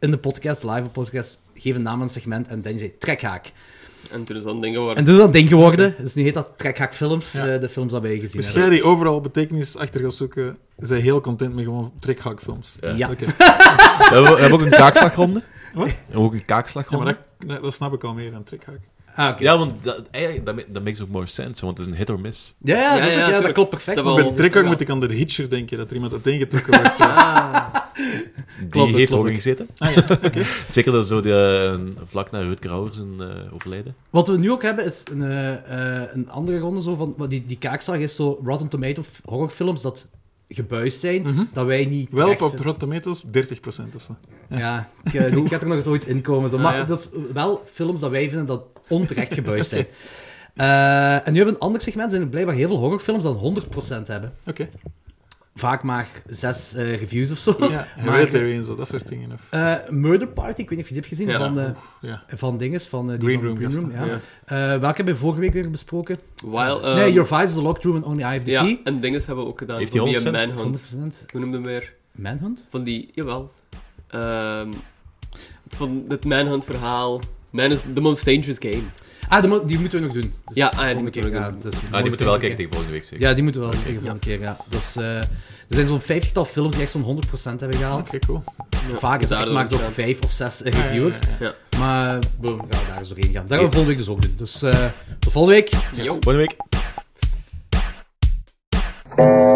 [SPEAKER 5] in de podcast, live op podcast, geef een naam aan het segment. En Danny zei trekhaak.
[SPEAKER 10] En toen is dat een ding geworden.
[SPEAKER 5] En toen is dat een ding geworden. Dus nu heet dat trekhaakfilms,
[SPEAKER 7] Ja.
[SPEAKER 5] eh, de films die wij gezien
[SPEAKER 7] Dus
[SPEAKER 5] hebben.
[SPEAKER 7] jij die overal betekenis achter gaat zoeken, zijn heel content met gewoon trekhaakfilms.
[SPEAKER 9] Ja.
[SPEAKER 5] Ja.
[SPEAKER 7] Oké.
[SPEAKER 5] (laughs)
[SPEAKER 9] We hebben, we hebben ook een kaakslagronde.
[SPEAKER 7] Wat?
[SPEAKER 9] We hebben ook een
[SPEAKER 7] Ja, maar
[SPEAKER 9] kaakslagronde.
[SPEAKER 7] dat, nee, dat snap ik al meer dan trekhaak.
[SPEAKER 5] Ah, oké.
[SPEAKER 9] Ja, want dat, eigenlijk, dat, ma- dat makes ook more sense, want het is een hit or miss.
[SPEAKER 5] Ja, ja, dat, is
[SPEAKER 10] Ja,
[SPEAKER 5] ook-
[SPEAKER 10] ja,
[SPEAKER 5] ja, dat
[SPEAKER 10] tuurlijk.
[SPEAKER 5] klopt perfect.
[SPEAKER 10] Dat
[SPEAKER 5] want-
[SPEAKER 10] wel.
[SPEAKER 7] Bij trekhaak
[SPEAKER 10] ja.
[SPEAKER 7] moet ik aan de hitcher denken, dat er iemand uiteengetrokken
[SPEAKER 5] (laughs)
[SPEAKER 7] wordt. Ja.
[SPEAKER 9] Die
[SPEAKER 5] Klopt,
[SPEAKER 9] heeft
[SPEAKER 5] klopt.
[SPEAKER 9] ook gezeten.
[SPEAKER 7] Ah, ja. Oké.
[SPEAKER 9] Zeker dat zo de, eh, vlak na Rutger Hauer zijn eh, overlijden.
[SPEAKER 5] Wat we nu ook hebben is een, eh, eh, een andere ronde. Zo van, maar die, die kaakslag is zo Rotten Tomato f- horrorfilms dat gebuist zijn, dat wij niet.
[SPEAKER 7] Wel
[SPEAKER 5] terecht
[SPEAKER 7] op
[SPEAKER 5] vinden.
[SPEAKER 7] Rotten Tomatoes 30% of zo.
[SPEAKER 5] Ja, ik, eh, die gaat er nog eens ooit inkomen. Zo. Maar
[SPEAKER 10] Ah, ja.
[SPEAKER 5] dat is wel films dat wij vinden dat onterecht gebuist zijn. (laughs) Eh, en nu hebben we een ander segment. Zijn er blijkbaar heel veel horrorfilms dat 100% hebben.
[SPEAKER 7] Oké.
[SPEAKER 5] Vaak maar zes eh, reviews of zo.
[SPEAKER 7] Ja,
[SPEAKER 5] maar,
[SPEAKER 7] Hereditary en zo, dat soort dingen. Of,
[SPEAKER 5] eh, Murder Party, ik weet niet of je die hebt gezien,
[SPEAKER 10] Ja.
[SPEAKER 5] van, eh,
[SPEAKER 7] ja.
[SPEAKER 5] van dinges, van eh, die
[SPEAKER 7] Green
[SPEAKER 5] van
[SPEAKER 7] Room,
[SPEAKER 5] ja.
[SPEAKER 7] gasten,
[SPEAKER 5] Eh, welke hebben we vorige week weer besproken?
[SPEAKER 10] While, ehm,
[SPEAKER 5] nee, Your Vice is the Locked Room and Only I Have the
[SPEAKER 10] Ja,
[SPEAKER 5] Key.
[SPEAKER 10] en dingen hebben we ook gedaan.
[SPEAKER 9] Heeft
[SPEAKER 10] van
[SPEAKER 9] die
[SPEAKER 10] die eh,
[SPEAKER 9] 100%?
[SPEAKER 10] manhunt.
[SPEAKER 5] 100%
[SPEAKER 10] Hoe noemde hem weer?
[SPEAKER 5] Manhunt?
[SPEAKER 10] Van die, jawel. Ehm, van het manhunt verhaal. Man is the most dangerous game.
[SPEAKER 5] Ah, die, mo- die moeten we nog doen. Dus
[SPEAKER 10] Ja, ah, ja, die
[SPEAKER 5] volgende
[SPEAKER 10] moeten we
[SPEAKER 5] keer,
[SPEAKER 10] nog
[SPEAKER 5] ja,
[SPEAKER 10] doen.
[SPEAKER 5] dus
[SPEAKER 9] Ah, die moeten we wel kijken
[SPEAKER 5] keer.
[SPEAKER 9] tegen volgende week, zeker.
[SPEAKER 5] Ja, die moeten we wel tegen volgende keer, ja. Dus, eh, er zijn zo'n vijftigtal films die echt zo'n 100% hebben gehaald.
[SPEAKER 7] Oké, cool.
[SPEAKER 5] Vaak is dat
[SPEAKER 10] daardoor
[SPEAKER 5] maakt
[SPEAKER 10] ook
[SPEAKER 5] ook
[SPEAKER 10] gedaan.
[SPEAKER 5] vijf of zes eh, reviewers.
[SPEAKER 10] ja,
[SPEAKER 5] Maar, boom, gaan we daar eens doorheen gaan. Dat gaan we volgende week dus ook doen. Dus, eh, tot volgende week.
[SPEAKER 10] Yo.
[SPEAKER 9] Volgende week.